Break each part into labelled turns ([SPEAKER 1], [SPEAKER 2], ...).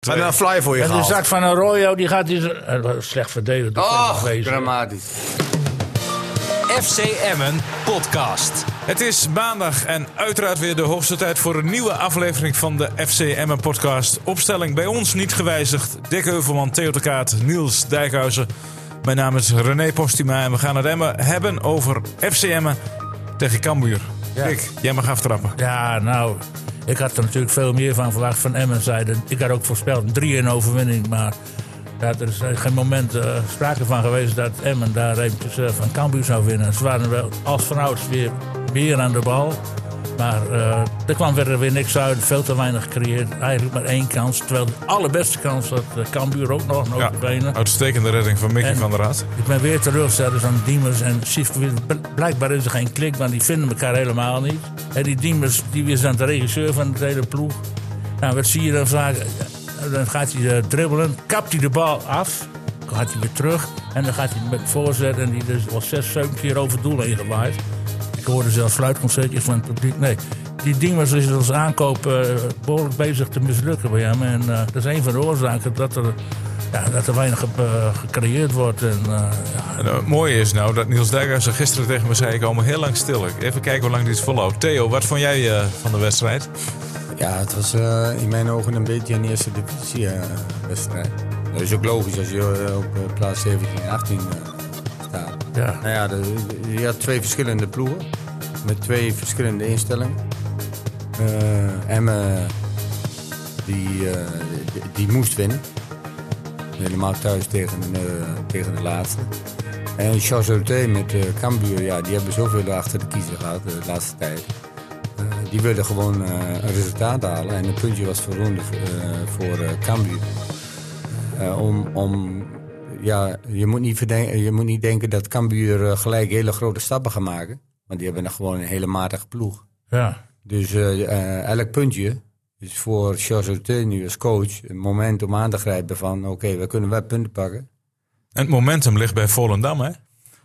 [SPEAKER 1] Zijn er een fly voor je
[SPEAKER 2] En de
[SPEAKER 1] gehaald?
[SPEAKER 2] zak van Arroyo, die gaat dus... eh, wat Slecht verdedigd. door
[SPEAKER 3] Oh,
[SPEAKER 2] Venezuela.
[SPEAKER 3] dramatisch.
[SPEAKER 4] FC Emmen podcast.
[SPEAKER 5] Het is maandag en uiteraard weer de hoogste tijd voor een nieuwe aflevering van de FCM podcast. Opstelling bij ons niet gewijzigd. Dick Heuvelman, Theo de Kaat, Niels Dijkhuizen. Mijn naam is René Postuma en we gaan het Emmen hebben over FCM tegen Cambuur. Dick, jij mag aftrappen.
[SPEAKER 2] Ja, nou, ik had er natuurlijk veel meer van verwacht van Emmen zijde. Ik had ook voorspeld een 3-1 overwinning, maar dat er is eh, geen moment eh, sprake van geweest dat Emmen daar eventjes eh, van Cambuur zou winnen. Ze waren wel als vanouds weer, weer aan de bal. Maar eh, er kwam verder weer niks uit, veel te weinig gecreëerd. Eigenlijk maar één kans, terwijl de allerbeste kans had eh, Cambuur ook nog,
[SPEAKER 5] Ja,
[SPEAKER 2] notabene.
[SPEAKER 5] uitstekende redding van Mickey
[SPEAKER 2] En-
[SPEAKER 5] van der Raad.
[SPEAKER 2] Ik ben weer teleurgesteld dus aan Diemers en Sivkovic. B- Blijkbaar is er geen klik, want die vinden elkaar helemaal niet. En die Diemers die is dan de regisseur van de hele ploeg. Nou, wat zie je dan vaak? Dan gaat hij eh, dribbelen, kapt hij de bal af, dan gaat hij weer terug. En dan gaat hij met voorzet en die is al zes, zeven keer over het doel heen gewaaid. Ik hoorde zelfs fluitconcertjes van het publiek. Nee, die Diemers is als aankoop eh, behoorlijk bezig te mislukken bij hem. En eh, dat is een van de oorzaken dat er, ja, dat er weinig eh, gecreëerd wordt. En, eh, ja,
[SPEAKER 5] En, eh, het mooie is nou dat Niels Dijkhuizen gisteren tegen me zei: ik hou me heel lang stil. Even kijken hoe lang dit volhoudt. Theo, wat vond jij eh, van de wedstrijd?
[SPEAKER 6] Ja, het was eh, in mijn ogen een beetje een eerste divisie-wedstrijd. dat is ook logisch als je eh, op eh, plaats 17 en 18 eh, staat.
[SPEAKER 2] Ja.
[SPEAKER 6] Nou ja, de- je had twee verschillende ploegen met twee verschillende instellingen. Eh Emmen, die, eh, die, die moest winnen. Helemaal thuis tegen, eh, tegen de laatste. En Charlotte met eh Cambuur, ja, die hebben zoveel achter de kiezer gehad eh, de laatste tijd. Eh, die wilden gewoon eh, een resultaat halen. En een puntje was voldoende eh, voor eh Cambuur. Eh, om, om, ja, je, moet niet verden- je moet niet denken dat Cambuur eh, gelijk hele grote stappen gaat maken. Want die hebben nog gewoon een hele matige ploeg.
[SPEAKER 2] ja.
[SPEAKER 6] Dus eh, eh, elk puntje is voor Charles Hotel nu als coach een moment om aan te grijpen van... oké, we kunnen wel punten pakken.
[SPEAKER 5] En het momentum ligt bij Volendam, hè?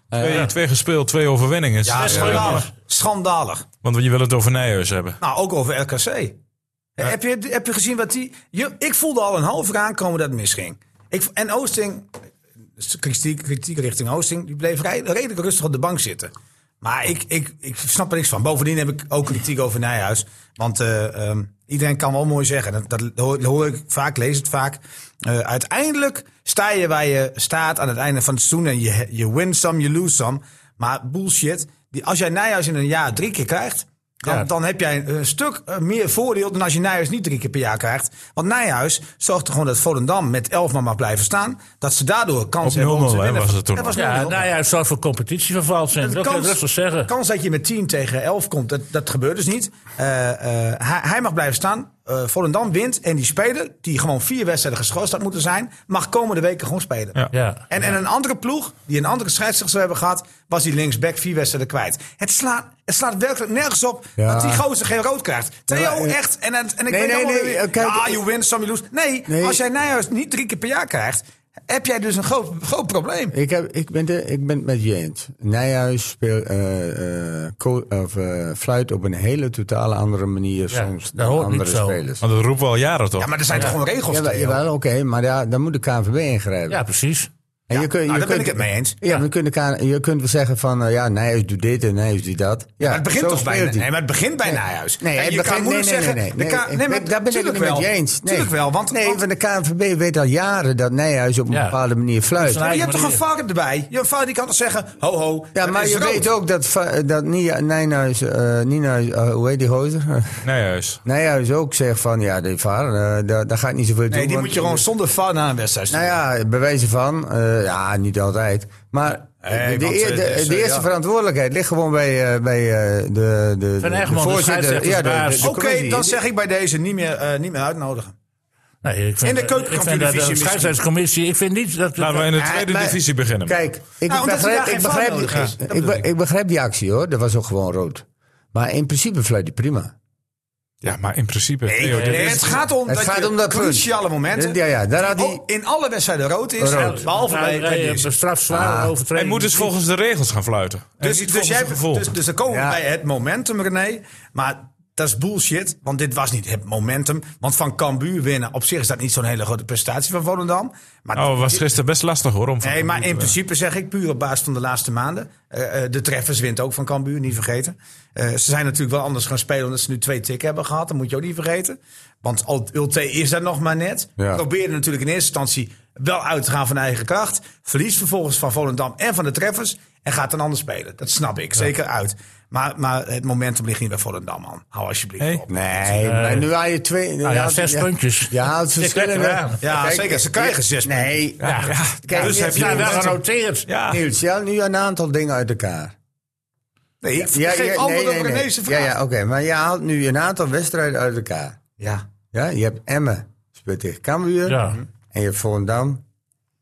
[SPEAKER 5] Twee, twee gespeeld, twee overwinningen.
[SPEAKER 1] Ja,
[SPEAKER 5] Eh,
[SPEAKER 1] schandalig. Schandalig.
[SPEAKER 5] Want je wil het over Nijhuis hebben.
[SPEAKER 1] Nou, ook over RKC. Heb, je, heb je gezien wat die... Je, ik voelde al een half jaar aankomen dat het misging. Ik, en Oosting, Dus kritiek, kritiek richting Oosting, die bleef rij- redelijk rustig op de bank zitten. Maar ik, ik, ik snap er niks van. Bovendien heb ik ook kritiek over Nijhuis. Want eh, ehm, iedereen kan wel mooi zeggen. Dat, dat hoor, hoor ik vaak, lees het vaak. Eh, uiteindelijk sta je waar je staat aan het einde van het seizoen. En je, je win some, je lose some. Maar bullshit. Die, als jij Nijhuis in een jaar drie keer krijgt... Dan,
[SPEAKER 2] Ja.
[SPEAKER 1] dan heb jij een stuk eh, meer voordeel dan als je Nijhuis niet drie keer per jaar krijgt. Want Nijhuis zorgt er gewoon dat Volendam met Elfman mag blijven staan. Dat ze daardoor kans
[SPEAKER 5] Op
[SPEAKER 1] hebben om te
[SPEAKER 5] 0-0, hè,
[SPEAKER 1] winnen.
[SPEAKER 5] was het toen
[SPEAKER 1] Dat
[SPEAKER 5] nog.
[SPEAKER 1] was
[SPEAKER 2] ja,
[SPEAKER 1] 0-0.
[SPEAKER 2] nou ja, het zou voor competitieverval zijn. Dat kan je rustig zeggen.
[SPEAKER 1] kans dat je met 10 tegen 11 komt, dat, dat gebeurt dus niet. Eh, eh, hij, hij mag blijven staan. Eh Volendam wint. En die speler, die gewoon vier wedstrijden geschorst had moeten zijn, mag komende weken gewoon spelen.
[SPEAKER 5] Ja.
[SPEAKER 2] Ja.
[SPEAKER 1] En, en een andere ploeg, die een andere scheidsrechter zou hebben gehad, was die linksback vier wedstrijden kwijt. Het slaat, het slaat werkelijk nergens op
[SPEAKER 6] Ja.
[SPEAKER 1] dat die gozer geen rood krijgt. Theo,
[SPEAKER 6] Ja, eh,
[SPEAKER 1] echt. En, en, en
[SPEAKER 6] nee,
[SPEAKER 1] ik ben
[SPEAKER 6] nee,
[SPEAKER 1] allemaal
[SPEAKER 6] nee,
[SPEAKER 1] weer-
[SPEAKER 6] eh, kijk,
[SPEAKER 1] ja,
[SPEAKER 6] eh,
[SPEAKER 1] you win, some you lose. Nee,
[SPEAKER 6] Nee.
[SPEAKER 1] als jij Nijhuis niet drie keer per jaar krijgt, heb jij dus een groot, groot probleem.
[SPEAKER 6] Ik, heb, ik, ben, de, ik ben het met je eens. Nijhuis speelt eh, eh, co- of, eh, fluit op een hele totale andere manier
[SPEAKER 2] Ja,
[SPEAKER 6] soms
[SPEAKER 2] dat
[SPEAKER 6] dan
[SPEAKER 2] hoort
[SPEAKER 6] andere
[SPEAKER 2] niet zo.
[SPEAKER 6] spelers.
[SPEAKER 5] Want dat roepen we al jaren toch?
[SPEAKER 1] Ja, maar er zijn toch gewoon regels.
[SPEAKER 6] Jawel,
[SPEAKER 1] Theo?
[SPEAKER 6] jawel, oké, maar ja, dan moet de KNVB ingrijpen.
[SPEAKER 2] Ja, precies.
[SPEAKER 6] en je kun- je
[SPEAKER 1] nou, daar ben
[SPEAKER 6] kunt-
[SPEAKER 1] ik het mee eens.
[SPEAKER 6] Ja, maar je kunt, elkaar- je kunt wel zeggen van, eh, ja, Nijhuis doet dit en Nijhuis doet dat. Ja,
[SPEAKER 1] Maar het begint
[SPEAKER 6] zo
[SPEAKER 1] toch bij,
[SPEAKER 6] speelt hij.
[SPEAKER 1] nee, maar het begint bij Nijhuis.
[SPEAKER 6] Nee,
[SPEAKER 1] En
[SPEAKER 6] het
[SPEAKER 1] je
[SPEAKER 6] begint-
[SPEAKER 1] kan
[SPEAKER 6] nee, nee,
[SPEAKER 1] moeilijk zeggen.
[SPEAKER 6] nee,
[SPEAKER 1] de
[SPEAKER 6] nee,
[SPEAKER 1] K-
[SPEAKER 6] nee,
[SPEAKER 1] nee,
[SPEAKER 6] ik-
[SPEAKER 1] maar
[SPEAKER 6] daar ben ik het
[SPEAKER 1] tuurlijk
[SPEAKER 6] niet met
[SPEAKER 1] wel.
[SPEAKER 6] je eens. Nee.
[SPEAKER 1] Tuurlijk wel, want,
[SPEAKER 6] nee,
[SPEAKER 1] want-
[SPEAKER 6] want de KNVB weet al jaren dat Nijhuis op een
[SPEAKER 2] Ja.
[SPEAKER 6] bepaalde manier fluit.
[SPEAKER 2] Dat is
[SPEAKER 1] maar je
[SPEAKER 2] eigen
[SPEAKER 1] hebt toch een
[SPEAKER 2] manier.
[SPEAKER 1] vark erbij? Je vark die kan toch zeggen, ho ho,
[SPEAKER 6] Ja,
[SPEAKER 1] dat
[SPEAKER 6] maar
[SPEAKER 1] is
[SPEAKER 6] je
[SPEAKER 1] rood.
[SPEAKER 6] weet ook dat, va- dat Nia- Nijhuis, eh, Nijhuis, eh, hoe heet die gozer?
[SPEAKER 5] Nijhuis.
[SPEAKER 6] Nijhuis ook zegt van, ja, die VAR, eh, daar, daar gaat niet zoveel
[SPEAKER 1] Nee,
[SPEAKER 6] doen,
[SPEAKER 1] die
[SPEAKER 6] want-
[SPEAKER 1] moet je gewoon zonder var naar een wedstrijd
[SPEAKER 6] Nou
[SPEAKER 1] sturen.
[SPEAKER 6] ja, bewijzen van, eh, ja, niet altijd. Maar
[SPEAKER 1] Nee,
[SPEAKER 6] de,
[SPEAKER 1] want,
[SPEAKER 6] eer-
[SPEAKER 1] eh,
[SPEAKER 6] de-
[SPEAKER 1] dus,
[SPEAKER 6] de
[SPEAKER 1] eh,
[SPEAKER 6] eerste
[SPEAKER 1] ja.
[SPEAKER 6] verantwoordelijkheid ligt gewoon bij, eh bij eh, de, de,
[SPEAKER 2] Van
[SPEAKER 6] de,
[SPEAKER 2] Egmond, de scheidsrechtersbaas.
[SPEAKER 6] de- de
[SPEAKER 1] Oké,
[SPEAKER 6] commissie.
[SPEAKER 1] dan zeg ik bij deze niet meer, eh, niet meer uitnodigen.
[SPEAKER 2] Nee, ik vind,
[SPEAKER 1] In de
[SPEAKER 2] eh,
[SPEAKER 1] keukenkampioen
[SPEAKER 2] ik vind dat de
[SPEAKER 1] divisie misschien.
[SPEAKER 2] scheidsrechtscommissie. Ik vind niet dat.
[SPEAKER 5] Laten we in de
[SPEAKER 6] Eh,
[SPEAKER 5] tweede
[SPEAKER 6] maar-
[SPEAKER 5] divisie beginnen.
[SPEAKER 6] Kijk, ik,
[SPEAKER 1] Nou, omdat er
[SPEAKER 6] begrijp,
[SPEAKER 1] daar
[SPEAKER 6] ik,
[SPEAKER 1] geen VAR
[SPEAKER 6] begrijp,
[SPEAKER 1] nodig is. Dat
[SPEAKER 6] ik,
[SPEAKER 1] bedoel
[SPEAKER 6] be-
[SPEAKER 1] ik.
[SPEAKER 6] ik begrijp die actie hoor, dat was ook gewoon rood. Maar in principe fluit die prima.
[SPEAKER 5] Ja, maar in principe.
[SPEAKER 1] Nee,
[SPEAKER 5] Theo, dit
[SPEAKER 1] nee,
[SPEAKER 5] is-
[SPEAKER 1] het gaat om
[SPEAKER 6] Het
[SPEAKER 1] dat
[SPEAKER 6] gaat
[SPEAKER 1] je
[SPEAKER 6] om dat punt.
[SPEAKER 1] cruciale momenten
[SPEAKER 6] Ja, ja, daar had
[SPEAKER 1] die
[SPEAKER 6] hij...
[SPEAKER 1] in alle wedstrijden rood is,
[SPEAKER 6] Rood.
[SPEAKER 1] behalve
[SPEAKER 2] nou,
[SPEAKER 1] bij, bij
[SPEAKER 2] een
[SPEAKER 1] deze.
[SPEAKER 2] straf zwaar
[SPEAKER 6] Ah.
[SPEAKER 5] Hij
[SPEAKER 2] overtreding.
[SPEAKER 5] moet dus volgens de regels gaan fluiten. En
[SPEAKER 1] Dus,
[SPEAKER 5] niet
[SPEAKER 1] dus,
[SPEAKER 5] volgens
[SPEAKER 1] jij,
[SPEAKER 5] het gevoel.
[SPEAKER 1] dus, dus dan komen we
[SPEAKER 6] Ja.
[SPEAKER 1] bij het momentum, René. Maar Dat is bullshit, want dit was niet het momentum. Want van Cambuur winnen, op zich is dat niet zo'n hele grote prestatie van Volendam. Maar
[SPEAKER 5] Oh, was gisteren best lastig hoor. Om van
[SPEAKER 1] Nee, maar
[SPEAKER 5] Cambuur
[SPEAKER 1] in
[SPEAKER 5] te-
[SPEAKER 1] principe zeg ik puur op basis van de laatste maanden. Eh, eh, de treffers wint ook van Cambuur, niet vergeten. Eh, ze zijn natuurlijk wel anders gaan spelen omdat ze nu twee tikken hebben gehad. Dat moet je ook niet vergeten. Want Al- Ulte is dat nog maar net.
[SPEAKER 6] Ja.
[SPEAKER 1] Probeerde natuurlijk in eerste instantie wel uit te gaan van eigen kracht. Verliest vervolgens van Volendam en van de treffers. En gaat dan anders spelen. Dat snap ik, zeker uit. Maar, maar het momentum ligt niet bij Volendam, man. Hou alsjeblieft
[SPEAKER 5] Nee.
[SPEAKER 1] op.
[SPEAKER 6] Nee, maar nu haal je twee...
[SPEAKER 2] Nou
[SPEAKER 6] je
[SPEAKER 2] ja,
[SPEAKER 6] haalt-
[SPEAKER 2] zes
[SPEAKER 6] ja,
[SPEAKER 2] puntjes.
[SPEAKER 6] Je haalt verschillende...
[SPEAKER 2] lekker aan.
[SPEAKER 1] Ja,
[SPEAKER 6] Kijk,
[SPEAKER 1] zeker. Ze krijgen zes
[SPEAKER 6] Nee.
[SPEAKER 2] Ja,
[SPEAKER 6] Kijk,
[SPEAKER 5] Dus
[SPEAKER 6] je
[SPEAKER 5] heb je
[SPEAKER 6] staat
[SPEAKER 5] een
[SPEAKER 6] wel
[SPEAKER 5] wedstrijd.
[SPEAKER 6] een-
[SPEAKER 2] genoteerd.
[SPEAKER 5] Ja.
[SPEAKER 6] Niels, je haalt nu een aantal dingen uit elkaar.
[SPEAKER 1] Nee, ik
[SPEAKER 6] Ja,
[SPEAKER 1] geef
[SPEAKER 6] ja,
[SPEAKER 1] antwoord
[SPEAKER 6] nee,
[SPEAKER 1] op
[SPEAKER 6] nee, nee.
[SPEAKER 1] René's
[SPEAKER 6] Ja,
[SPEAKER 1] vraag.
[SPEAKER 6] ja oké. Maar je haalt nu een aantal wedstrijden uit elkaar.
[SPEAKER 1] ja.
[SPEAKER 6] Ja, je hebt Emmen speelt tegen Cambuur.
[SPEAKER 2] Ja.
[SPEAKER 6] En je hebt Volendam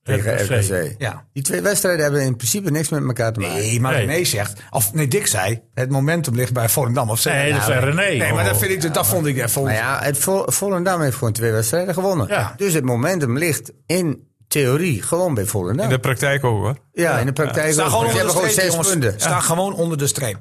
[SPEAKER 6] tegen
[SPEAKER 2] RKC.
[SPEAKER 6] RKC.
[SPEAKER 1] Ja.
[SPEAKER 6] Die twee wedstrijden hebben in principe niks met elkaar te maken.
[SPEAKER 1] Nee, maar
[SPEAKER 2] Nee.
[SPEAKER 1] René zegt, of nee, Dick zei, het momentum ligt bij Volendam. Of zei
[SPEAKER 2] Nee,
[SPEAKER 1] hij
[SPEAKER 2] dat
[SPEAKER 1] nou?
[SPEAKER 2] zei René.
[SPEAKER 1] Nee, maar dat,
[SPEAKER 2] Oh.
[SPEAKER 1] vind ik, dat vond ik, dat vond
[SPEAKER 6] Maar
[SPEAKER 1] ik
[SPEAKER 6] ja, het Vol- Volendam heeft gewoon twee wedstrijden gewonnen.
[SPEAKER 2] Ja.
[SPEAKER 6] Dus het momentum ligt in theorie gewoon bij Volendam.
[SPEAKER 5] In de praktijk ook hoor.
[SPEAKER 6] ja, in de praktijk.
[SPEAKER 1] Sta
[SPEAKER 6] ook.
[SPEAKER 1] gewoon
[SPEAKER 6] Ze
[SPEAKER 1] onder de
[SPEAKER 6] hebben gewoon
[SPEAKER 1] streep,
[SPEAKER 6] zes
[SPEAKER 1] jongens.
[SPEAKER 6] punten.
[SPEAKER 1] Sta gewoon onder de streep.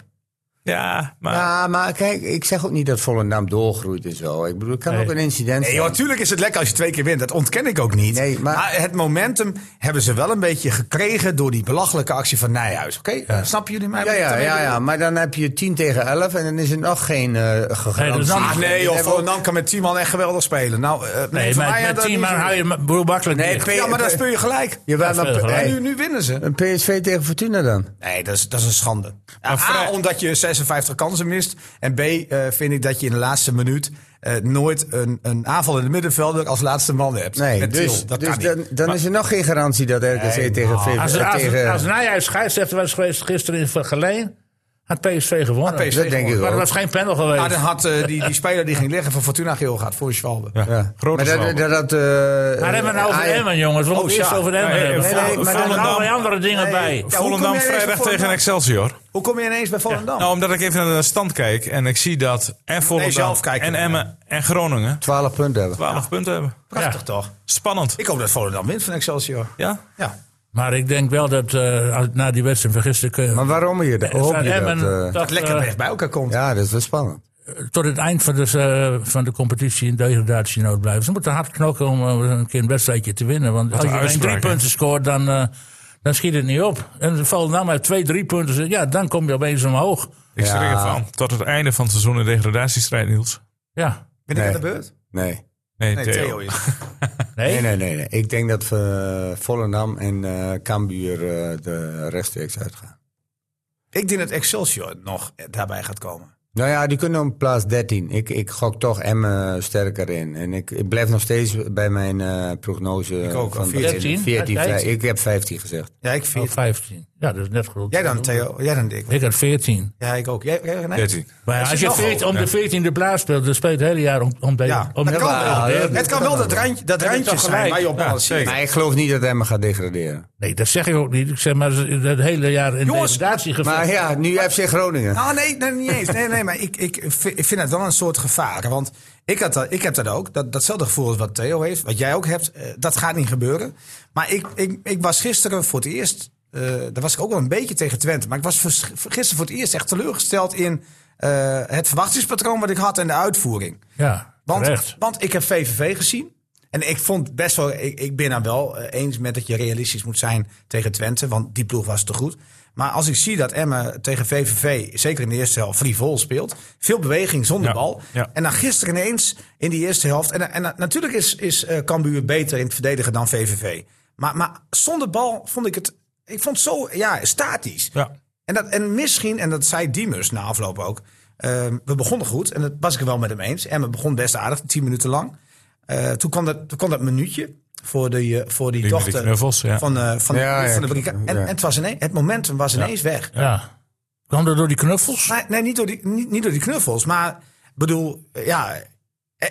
[SPEAKER 5] Ja, maar
[SPEAKER 6] Ja, maar kijk, ik zeg ook niet dat Volendam doorgroeit en zo. Ik bedoel, het kan
[SPEAKER 2] Nee.
[SPEAKER 6] ook een incident
[SPEAKER 1] Nee,
[SPEAKER 6] zijn.
[SPEAKER 1] joh, natuurlijk is het lekker als je twee keer wint. Dat ontken ik ook niet.
[SPEAKER 6] Nee,
[SPEAKER 1] maar...
[SPEAKER 6] maar-
[SPEAKER 1] het momentum hebben ze wel een beetje gekregen door die belachelijke actie van Nijhuis. Oké, snappen jullie mij?
[SPEAKER 6] ja,
[SPEAKER 1] wat ik
[SPEAKER 6] ja,
[SPEAKER 1] daarmee
[SPEAKER 6] ja, ja,
[SPEAKER 1] bedoel?
[SPEAKER 6] maar dan heb je 10 tegen 11 en dan is er nog geen eh gegarantie.
[SPEAKER 2] Nee, dus dan-
[SPEAKER 1] Ah, nee,
[SPEAKER 6] Dan
[SPEAKER 1] joh,
[SPEAKER 6] hebben we ook-
[SPEAKER 1] Volendam kan met 10 man echt geweldig spelen. Nou, eh,
[SPEAKER 2] Nee,
[SPEAKER 1] voor
[SPEAKER 2] maar
[SPEAKER 1] mij had
[SPEAKER 2] met
[SPEAKER 1] dat
[SPEAKER 2] tien
[SPEAKER 1] niet
[SPEAKER 2] man hou je hem behoor makkelijk
[SPEAKER 6] Nee,
[SPEAKER 2] dicht.
[SPEAKER 6] P-
[SPEAKER 1] zo- Ja, maar dan speel je gelijk.
[SPEAKER 6] Jawel,
[SPEAKER 2] Ja,
[SPEAKER 6] maar-
[SPEAKER 2] veel gelijk.
[SPEAKER 1] En
[SPEAKER 6] hey,
[SPEAKER 1] nu, nu winnen ze.
[SPEAKER 6] Een PSV tegen Fortuna dan?
[SPEAKER 1] Nee, dat is, dat is een schande. A,
[SPEAKER 5] vrij-
[SPEAKER 1] omdat je 56 kansen mist. En B, eh, vind ik dat je in de laatste minuut eh, nooit een, een aanval in de middenvelder als laatste man hebt.
[SPEAKER 6] Nee,
[SPEAKER 1] Met
[SPEAKER 6] dus,
[SPEAKER 1] Til. dat
[SPEAKER 6] dus
[SPEAKER 1] kan
[SPEAKER 6] dan,
[SPEAKER 1] niet.
[SPEAKER 6] dan is er nog geen garantie dat RKC tegen VV...
[SPEAKER 2] Als,
[SPEAKER 6] eh,
[SPEAKER 2] als,
[SPEAKER 6] tegen,
[SPEAKER 2] als Nijhuis scheidsrechter was geweest gisteren in Vergeleen, had PSV gewonnen.
[SPEAKER 1] Had PSV
[SPEAKER 6] dat denk ik
[SPEAKER 2] Maar er
[SPEAKER 6] ook.
[SPEAKER 2] was geen panel geweest.
[SPEAKER 1] Maar dan had eh, die, die speler die ging liggen van Fortuna geel gaat voor Schwalbe.
[SPEAKER 6] Ja.
[SPEAKER 5] grote
[SPEAKER 6] Maar dat,
[SPEAKER 5] zwalbe.
[SPEAKER 6] dat, dat, eh,
[SPEAKER 2] Maar hebben we het nou over
[SPEAKER 6] Ajax-
[SPEAKER 2] Emmen, jongens. We moeten
[SPEAKER 1] Oh,
[SPEAKER 2] eerst
[SPEAKER 1] ja.
[SPEAKER 2] over de Emmen
[SPEAKER 5] Nee,
[SPEAKER 2] hebben.
[SPEAKER 5] nee,
[SPEAKER 6] nee,
[SPEAKER 2] Er
[SPEAKER 6] maar
[SPEAKER 2] komen
[SPEAKER 6] dan-
[SPEAKER 2] allerlei andere dingen
[SPEAKER 1] Nee.
[SPEAKER 2] bij.
[SPEAKER 1] Ja, hoe kom
[SPEAKER 5] Volendam
[SPEAKER 1] jij ineens
[SPEAKER 5] vrijdag
[SPEAKER 1] op Volendam?
[SPEAKER 5] tegen Excelsior.
[SPEAKER 1] Hoe kom je ineens bij Volendam?
[SPEAKER 5] Nou, omdat ik even naar de stand kijk en ik zie dat en Volendam
[SPEAKER 1] zelf kijken.
[SPEAKER 5] en Emmen en Groningen
[SPEAKER 6] 12 punten hebben.
[SPEAKER 5] 12 punten hebben.
[SPEAKER 1] Prachtig toch?
[SPEAKER 5] Spannend.
[SPEAKER 1] Ik hoop dat Volendam wint van Excelsior.
[SPEAKER 5] Ja?
[SPEAKER 1] Ja.
[SPEAKER 2] Maar ik denk wel dat eh, als- na die wedstrijd van gisteren... kun-
[SPEAKER 6] Maar waarom je dat? Hoop
[SPEAKER 2] van
[SPEAKER 6] je dat,
[SPEAKER 2] Emmen
[SPEAKER 6] eh,
[SPEAKER 1] Dat lekker
[SPEAKER 2] eh,
[SPEAKER 1] dicht bij elkaar komt.
[SPEAKER 6] ja, dat is wel spannend.
[SPEAKER 2] tot het eind van de, eh, van de competitie in degradatienood blijven. Ze moeten hard knokken om eh, een keer een wedstrijdje te winnen. Want als je
[SPEAKER 5] een
[SPEAKER 2] alleen
[SPEAKER 5] uitspraak,
[SPEAKER 2] drie
[SPEAKER 5] hè?
[SPEAKER 2] punten scoort, dan, eh, dan schiet het niet op. En Volendam heeft twee, drie punten. Ja, dan kom je opeens omhoog.
[SPEAKER 5] Ik schrik
[SPEAKER 6] Ja.
[SPEAKER 5] ervan. Tot het einde van het seizoen een degradatiestrijd, Niels.
[SPEAKER 2] Ja.
[SPEAKER 1] Ben ik aan de
[SPEAKER 6] Nee.
[SPEAKER 1] beurt?
[SPEAKER 6] Nee.
[SPEAKER 5] Nee,
[SPEAKER 1] Nee,
[SPEAKER 5] Theo.
[SPEAKER 1] Theo is.
[SPEAKER 2] Nee?
[SPEAKER 6] Nee, nee, nee. nee. Ik denk dat we Volendam en eh Cambuur eh, de rechtstreeks uitgaan.
[SPEAKER 1] Ik denk dat Excelsior nog eh, daarbij gaat komen.
[SPEAKER 6] Nou ja, die kunnen op plaats 13. Ik, ik gok toch Emmen eh, sterker in. En ik, ik blijf nog steeds bij mijn eh, prognose
[SPEAKER 1] ook,
[SPEAKER 6] van
[SPEAKER 1] 14.
[SPEAKER 6] 14
[SPEAKER 2] Ja,
[SPEAKER 6] ik heb 15 gezegd.
[SPEAKER 1] Ja, ik
[SPEAKER 2] Oh,
[SPEAKER 1] vind.
[SPEAKER 2] 15. Ja, dat is net goed.
[SPEAKER 1] Jij dan, Theo? Jij dan, Dick?
[SPEAKER 2] Ik had 14.
[SPEAKER 1] Ja, ik ook. Jij, jij, René?
[SPEAKER 5] 13.
[SPEAKER 2] Maar ja,
[SPEAKER 1] Is
[SPEAKER 2] als
[SPEAKER 1] het
[SPEAKER 2] je
[SPEAKER 1] nog
[SPEAKER 2] veert- om
[SPEAKER 5] hoog?
[SPEAKER 2] de 14e plaats speelt, dan speelt het hele jaar om, om de.
[SPEAKER 1] Ja,
[SPEAKER 2] om Ah,
[SPEAKER 1] dat kan
[SPEAKER 6] Ja,
[SPEAKER 1] wel.
[SPEAKER 6] dat-
[SPEAKER 1] Het kan wel dat randje, dat
[SPEAKER 2] Heb je
[SPEAKER 1] randje
[SPEAKER 2] toch
[SPEAKER 1] zijn
[SPEAKER 2] gelijk?
[SPEAKER 1] waar je op
[SPEAKER 5] Ja,
[SPEAKER 1] balanceert.
[SPEAKER 5] zeker.
[SPEAKER 6] Maar ik geloof niet dat Emmen gaat degraderen.
[SPEAKER 2] Nee, dat zeg ik ook niet. Ik zeg maar het hele jaar in
[SPEAKER 1] Jongens,
[SPEAKER 2] degradatie
[SPEAKER 6] Maar ja, nu FC Groningen.
[SPEAKER 1] Ah, nee, nee, niet eens. Nee, nee, maar ik, ik, vi- ik vind het wel een soort gevaar. Want ik, had dat, ik heb dat ook. Dat, datzelfde gevoel als wat Theo heeft, wat jij ook hebt. eh, dat gaat niet gebeuren. Maar ik, ik, ik was gisteren voor het eerst. eh, daar was ik ook wel een beetje tegen Twente. Maar ik was vers- gisteren voor het eerst echt teleurgesteld in eh, het verwachtingspatroon wat ik had en de uitvoering.
[SPEAKER 2] Ja,
[SPEAKER 1] Want,
[SPEAKER 2] terecht.
[SPEAKER 1] want ik heb VVV gezien. En ik vond best wel, ik, ik ben dan wel eh, eens met dat je realistisch moet zijn tegen Twente. Want die ploeg was te goed. Maar als ik zie dat Emmen tegen VVV, zeker in de eerste helft, frivol speelt. Veel beweging zonder
[SPEAKER 5] Ja,
[SPEAKER 1] bal.
[SPEAKER 5] ja.
[SPEAKER 1] En dan gisteren ineens in die eerste helft. En, en natuurlijk is, is eh, Cambuur beter in het verdedigen dan VVV. Maar, maar zonder bal vond ik het, ik vond het zo ja, statisch.
[SPEAKER 5] Ja.
[SPEAKER 1] En, dat, en misschien, en dat zei Diemers na afloop ook. ehm, we begonnen goed en dat was ik er wel met hem eens. En we begon best aardig, tien minuten lang. Eh, toen, kwam dat, toen kwam dat minuutje voor, die, eh, voor die,
[SPEAKER 5] Die met die
[SPEAKER 1] dochter
[SPEAKER 5] knuffels, ja.
[SPEAKER 1] van, eh, van, de-
[SPEAKER 6] Ja, ja,
[SPEAKER 1] van de brigade. En,
[SPEAKER 6] ja.
[SPEAKER 1] en het, was ineens, het momentum was ineens weg.
[SPEAKER 2] Ja. Kwam dat door die knuffels?
[SPEAKER 1] Nee, nee niet, door die, niet, niet door die knuffels, maar bedoel, ja, eh,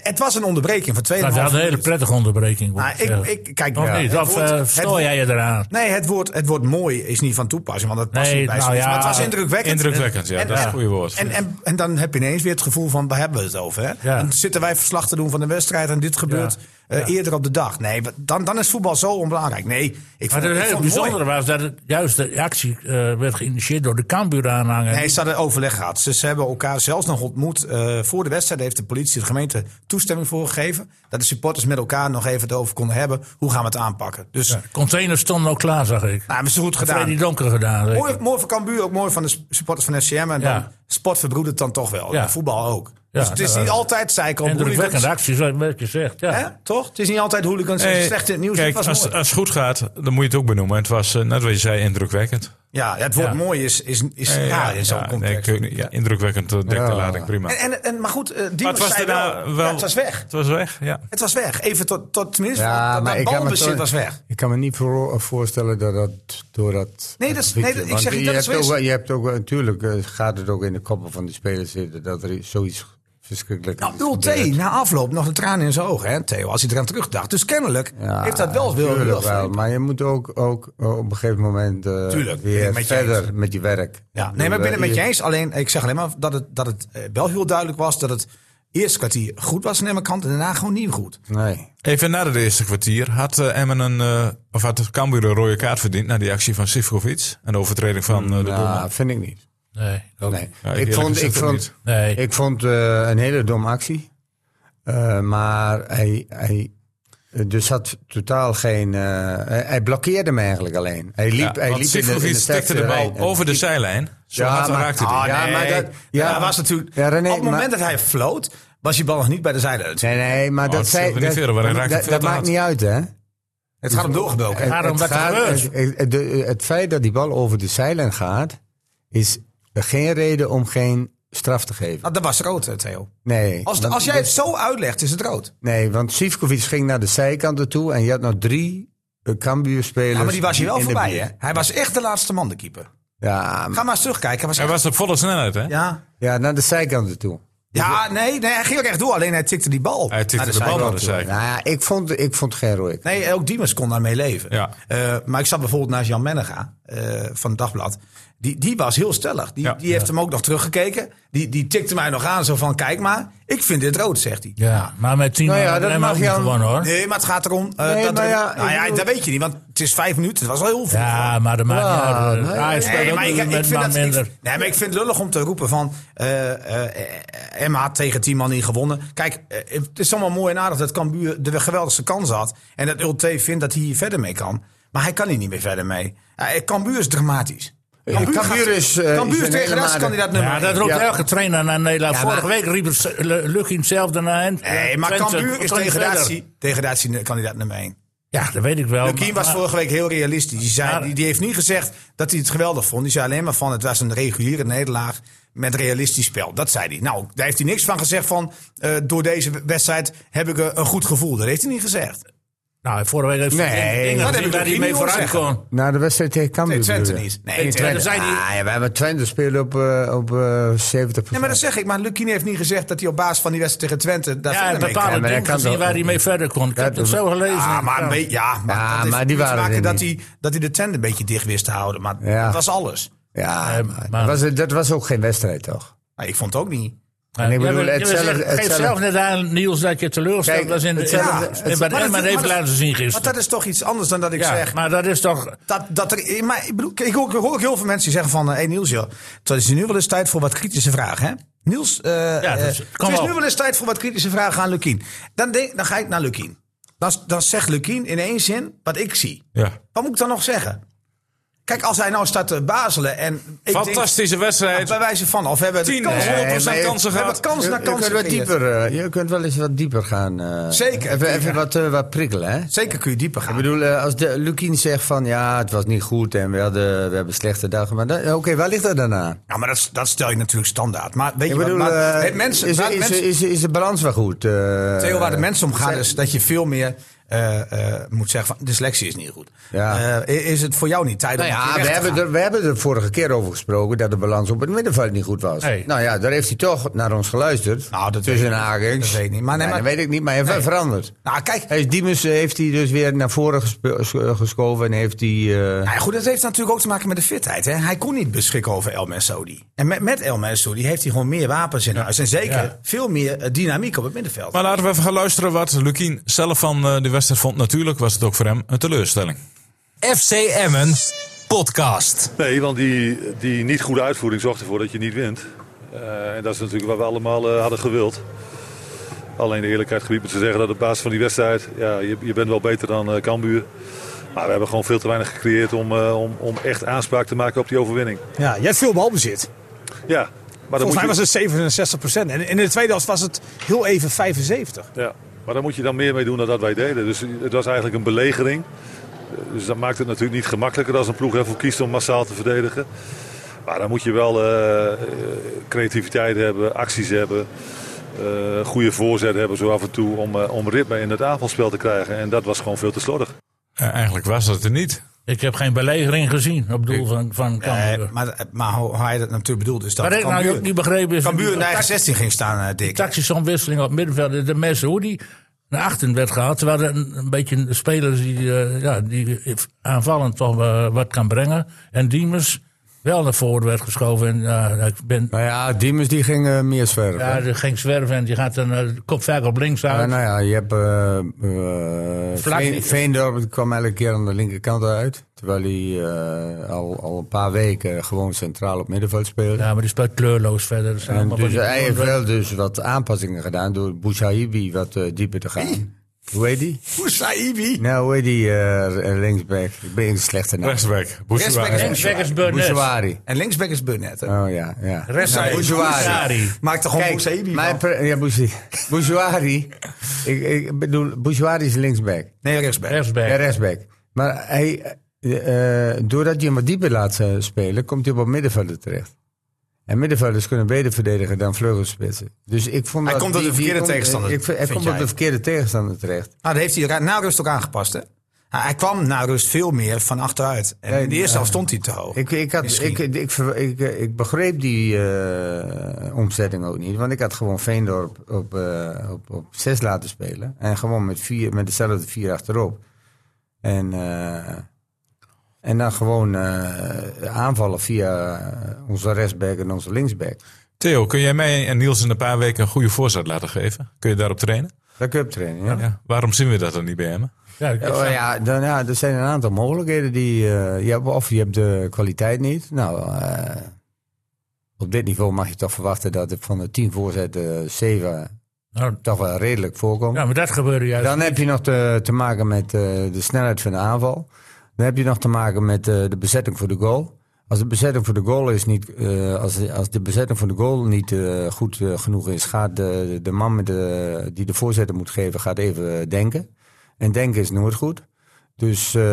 [SPEAKER 1] het was een onderbreking van 2,5
[SPEAKER 2] Dat had Nou, een hele
[SPEAKER 1] minuten.
[SPEAKER 2] prettige onderbreking. moet
[SPEAKER 1] Maar ik,
[SPEAKER 2] zeggen.
[SPEAKER 1] ik, kijk,
[SPEAKER 2] Of
[SPEAKER 1] ja,
[SPEAKER 2] niet?
[SPEAKER 1] het
[SPEAKER 2] Of
[SPEAKER 1] woord-
[SPEAKER 2] eh
[SPEAKER 1] het
[SPEAKER 2] stoor
[SPEAKER 1] woord-
[SPEAKER 2] jij je eraan?
[SPEAKER 1] Nee, het woord, het woord mooi is niet van toepassing, want dat past
[SPEAKER 2] Nee,
[SPEAKER 1] niet bij
[SPEAKER 2] nou
[SPEAKER 1] zoiets.
[SPEAKER 2] ja,
[SPEAKER 1] Maar het was indrukwekkend.
[SPEAKER 5] Indrukwekkend, ja.
[SPEAKER 1] En-
[SPEAKER 5] dat is
[SPEAKER 1] en-
[SPEAKER 5] een goede woord.
[SPEAKER 1] En, en, en dan heb je ineens weer het gevoel van, waar hebben we het over? Hè?
[SPEAKER 2] Ja.
[SPEAKER 1] Dan zitten wij verslag te doen van de wedstrijd en dit gebeurt.
[SPEAKER 2] Ja.
[SPEAKER 1] eh, eerder op de dag. Nee, wat- dan, dan is voetbal zo onbelangrijk. Nee, ik
[SPEAKER 2] Maar
[SPEAKER 1] vond,
[SPEAKER 2] het
[SPEAKER 1] ik
[SPEAKER 2] hele
[SPEAKER 1] vond het mooi.
[SPEAKER 2] bijzondere was dat het juist de actie eh, werd geïnitieerd door de Cambuur-aanhanger.
[SPEAKER 1] Nee, ze hadden overleg gehad. Ze, ze hebben elkaar zelfs nog ontmoet. Eh, voor de wedstrijd heeft de politie de gemeente toestemming voor gegeven. Dat de supporters met elkaar nog even het over konden hebben. Hoe gaan we het aanpakken? Dus nou,
[SPEAKER 2] Containers stonden al klaar, zag ik.
[SPEAKER 1] hebben ze goed gedaan.
[SPEAKER 2] Freddy Donker gedaan. zeker.
[SPEAKER 1] Mooi, mooi van Cambuur, ook mooi van de s- supporters van FCM. En
[SPEAKER 2] Ja.
[SPEAKER 1] dan, sport verbroedert dan toch wel.
[SPEAKER 2] Ja.
[SPEAKER 1] En Voetbal ook.
[SPEAKER 2] Ja,
[SPEAKER 1] dus het is
[SPEAKER 2] nou,
[SPEAKER 1] niet altijd zeiken. op
[SPEAKER 2] Indrukwekkende
[SPEAKER 1] hooligans.
[SPEAKER 2] acties, wat je zegt. Ja.
[SPEAKER 1] Hè? Toch? Het is niet altijd hooligans. Het is
[SPEAKER 5] Hey,
[SPEAKER 1] slecht in het nieuws.
[SPEAKER 5] Kijk,
[SPEAKER 1] het was
[SPEAKER 5] als,
[SPEAKER 1] mooi.
[SPEAKER 5] als het goed gaat, dan moet je het ook benoemen. Het was, eh, net wat je zei, indrukwekkend.
[SPEAKER 1] ja, het woord
[SPEAKER 2] Ja.
[SPEAKER 1] mooi is, is, is
[SPEAKER 5] Eh,
[SPEAKER 1] raar in zo'n
[SPEAKER 5] ja, nee,
[SPEAKER 1] context.
[SPEAKER 5] ik weet niet. ja, indrukwekkend eh, dekt de
[SPEAKER 6] Ja.
[SPEAKER 5] lading prima.
[SPEAKER 1] en, en, en, maar goed, eh, die
[SPEAKER 5] Maar het was
[SPEAKER 1] zei
[SPEAKER 5] daarna
[SPEAKER 1] wel,
[SPEAKER 5] wel-
[SPEAKER 1] ja, het was weg.
[SPEAKER 5] Het was weg, ja.
[SPEAKER 1] Het was weg. Even tot, tot tenminste,
[SPEAKER 6] Ja,
[SPEAKER 1] dat,
[SPEAKER 6] maar
[SPEAKER 1] dat
[SPEAKER 6] ik kan me
[SPEAKER 1] balbezit
[SPEAKER 6] toch-
[SPEAKER 1] was weg.
[SPEAKER 6] Ik kan me niet voor- voorstellen dat dat door dat.
[SPEAKER 1] Nee, dat is- nee, dat- ik
[SPEAKER 6] Want
[SPEAKER 1] zeg niet
[SPEAKER 6] je
[SPEAKER 1] dat het
[SPEAKER 6] hebt
[SPEAKER 1] zo is.
[SPEAKER 6] ook wel- Je hebt ook wel- natuurlijk eh, gaat het ook in de koppen van de spelers zitten dat er zoiets verschrikkelijk.
[SPEAKER 1] Nou,
[SPEAKER 6] is
[SPEAKER 1] Ulte,
[SPEAKER 6] gebeurd.
[SPEAKER 1] na afloop nog een traan in zijn ogen, hè, Theo, als hij eraan terugdacht. Dus kennelijk
[SPEAKER 6] Ja,
[SPEAKER 1] heeft dat wel wil.
[SPEAKER 6] tuurlijk
[SPEAKER 1] wil-
[SPEAKER 6] wel, maar je moet ook, ook eh, op een gegeven moment eh,
[SPEAKER 1] Tuurlijk, ben ik
[SPEAKER 6] weer
[SPEAKER 1] met je
[SPEAKER 6] verder met je werk.
[SPEAKER 1] Ja, nee, maar ik ben het
[SPEAKER 6] eh,
[SPEAKER 1] met je eens. Alleen, ik zeg alleen maar dat het, dat het eh, wel heel duidelijk was dat het eerste kwartier goed was aan mijn kant en daarna gewoon niet goed.
[SPEAKER 6] Nee.
[SPEAKER 5] Even na het eerste kwartier had eh, Emmen een, eh, of had Cambuur een rode kaart verdiend na die actie van Sivkovic en de overtreding van eh, de doelman.
[SPEAKER 6] Nou, vind ik niet.
[SPEAKER 2] Nee, ook
[SPEAKER 6] Nee.
[SPEAKER 2] niet.
[SPEAKER 5] Ja, ik
[SPEAKER 6] ik
[SPEAKER 5] eerlijk
[SPEAKER 6] vond, ik
[SPEAKER 5] gezegd ook
[SPEAKER 6] vond,
[SPEAKER 5] niet.
[SPEAKER 2] Nee.
[SPEAKER 6] Ik vond eh, een hele domme actie. Eh, maar hij, hij, er zat totaal geen... eh, hij- hij blokkeerde me eigenlijk alleen. Hij liep, hij
[SPEAKER 5] want
[SPEAKER 6] liep in de, eh, in
[SPEAKER 5] Sivkovic
[SPEAKER 6] de
[SPEAKER 5] tikte de bal
[SPEAKER 6] rij.
[SPEAKER 5] over de zijlijn. Zo hard raakte hij.
[SPEAKER 1] Ah,
[SPEAKER 6] ja,
[SPEAKER 1] nee.
[SPEAKER 6] maar dat,
[SPEAKER 1] ja,
[SPEAKER 6] ja,
[SPEAKER 1] dat was natuurlijk.
[SPEAKER 6] Ja, René,
[SPEAKER 1] op het moment
[SPEAKER 6] maar-
[SPEAKER 1] dat hij floot, was die bal nog niet bij de zijde. Het-
[SPEAKER 6] Nee, nee, maar
[SPEAKER 5] het
[SPEAKER 6] dat,
[SPEAKER 5] scheelt
[SPEAKER 6] zei,
[SPEAKER 5] er niet
[SPEAKER 6] dat,
[SPEAKER 5] verder, want hij
[SPEAKER 6] dat,
[SPEAKER 5] raakte
[SPEAKER 6] dat,
[SPEAKER 5] veel te hard.
[SPEAKER 6] maakt niet uit, hè?
[SPEAKER 1] Het gaat hem doorgebroken.
[SPEAKER 2] gaat om wat er
[SPEAKER 6] het, het- de- het feit dat die bal over de zeilen gaat, is geen reden om geen straf te geven.
[SPEAKER 1] Nou, dat was rood, eh, Theo.
[SPEAKER 6] Nee.
[SPEAKER 1] Als,
[SPEAKER 6] want-
[SPEAKER 1] als jij het zo uitlegt, is het rood.
[SPEAKER 6] Nee, want Sivkovic ging naar de zijkanten toe en je had nog drie eh, Cambuur-spelers.
[SPEAKER 1] Ja, maar die was hier wel
[SPEAKER 6] in de
[SPEAKER 1] voorbij, hè?
[SPEAKER 6] buurt.
[SPEAKER 1] Hij was echt de laatste man, de keeper.
[SPEAKER 6] Ja,
[SPEAKER 1] Ga
[SPEAKER 6] maar-
[SPEAKER 1] maar eens terugkijken. Hij was
[SPEAKER 5] Hij
[SPEAKER 1] echt-
[SPEAKER 5] was op volle snelheid, hè?
[SPEAKER 1] ja.
[SPEAKER 6] ja, naar de zijkanten toe.
[SPEAKER 1] ja, nee, nee, hij ging ook echt door. Alleen hij tikte die bal.
[SPEAKER 5] Hij tikte
[SPEAKER 1] naar
[SPEAKER 5] de bal
[SPEAKER 1] zijkant.
[SPEAKER 5] naar de zijkant.
[SPEAKER 6] Nou ja, ik vond, ik vond geen rooik.
[SPEAKER 1] Nee, eh, ook Diemers kon daarmee leven.
[SPEAKER 5] Ja.
[SPEAKER 1] Eh, maar ik zat bijvoorbeeld naast Jan Mennega eh, van het Dagblad. Die, die was heel stellig. Die,
[SPEAKER 5] Ja.
[SPEAKER 1] die heeft hem ook nog teruggekeken. Die, die tikte mij nog aan, zo van, kijk maar, ik vind dit rood, zegt hij.
[SPEAKER 2] ja, maar met 10
[SPEAKER 6] Nou ja,
[SPEAKER 2] man
[SPEAKER 6] dat
[SPEAKER 2] hebben we
[SPEAKER 6] mag
[SPEAKER 2] ook niet
[SPEAKER 6] jou-
[SPEAKER 2] gewonnen, hoor.
[SPEAKER 1] Nee, maar het gaat erom... eh,
[SPEAKER 6] Nee,
[SPEAKER 1] dat
[SPEAKER 6] maar
[SPEAKER 1] er-
[SPEAKER 6] ja,
[SPEAKER 1] nou
[SPEAKER 6] ik
[SPEAKER 1] ja,
[SPEAKER 6] bedoel-
[SPEAKER 1] dat weet je niet, want het is vijf minuten. Het was wel heel veel.
[SPEAKER 2] Ja, maar de maakt niet
[SPEAKER 6] Ja,
[SPEAKER 2] uit.
[SPEAKER 6] nee.
[SPEAKER 2] Ajax speelt
[SPEAKER 1] Nee,
[SPEAKER 2] ook
[SPEAKER 1] maar ik,
[SPEAKER 2] met
[SPEAKER 1] ik
[SPEAKER 2] een
[SPEAKER 1] vind
[SPEAKER 2] man
[SPEAKER 1] dat, ik-
[SPEAKER 2] minder.
[SPEAKER 1] nee, maar ik vind het lullig om te roepen van... eh eh, eh, MH tegen 10 man niet gewonnen. Kijk, eh, het is allemaal mooi en aardig dat Cambuur de geweldigste kans had. En dat Ulte vindt dat hij hier verder mee kan. Maar hij kan hier niet meer verder mee. Eh, Cambuur is dramatisch.
[SPEAKER 6] Cambuur
[SPEAKER 1] gaat-
[SPEAKER 6] is, eh,
[SPEAKER 1] Cambuur
[SPEAKER 6] is
[SPEAKER 1] is
[SPEAKER 6] een
[SPEAKER 1] tegen de
[SPEAKER 6] hele
[SPEAKER 1] rest
[SPEAKER 6] made.
[SPEAKER 1] kandidaat nummer
[SPEAKER 2] Ja, dat
[SPEAKER 1] één.
[SPEAKER 2] roept
[SPEAKER 6] Ja.
[SPEAKER 2] elke trainer naar Nederland.
[SPEAKER 1] Ja,
[SPEAKER 2] Vorige
[SPEAKER 1] maar-
[SPEAKER 2] week riep het S- Lu- Lucky hetzelfde naar hen.
[SPEAKER 1] Nee, maar
[SPEAKER 2] Twente,
[SPEAKER 1] Cambuur is
[SPEAKER 2] Twente verder.
[SPEAKER 1] degradatie, degradatie kandidaat nummer 1.
[SPEAKER 2] Ja, dat weet ik wel.
[SPEAKER 1] Lukien was
[SPEAKER 2] Oh, maar-
[SPEAKER 1] vorige week heel realistisch. Die, zei,
[SPEAKER 2] Maar-
[SPEAKER 1] die, die heeft niet gezegd dat hij het geweldig vond. Die zei alleen maar van het was een reguliere nederlaag met realistisch spel. Dat zei hij. Nou, daar heeft hij niks van gezegd van eh, door deze wedstrijd heb ik eh, een goed gevoel. Dat heeft hij niet gezegd.
[SPEAKER 2] Nou, vorige week heeft
[SPEAKER 6] Nee,
[SPEAKER 2] hij dingen
[SPEAKER 1] dat heb
[SPEAKER 2] gezien
[SPEAKER 1] ik
[SPEAKER 2] waar
[SPEAKER 1] ook
[SPEAKER 2] hij
[SPEAKER 1] niet
[SPEAKER 2] mee
[SPEAKER 1] horen
[SPEAKER 2] vooruit
[SPEAKER 1] zeggen.
[SPEAKER 2] kon.
[SPEAKER 6] Na de wedstrijd tegen Cambuur.
[SPEAKER 1] Nee, Twente
[SPEAKER 6] bedoel je?
[SPEAKER 1] niet.
[SPEAKER 2] Nee,
[SPEAKER 1] Nee,
[SPEAKER 2] Twente
[SPEAKER 1] Twente. Nou,
[SPEAKER 2] zei die-
[SPEAKER 6] Ah, ja, we hebben Twente spelen op, eh, op eh 70
[SPEAKER 1] Nee, maar dat zeg ik. Maar Lukien heeft niet gezegd dat hij op basis van die wedstrijd tegen Twente daar
[SPEAKER 2] Ja,
[SPEAKER 1] verder
[SPEAKER 2] een
[SPEAKER 1] mee kan.
[SPEAKER 6] Ja,
[SPEAKER 2] bepaalde
[SPEAKER 6] maar dat
[SPEAKER 2] dingen
[SPEAKER 6] kan
[SPEAKER 2] gezien
[SPEAKER 6] toch-
[SPEAKER 2] waar hij mee verder kon. Ik heb
[SPEAKER 6] dat-
[SPEAKER 2] het zo gelezen.
[SPEAKER 1] Ja, Ah, maar, een
[SPEAKER 2] Ja.
[SPEAKER 1] beetje- ja, maar
[SPEAKER 6] Ja,
[SPEAKER 1] dat heeft
[SPEAKER 6] maar die
[SPEAKER 1] niet te
[SPEAKER 6] waren er
[SPEAKER 1] maken dat
[SPEAKER 6] niet.
[SPEAKER 1] hij, dat hij de tent een beetje dicht wist te houden. Maar
[SPEAKER 6] Ja.
[SPEAKER 1] dat was alles.
[SPEAKER 6] Ja,
[SPEAKER 2] Nee,
[SPEAKER 6] maar
[SPEAKER 2] maar-
[SPEAKER 6] dat, was, dat was ook geen wedstrijd, toch?
[SPEAKER 1] Nou, ik vond het ook niet.
[SPEAKER 2] Ja,
[SPEAKER 6] En ik
[SPEAKER 2] jij
[SPEAKER 6] bedoel,
[SPEAKER 2] wil- jij wil
[SPEAKER 6] hetzelfde-
[SPEAKER 2] zeggen, Geef
[SPEAKER 6] hetzelfde-
[SPEAKER 2] zelf net aan, Niels, dat je teleurgesteld
[SPEAKER 6] Kijk,
[SPEAKER 2] was in de...
[SPEAKER 6] hetzelfde-
[SPEAKER 2] Ja,
[SPEAKER 1] hetzelfde-
[SPEAKER 2] en wat
[SPEAKER 1] maar dat-
[SPEAKER 2] Emmen heeft
[SPEAKER 1] maar dat-
[SPEAKER 2] laten zien
[SPEAKER 1] Maar
[SPEAKER 2] gisteren.
[SPEAKER 1] dat is toch iets anders dan dat ik
[SPEAKER 2] Ja,
[SPEAKER 1] zeg.
[SPEAKER 2] maar dat is toch...
[SPEAKER 1] Dat, dat er, maar ik, bedoel, ik, hoor, ik hoor ook heel veel mensen die zeggen van... eh, hey Niels, joh, het is nu wel eens tijd voor wat kritische vragen, hè? Niels, eh, eh,
[SPEAKER 2] dus, kom
[SPEAKER 1] het is
[SPEAKER 2] op.
[SPEAKER 1] nu wel eens tijd voor wat kritische vragen aan Lukien. Dan, denk, dan ga ik naar Lukien. Dan, dan zegt Lukien in één zin wat ik zie.
[SPEAKER 5] Ja.
[SPEAKER 1] Wat moet ik dan nog zeggen? Kijk, als hij nou staat te bazelen en... Ik
[SPEAKER 5] Fantastische
[SPEAKER 1] Denk,
[SPEAKER 5] wedstrijd.
[SPEAKER 1] bij wijze van, of we hebben
[SPEAKER 5] Tien,
[SPEAKER 1] kans,
[SPEAKER 5] eh,
[SPEAKER 1] we
[SPEAKER 5] maar je-
[SPEAKER 1] kansen we hebben
[SPEAKER 5] je-
[SPEAKER 1] kans
[SPEAKER 6] Je,
[SPEAKER 1] naar
[SPEAKER 6] je kunt
[SPEAKER 1] kans
[SPEAKER 6] wel
[SPEAKER 1] gecreëerd.
[SPEAKER 6] dieper, eh, je kunt wel eens wat dieper gaan. eh.
[SPEAKER 1] Zeker,
[SPEAKER 6] Even, even
[SPEAKER 1] tuurlijk.
[SPEAKER 6] wat, eh, wat prikkelen, hè?
[SPEAKER 1] Zeker kun je dieper gaan.
[SPEAKER 6] Ik bedoel, eh, als de, Lukien zegt van ja, het was niet goed en we, hadden, we hebben slechte dagen. Maar dan- oké, waar ligt dat dan aan?
[SPEAKER 1] ja, maar dat, dat stel je natuurlijk standaard. Maar weet je
[SPEAKER 6] Ik
[SPEAKER 1] wat,
[SPEAKER 6] bedoel,
[SPEAKER 1] maar,
[SPEAKER 6] eh,
[SPEAKER 1] hey, mensen,
[SPEAKER 6] is,
[SPEAKER 1] waar
[SPEAKER 6] is,
[SPEAKER 1] mensen-
[SPEAKER 6] is, is de balans wel goed? eh?
[SPEAKER 1] Theo, waar de mensen om gaan
[SPEAKER 6] Zij-
[SPEAKER 1] is dat je veel meer eh, eh, eh, moet zeggen van de selectie is niet goed.
[SPEAKER 6] Ja.
[SPEAKER 1] Eh, is het voor jou niet tijd om
[SPEAKER 6] Nou
[SPEAKER 1] een keer
[SPEAKER 6] ja,
[SPEAKER 1] weg
[SPEAKER 6] we
[SPEAKER 1] te
[SPEAKER 6] hebben,
[SPEAKER 1] gaan?
[SPEAKER 6] er, we hebben er vorige keer over gesproken dat de balans op het middenveld niet goed was.
[SPEAKER 2] Nee.
[SPEAKER 6] Nou ja, daar heeft hij toch naar ons geluisterd.
[SPEAKER 1] Nou, dat
[SPEAKER 6] tussen
[SPEAKER 1] weet ik niet.
[SPEAKER 6] haakjes.
[SPEAKER 1] Dat weet ik niet. Maar nee,
[SPEAKER 6] Ja,
[SPEAKER 1] maar-
[SPEAKER 6] dat weet ik niet, maar hij heeft wel veranderd.
[SPEAKER 1] Nou, kijk.
[SPEAKER 6] Hij is Diemus eh, heeft hij dus weer naar voren gespe- ges- geschoven en heeft hij... eh,
[SPEAKER 1] Nou ja, goed, dat heeft natuurlijk ook te maken met de fitheid. Hè? Hij kon niet beschikken over El Messoudi. En met, met El Messoudi heeft hij gewoon meer wapens in huis. En zeker
[SPEAKER 2] Ja.
[SPEAKER 1] veel meer eh, dynamiek op het middenveld.
[SPEAKER 5] Maar laten we even gaan luisteren wat Lukien zelf van eh, de wedstrijd vond. Natuurlijk was het ook voor hem een teleurstelling.
[SPEAKER 4] FC Emmen podcast.
[SPEAKER 3] Nee, want die, die niet goede uitvoering zorgt ervoor dat je niet wint. Eh, en dat is natuurlijk wat we allemaal eh, hadden gewild. Alleen de eerlijkheid gebied me te zeggen dat op basis van die wedstrijd... Ja, je, je bent wel beter dan eh, Cambuur. Maar we hebben gewoon veel te weinig gecreëerd om, eh, om, om echt aanspraak te maken op die overwinning.
[SPEAKER 7] Ja, je hebt veel balbezit.
[SPEAKER 3] Ja, maar dan
[SPEAKER 7] Volgens mij
[SPEAKER 3] moet
[SPEAKER 7] was
[SPEAKER 3] je,
[SPEAKER 7] het 67 En in de tweede helft was het heel even 75.
[SPEAKER 3] ja, maar dan moet je dan meer mee doen dan dat wij deden. Dus het was eigenlijk een belegering. Eh, Dus dat maakt het natuurlijk niet gemakkelijker als een ploeg ervoor kiest om massaal te verdedigen. Maar dan moet je wel eh, eh, creativiteit hebben, acties hebben. eh, goede voorzet hebben zo af en toe om, eh, om ritme in het aanvalspel te krijgen. En dat was gewoon veel te slordig.
[SPEAKER 5] Eh, eigenlijk was dat er niet.
[SPEAKER 2] Ik heb geen belegering gezien op doel van, van
[SPEAKER 1] Eh,
[SPEAKER 2] Cambuur.
[SPEAKER 1] maar, maar hoe hoe hij dat natuurlijk bedoelt is dat
[SPEAKER 2] Wat ik nou ook niet begrepen is...
[SPEAKER 1] Cambuur in de
[SPEAKER 2] dat
[SPEAKER 1] eigen 16 ging staan, eh, Dick.
[SPEAKER 2] tactische omwisseling op middenveld. De mensen hoe die naar achteren werd gehaald. Terwijl er een, een beetje spelers die, eh, ja, die aanvallend toch eh, wat kan brengen. En Diemers wel naar voren werd geschoven. En ja, ik ben...
[SPEAKER 6] nou ja, Diemus die ging eh, meer zwerven.
[SPEAKER 2] Ja, die ging zwerven en die gaat dan eh, kop vaak op links
[SPEAKER 6] Ja,
[SPEAKER 2] uit.
[SPEAKER 6] nou ja, je hebt eh, eh,
[SPEAKER 2] Vlak
[SPEAKER 6] Veen-
[SPEAKER 2] niet.
[SPEAKER 6] Veendorp die kwam elke keer aan de linkerkant uit. Terwijl hij eh, al, al een paar weken gewoon centraal op middenveld speelde.
[SPEAKER 2] Ja, maar die speelt kleurloos verder. Dat zijn
[SPEAKER 6] En
[SPEAKER 2] allemaal
[SPEAKER 6] dus
[SPEAKER 2] van die-
[SPEAKER 6] hij heeft wel dus wat aanpassingen gedaan door Bouchaibi wat eh, dieper te gaan. Hoe heet die?
[SPEAKER 1] Hoesaibi.
[SPEAKER 6] Nou, hoe heet die eh, linksback? Ik ben een slechte naam.
[SPEAKER 5] Rechtsback.
[SPEAKER 1] Rechtsback is-
[SPEAKER 2] Rechtsback is Burnett.
[SPEAKER 6] Bouchouari.
[SPEAKER 1] En linksback is Burnett. hè.
[SPEAKER 6] Oh ja, ja.
[SPEAKER 1] Rechtsback is
[SPEAKER 6] Bouchouari.
[SPEAKER 2] Bouchouari.
[SPEAKER 1] Maak toch gewoon Hoesaibi
[SPEAKER 6] mijn
[SPEAKER 1] van?
[SPEAKER 6] pre- ja, Bouchouari. Bouchouari. ik, ik bedoel, Bouchouari is linksback.
[SPEAKER 1] Nee, rechtsback.
[SPEAKER 2] Rechtsback.
[SPEAKER 6] Ja, rechtsback. Maar hij, eh, eh, doordat je hem wat dieper laat eh, spelen, komt hij op een middenvelder terecht. En middenvelders kunnen beter verdedigen dan vleugelspitsen. Dus ik vond
[SPEAKER 1] Hij
[SPEAKER 6] dat
[SPEAKER 1] komt op
[SPEAKER 6] die-
[SPEAKER 1] de verkeerde
[SPEAKER 6] die komt-
[SPEAKER 1] tegenstander,
[SPEAKER 6] Ik, vind- hij
[SPEAKER 1] vind
[SPEAKER 6] komt op
[SPEAKER 1] jij?
[SPEAKER 6] de verkeerde tegenstander terecht.
[SPEAKER 1] Nou, dat heeft hij ra- na rust ook aangepast, hè? Hij hij kwam na rust veel meer van achteruit. En in de eerste helft stond hij te hoog.
[SPEAKER 6] Ik, ik, had,
[SPEAKER 1] Misschien.
[SPEAKER 6] ik, ik, ik, ver- ik, eh, ik begreep die eh, omzetting ook niet. Want ik had gewoon Veendorp op, eh, op, op zes laten spelen. En gewoon met, vier, met dezelfde vier achterop. En, eh, en dan gewoon eh, aanvallen via eh, onze rechtsback en onze linksback.
[SPEAKER 5] Theo, kun jij mij en Niels in een paar weken een goede voorzet laten geven? Kun je daarop trainen?
[SPEAKER 6] Dat cup training, ja.
[SPEAKER 5] Ja. Waarom zien we dat dan niet bij hem?
[SPEAKER 2] Ja, ik-
[SPEAKER 6] Oh, ja, dan, ja, er zijn een aantal mogelijkheden. Die, eh, je hebt, of je hebt de kwaliteit niet. Nou, eh, op dit niveau mag je toch verwachten dat er van de tien voorzetten zeven
[SPEAKER 2] nou,
[SPEAKER 6] toch wel redelijk voorkomt.
[SPEAKER 2] ja, maar dat gebeurde juist.
[SPEAKER 6] Dan heb je nog te, te maken met eh, de snelheid van de aanval. Dan heb je nog te maken met eh, de bezetting voor de goal. Als de bezetting voor de goal is niet, eh, als, als de bezetting voor de goal niet eh, goed eh, genoeg is, gaat de, de man met de, die de voorzetten moet geven, gaat even eh, denken. En denken is nooit goed. Dus eh,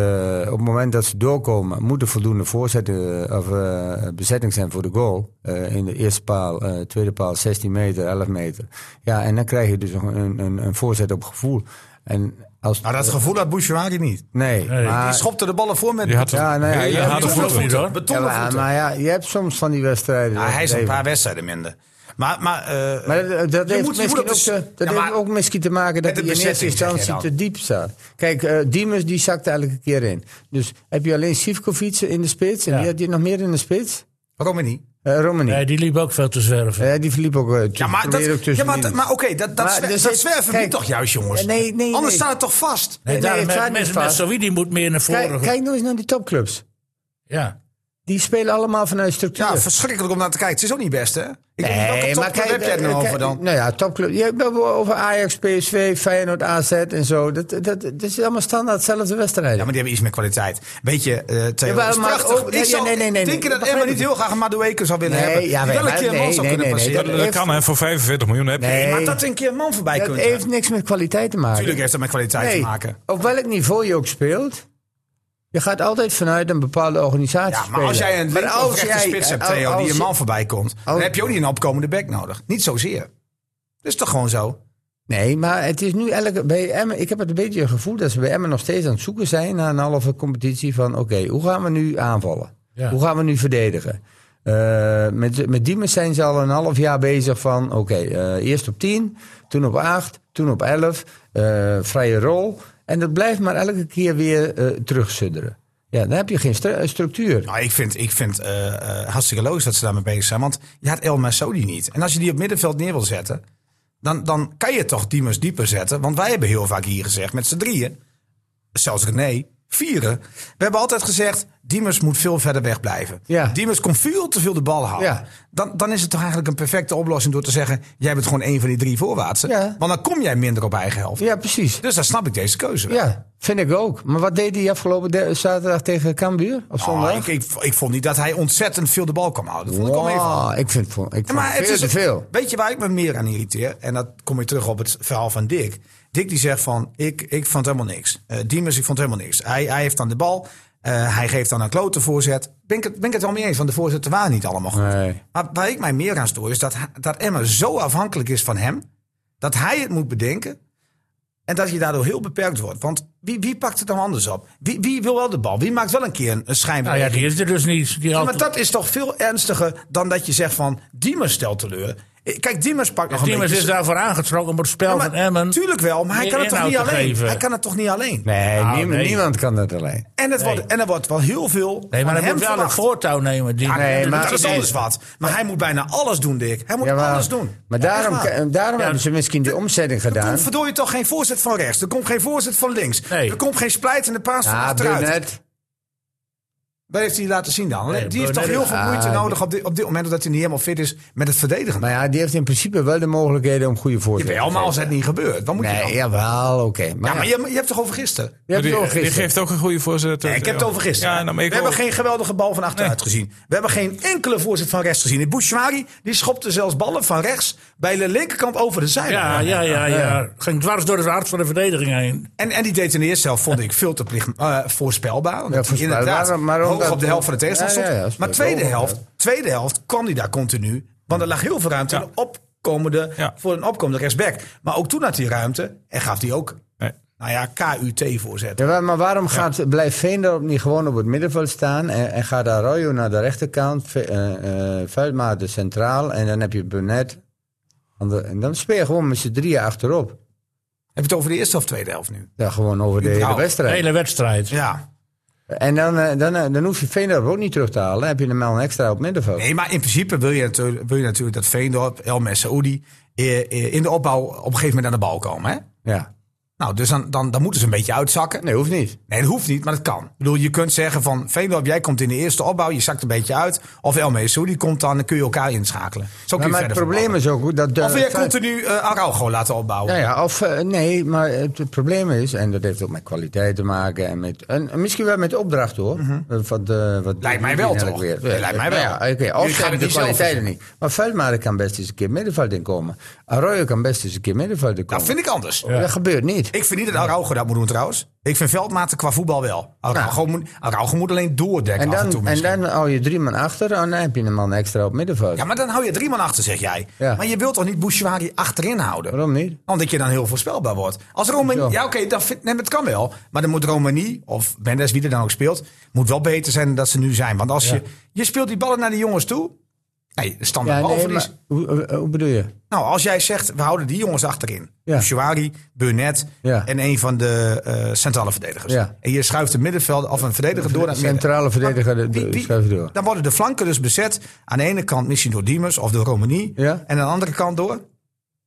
[SPEAKER 6] op het moment dat ze doorkomen, moet er voldoende voorzetten, eh, of, eh, bezetting zijn voor de goal. Eh, in de eerste paal, eh, tweede paal, 16 meter, 11 meter. Ja, en dan krijg je dus nog een, een, een voorzet op gevoel. En als,
[SPEAKER 1] Nou, dat gevoel had Bouchouari niet.
[SPEAKER 6] nee,
[SPEAKER 2] Nee,
[SPEAKER 1] Hij
[SPEAKER 6] maar,
[SPEAKER 1] schopte de ballen voor met
[SPEAKER 5] Je had
[SPEAKER 6] ja, nou ja,
[SPEAKER 5] hele
[SPEAKER 6] je hebt-
[SPEAKER 5] harde
[SPEAKER 2] Goed
[SPEAKER 5] voeten.
[SPEAKER 2] niet, hoor.
[SPEAKER 6] ja,
[SPEAKER 1] betonnen
[SPEAKER 6] maar,
[SPEAKER 1] voeten.
[SPEAKER 6] maar ja, je hebt soms van die wedstrijden.
[SPEAKER 1] Nou, hij is een
[SPEAKER 6] David.
[SPEAKER 1] paar wedstrijden minder. Maar, maar, eh,
[SPEAKER 6] Maar dat, dat
[SPEAKER 1] Je
[SPEAKER 6] heeft,
[SPEAKER 1] moet- je
[SPEAKER 6] misschien
[SPEAKER 1] moet op
[SPEAKER 6] ook,
[SPEAKER 1] de-
[SPEAKER 6] te-
[SPEAKER 1] Ja,
[SPEAKER 6] dat
[SPEAKER 1] maar-
[SPEAKER 6] heeft ook misschien te maken dat
[SPEAKER 1] Met de
[SPEAKER 6] hij in eerste
[SPEAKER 1] bezetting, zeg je
[SPEAKER 6] instantie
[SPEAKER 1] dan.
[SPEAKER 6] te diep staat. Kijk, eh Diemus die zakte elke keer in. Dus heb je alleen Sivkovic in de spits? En
[SPEAKER 2] Ja.
[SPEAKER 6] die had je nog meer in de spits?
[SPEAKER 1] waarom niet?
[SPEAKER 6] Eh Romani.
[SPEAKER 2] Nee, die liep ook veel te zwerven.
[SPEAKER 6] Eh, die verliep ook, eh, tu-
[SPEAKER 1] Ja, maar, dat,
[SPEAKER 6] probeerde ook
[SPEAKER 1] ja,
[SPEAKER 6] tussen
[SPEAKER 1] maar, dat- maar oké, dat, dat,
[SPEAKER 6] Maar
[SPEAKER 1] zwer-
[SPEAKER 6] er
[SPEAKER 1] dat
[SPEAKER 6] zit-
[SPEAKER 1] zwerven
[SPEAKER 6] kijk.
[SPEAKER 1] niet toch juist, jongens?
[SPEAKER 6] Nee, nee, nee.
[SPEAKER 1] Anders staat het toch vast?
[SPEAKER 2] Nee,
[SPEAKER 6] Nee,
[SPEAKER 2] daarom
[SPEAKER 6] het
[SPEAKER 2] met,
[SPEAKER 6] gaat niet
[SPEAKER 2] met, met
[SPEAKER 6] vast.
[SPEAKER 2] Saoui, die moet meer naar voren.
[SPEAKER 6] Kijk, kijk nou eens naar die topclubs.
[SPEAKER 2] Ja.
[SPEAKER 6] Die spelen allemaal vanuit structuur.
[SPEAKER 1] Ja, verschrikkelijk om naar te kijken. Het is ook niet best, hè? Ik weet niet, welke
[SPEAKER 6] Nee, maar
[SPEAKER 1] topclub
[SPEAKER 6] kijk,
[SPEAKER 1] heb jij het nou
[SPEAKER 6] eh,
[SPEAKER 1] over
[SPEAKER 6] kijk,
[SPEAKER 1] dan?
[SPEAKER 6] Nou ja, topclub. Je hebt het over Ajax, PSV, Feyenoord, AZ en zo. Dat, dat, dat, is allemaal standaard hetzelfde wedstrijden.
[SPEAKER 1] Ja, maar die hebben iets meer kwaliteit. Weet je, eh Theo,
[SPEAKER 6] Ja, maar-
[SPEAKER 1] dat is
[SPEAKER 6] maar
[SPEAKER 1] prachtig.
[SPEAKER 6] ook-
[SPEAKER 1] ik
[SPEAKER 6] nee,
[SPEAKER 1] zou
[SPEAKER 6] nee, nee, nee, nee,
[SPEAKER 1] denken dat
[SPEAKER 6] begrijp
[SPEAKER 1] Emma
[SPEAKER 6] ik.
[SPEAKER 1] niet heel graag een Madueke zou willen
[SPEAKER 6] Nee,
[SPEAKER 1] hebben.
[SPEAKER 6] ja,
[SPEAKER 1] die wel een
[SPEAKER 6] maar-
[SPEAKER 1] keer een man
[SPEAKER 6] nee,
[SPEAKER 1] zou
[SPEAKER 6] nee,
[SPEAKER 1] kunnen
[SPEAKER 6] nee, nee,
[SPEAKER 1] passeren.
[SPEAKER 5] Dat, dat
[SPEAKER 6] heeft-
[SPEAKER 5] kan, hè? Voor 45 miljoen heb je.
[SPEAKER 6] Nee.
[SPEAKER 1] Maar dat er een keer een man voorbij
[SPEAKER 6] dat
[SPEAKER 1] kunt.
[SPEAKER 6] heeft niks met kwaliteit te maken.
[SPEAKER 1] Natuurlijk heeft dat met kwaliteit
[SPEAKER 6] Nee,
[SPEAKER 1] te maken.
[SPEAKER 6] Op welk niveau je ook speelt. Je gaat altijd vanuit een bepaalde organisatie
[SPEAKER 1] Ja, maar
[SPEAKER 6] spelen.
[SPEAKER 1] als jij een
[SPEAKER 6] Maar
[SPEAKER 1] linker
[SPEAKER 6] als
[SPEAKER 1] of rechter
[SPEAKER 6] jij-
[SPEAKER 1] spits hebt,
[SPEAKER 6] als-
[SPEAKER 1] Theo, die
[SPEAKER 6] als-
[SPEAKER 1] een man voorbij komt... dan heb je ook niet een opkomende bek nodig. Niet zozeer. Dat is toch gewoon zo?
[SPEAKER 6] Nee, maar het is nu elke, bij Emmen, ik heb het een beetje het gevoel dat ze bij Emmen nog steeds aan het zoeken zijn naar een halve competitie van oké, hoe gaan we nu aanvallen?
[SPEAKER 2] Ja.
[SPEAKER 6] Hoe gaan we nu verdedigen? Eh, met, met Diemers zijn ze al een half jaar bezig van oké, eh, eerst op 10, toen op 8, toen op 11, eh, vrije rol. En dat blijft maar elke keer weer eh terugsudderen. Ja, dan heb je geen stru- structuur.
[SPEAKER 1] Nou, ik vind, ik vind eh, eh, hartstikke logisch dat ze daarmee bezig zijn. Want je had El Massoudi niet. En als je die op middenveld neer wil zetten, dan, dan kan je toch Diemers dieper zetten. Want wij hebben heel vaak hier gezegd, met z'n drieën, zelfs René, vieren. We hebben altijd gezegd, Diemers moet veel verder weg blijven.
[SPEAKER 6] Ja.
[SPEAKER 1] Diemers kon veel te veel de bal houden.
[SPEAKER 6] Ja.
[SPEAKER 1] Dan, dan is het toch eigenlijk een perfecte oplossing door te zeggen... jij bent gewoon één van die drie voorwaartsen.
[SPEAKER 6] Ja.
[SPEAKER 1] Want dan kom jij minder op eigen helft.
[SPEAKER 6] Ja, precies.
[SPEAKER 1] Dus dan snap ik deze keuze wel.
[SPEAKER 6] Ja, vind ik ook. Maar wat deed hij afgelopen de- zaterdag tegen Cambuur? Of zondag?
[SPEAKER 1] Oh, ik, ik, ik vond niet dat hij ontzettend veel de bal kwam houden. Dat vond ik al even.
[SPEAKER 6] Wow, ik vind het ik
[SPEAKER 1] Ja,
[SPEAKER 6] vond
[SPEAKER 1] maar
[SPEAKER 6] veel
[SPEAKER 1] het is
[SPEAKER 6] te veel.
[SPEAKER 1] Weet je waar ik me meer aan irriteer? En dat kom je terug op het verhaal van Dick. Dick die zegt van, ik, ik vond helemaal niks. Eh Diemers, ik vond helemaal niks. Hij, hij heeft dan de bal. eh, hij geeft dan een klote voorzet. Ben ik, het, ben ik het wel mee eens, want de voorzetten waren niet allemaal goed.
[SPEAKER 6] Nee.
[SPEAKER 1] Maar waar ik mij meer aan stoor is dat, ha- dat Emma zo afhankelijk is van hem. Dat hij het moet bedenken. En dat je daardoor heel beperkt wordt. Want wie, wie pakt het dan anders op? Wie, wie wil wel de bal? Wie maakt wel een keer een, een
[SPEAKER 2] Nou ja,
[SPEAKER 1] schijnbeweging?
[SPEAKER 2] die is er dus niet. Die
[SPEAKER 1] Ja,
[SPEAKER 2] had-
[SPEAKER 1] maar dat is toch veel ernstiger dan dat je zegt van Diemers stelt teleur. Eh, Kijk, Diemers pakt nog
[SPEAKER 2] Diemers
[SPEAKER 1] een
[SPEAKER 2] is
[SPEAKER 1] beetje...
[SPEAKER 2] daarvoor aangetrokken om het spel
[SPEAKER 1] dus- Ja, maar
[SPEAKER 2] van Emmen.
[SPEAKER 1] Tuurlijk wel, maar hij
[SPEAKER 2] meer
[SPEAKER 1] kan het toch
[SPEAKER 2] inhoud
[SPEAKER 1] niet
[SPEAKER 2] te
[SPEAKER 1] alleen.
[SPEAKER 2] geven.
[SPEAKER 1] Hij kan het toch niet alleen.
[SPEAKER 6] Nee,
[SPEAKER 2] Nou,
[SPEAKER 6] niemand,
[SPEAKER 2] nee.
[SPEAKER 6] niemand kan dat alleen.
[SPEAKER 1] En, het wordt, en er wordt wel heel veel
[SPEAKER 2] Nee, maar
[SPEAKER 1] van
[SPEAKER 2] hij
[SPEAKER 1] hem
[SPEAKER 2] moet wel het
[SPEAKER 1] verwacht.
[SPEAKER 2] voortouw nemen. Die,
[SPEAKER 6] nee, maar-
[SPEAKER 1] Dat is alles wat. Maar hij moet bijna alles doen, Dick. Hij moet
[SPEAKER 6] maar,
[SPEAKER 1] alles doen.
[SPEAKER 6] Maar
[SPEAKER 1] Ja,
[SPEAKER 6] daarom,
[SPEAKER 1] echt waar.
[SPEAKER 6] en daarom hebben ze misschien die omzetting
[SPEAKER 1] Er
[SPEAKER 6] gedaan.
[SPEAKER 1] komt verdorie toch geen voorzet van rechts. Er komt geen voorzet van links.
[SPEAKER 2] Nee.
[SPEAKER 1] Er komt geen splijtende paas van
[SPEAKER 6] Ja,
[SPEAKER 1] achteruit.
[SPEAKER 6] Brunet.
[SPEAKER 1] Wat heeft hij laten zien dan?
[SPEAKER 2] Nee,
[SPEAKER 1] die heeft toch heel
[SPEAKER 2] Brunet-
[SPEAKER 1] veel moeite
[SPEAKER 6] Ah,
[SPEAKER 1] nodig op dit, op dit moment... omdat hij niet helemaal fit is met het verdedigen.
[SPEAKER 6] Maar ja, die heeft in principe wel de mogelijkheden om goede voorzetten
[SPEAKER 1] Jawel, maar
[SPEAKER 6] te
[SPEAKER 1] als het niet gebeurt, dan moet
[SPEAKER 6] geven.
[SPEAKER 1] je dan?
[SPEAKER 6] Nee, jawel, oké. Maar,
[SPEAKER 1] Ja, maar je, je hebt toch over gisteren?
[SPEAKER 6] je hebt het ook
[SPEAKER 5] Die, die
[SPEAKER 6] gisteren.
[SPEAKER 5] geeft ook een goede voorzet.
[SPEAKER 1] Nee, ik heb het over gisteren.
[SPEAKER 5] Ja, nou, maar
[SPEAKER 1] we
[SPEAKER 5] ik
[SPEAKER 1] hebben
[SPEAKER 5] ook.
[SPEAKER 1] geen geweldige bal van achteruit gezien. We hebben geen enkele voorzet van rechts gezien. Bouchouari, die schopte zelfs ballen van rechts bij de linkerkant over de
[SPEAKER 2] ja,
[SPEAKER 1] zijlijn.
[SPEAKER 2] ja, ja, ja. Ging dwars door het hart van de verdediging heen.
[SPEAKER 1] En, en die deed in de eerste helft, vond ik, veel te plicht, eh, voorspelbaar. Omdat
[SPEAKER 6] Ja,
[SPEAKER 1] hij
[SPEAKER 6] voorspelbaar,
[SPEAKER 1] inderdaad
[SPEAKER 6] maar- maar
[SPEAKER 1] hoog
[SPEAKER 6] omdat-
[SPEAKER 1] op de helft van de tegenstander
[SPEAKER 6] Ja,
[SPEAKER 1] stond.
[SPEAKER 6] ja, ja, dat is
[SPEAKER 1] maar
[SPEAKER 6] wel
[SPEAKER 1] tweede
[SPEAKER 6] logisch,
[SPEAKER 1] helft, tweede helft kwam hij daar continu. Want er lag heel veel ruimte
[SPEAKER 5] Ja.
[SPEAKER 1] en opkomende,
[SPEAKER 5] Ja.
[SPEAKER 1] voor een opkomende rechtsback. Maar ook toen had hij ruimte en gaf hij ook,
[SPEAKER 5] Nee.
[SPEAKER 1] nou ja, KUT voorzet.
[SPEAKER 6] Jawel, maar waarom gaat, blijft Veen daarop niet gewoon op het middenveld staan en, en gaat Arroyo naar de rechterkant, Ve- eh, eh, Vuilma de centraal en dan heb je Brunet. aan de- En dan speel je gewoon met z'n drieën achterop.
[SPEAKER 1] Heb je het over de eerste of tweede helft nu?
[SPEAKER 6] Ja, gewoon over de hele
[SPEAKER 1] Überhaupt.
[SPEAKER 2] De
[SPEAKER 6] wedstrijd.
[SPEAKER 2] hele wedstrijd.
[SPEAKER 1] Ja.
[SPEAKER 6] En dan, eh, dan, eh, dan hoef je Veendorp ook niet terug te halen. Dan heb je een man extra op middenveld.
[SPEAKER 1] Nee, maar in principe wil je, natuurlijk- wil je natuurlijk dat Veendorp, El Messaoudi eh, eh, in de opbouw op een gegeven moment aan de bal komen. Hè?
[SPEAKER 6] Ja.
[SPEAKER 1] Nou, dus dan, dan, dan moeten ze een beetje uitzakken.
[SPEAKER 6] Nee, hoeft niet.
[SPEAKER 1] Nee, dat hoeft niet, maar dat kan. Ik bedoel, je kunt zeggen van Veendorp, jij komt in de eerste opbouw, je zakt een beetje uit. Of El Messaoudi komt dan, dan kun je elkaar inschakelen. Zo kun
[SPEAKER 6] Maar,
[SPEAKER 1] je
[SPEAKER 6] maar het
[SPEAKER 1] verder
[SPEAKER 6] probleem
[SPEAKER 1] voetballen.
[SPEAKER 6] is ook dat... eh,
[SPEAKER 1] Of weer
[SPEAKER 6] Fe-
[SPEAKER 1] continu eh Araujo laten opbouwen.
[SPEAKER 6] Ja, ja, of eh, nee, maar het, het probleem is, en dat heeft ook met kwaliteit te maken en met. En, en misschien wel met opdracht hoor. Eh, Wat, eh, wat
[SPEAKER 1] Mhm. Lijkt mij wel,
[SPEAKER 6] Ja,
[SPEAKER 1] toch?
[SPEAKER 6] weer.
[SPEAKER 1] Ja, lijkt mij wel.
[SPEAKER 6] Ja, oké,
[SPEAKER 1] Jullie
[SPEAKER 6] Of
[SPEAKER 1] gaan
[SPEAKER 6] ze hebben de
[SPEAKER 1] het niet zelf
[SPEAKER 6] kwaliteiten
[SPEAKER 1] verzinnen.
[SPEAKER 6] niet. Maar Veldmaden kan best eens een keer middenveld inkomen. Arroyo kan best eens een keer middenveld
[SPEAKER 1] Dat
[SPEAKER 6] inkomen.
[SPEAKER 1] vind ik anders.
[SPEAKER 6] Dat gebeurt niet.
[SPEAKER 1] Ik vind niet dat Araujo dat moet doen trouwens. Ik vind Veldmaten qua voetbal wel. Araujo, moet, Araujo moet alleen doordekken
[SPEAKER 6] Nou. en,
[SPEAKER 1] af en toe
[SPEAKER 6] dan, en
[SPEAKER 1] misschien.
[SPEAKER 6] dan hou je drie man achter en dan heb je een man extra op middenveld.
[SPEAKER 1] Ja, maar dan hou je drie man achter, zeg jij.
[SPEAKER 6] Ja.
[SPEAKER 1] Maar je wilt toch niet Bouchouari achterin houden?
[SPEAKER 6] Waarom niet?
[SPEAKER 1] Omdat je dan heel voorspelbaar wordt. Als Romani,
[SPEAKER 6] Zo.
[SPEAKER 1] ja oké, dat vind- nee, maar het kan wel. Maar dan moet Romani, of Mendes, wie er dan ook speelt... moet wel beter zijn dan dat ze nu zijn. Want als je, je speelt die ballen naar die jongens toe... Nee, de standaard
[SPEAKER 6] Ja, nee,
[SPEAKER 1] balverlies.
[SPEAKER 6] maar, hoe, eh, hoe- hoe bedoel je?
[SPEAKER 1] Nou, als jij zegt, we houden die jongens achterin.
[SPEAKER 6] Ja.
[SPEAKER 1] Bouchouari, Burnett
[SPEAKER 6] Ja.
[SPEAKER 1] en een van de eh, centrale verdedigers.
[SPEAKER 6] Ja.
[SPEAKER 1] En je schuift de middenveld of een verdediger door naar het midden.
[SPEAKER 6] Centrale verdediger de-
[SPEAKER 1] Wie-
[SPEAKER 6] de-
[SPEAKER 1] wie-
[SPEAKER 6] schuift door.
[SPEAKER 1] Dan worden de flanken dus bezet. Aan de ene kant misschien door Diemers of door Romani.
[SPEAKER 6] Ja.
[SPEAKER 1] En aan de andere kant door.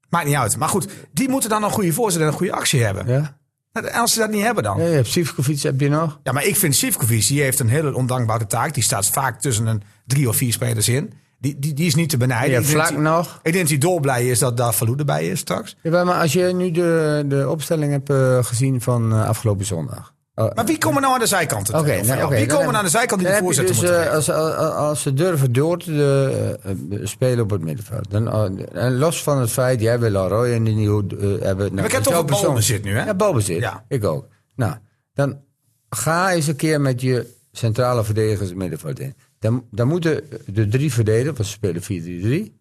[SPEAKER 1] Maakt niet uit. Maar goed, die moeten dan een goede voorzet en een goede actie hebben.
[SPEAKER 6] Ja?
[SPEAKER 1] En als ze dat niet hebben dan.
[SPEAKER 6] Ja, je hebt Sivkovic heb je nog.
[SPEAKER 1] Ja, maar ik vind Sivkovic, die heeft een hele ondankbare taak. Die staat vaak tussen een drie of vier spelers in. Die, die, die is niet te benijden.
[SPEAKER 6] Je
[SPEAKER 1] Ik
[SPEAKER 6] hebt
[SPEAKER 1] denk
[SPEAKER 6] Vlak
[SPEAKER 1] dat-
[SPEAKER 6] nog.
[SPEAKER 1] Ik denk dat hij dolblij is dat daar Falou erbij is straks.
[SPEAKER 6] Ja, maar als je nu de, de opstelling hebt eh, gezien van eh, afgelopen zondag. Oh,
[SPEAKER 1] Maar wie komen nou aan de zijkant?
[SPEAKER 6] oké,
[SPEAKER 1] terecht?
[SPEAKER 6] nou,
[SPEAKER 1] Ja,
[SPEAKER 6] oké,
[SPEAKER 1] Wie
[SPEAKER 6] dan
[SPEAKER 1] komen
[SPEAKER 6] heb-
[SPEAKER 1] aan de zijkant die
[SPEAKER 6] dan
[SPEAKER 1] de
[SPEAKER 6] heb je
[SPEAKER 1] voorzetten
[SPEAKER 6] dus,
[SPEAKER 1] moeten
[SPEAKER 6] eh,
[SPEAKER 1] geven?
[SPEAKER 6] als, als, als ze durven door te eh, eh, spelen op het middenveld. Dan, eh, en los van het feit, jij wil Arroyo en die nieuwe eh, hebben. Nou,
[SPEAKER 1] Maar ik heb
[SPEAKER 6] dat
[SPEAKER 1] toch
[SPEAKER 6] jouw
[SPEAKER 1] een
[SPEAKER 6] persoon-
[SPEAKER 1] balbezit nu, hè?
[SPEAKER 6] Ja, balbezit.
[SPEAKER 1] Ja.
[SPEAKER 6] Ik ook. Nou, dan ga eens een keer met je
[SPEAKER 1] Mhm.
[SPEAKER 6] centrale verdedigers het middenveld in. Dan, dan moeten de drie verdedigers, want ze spelen 4-3-3.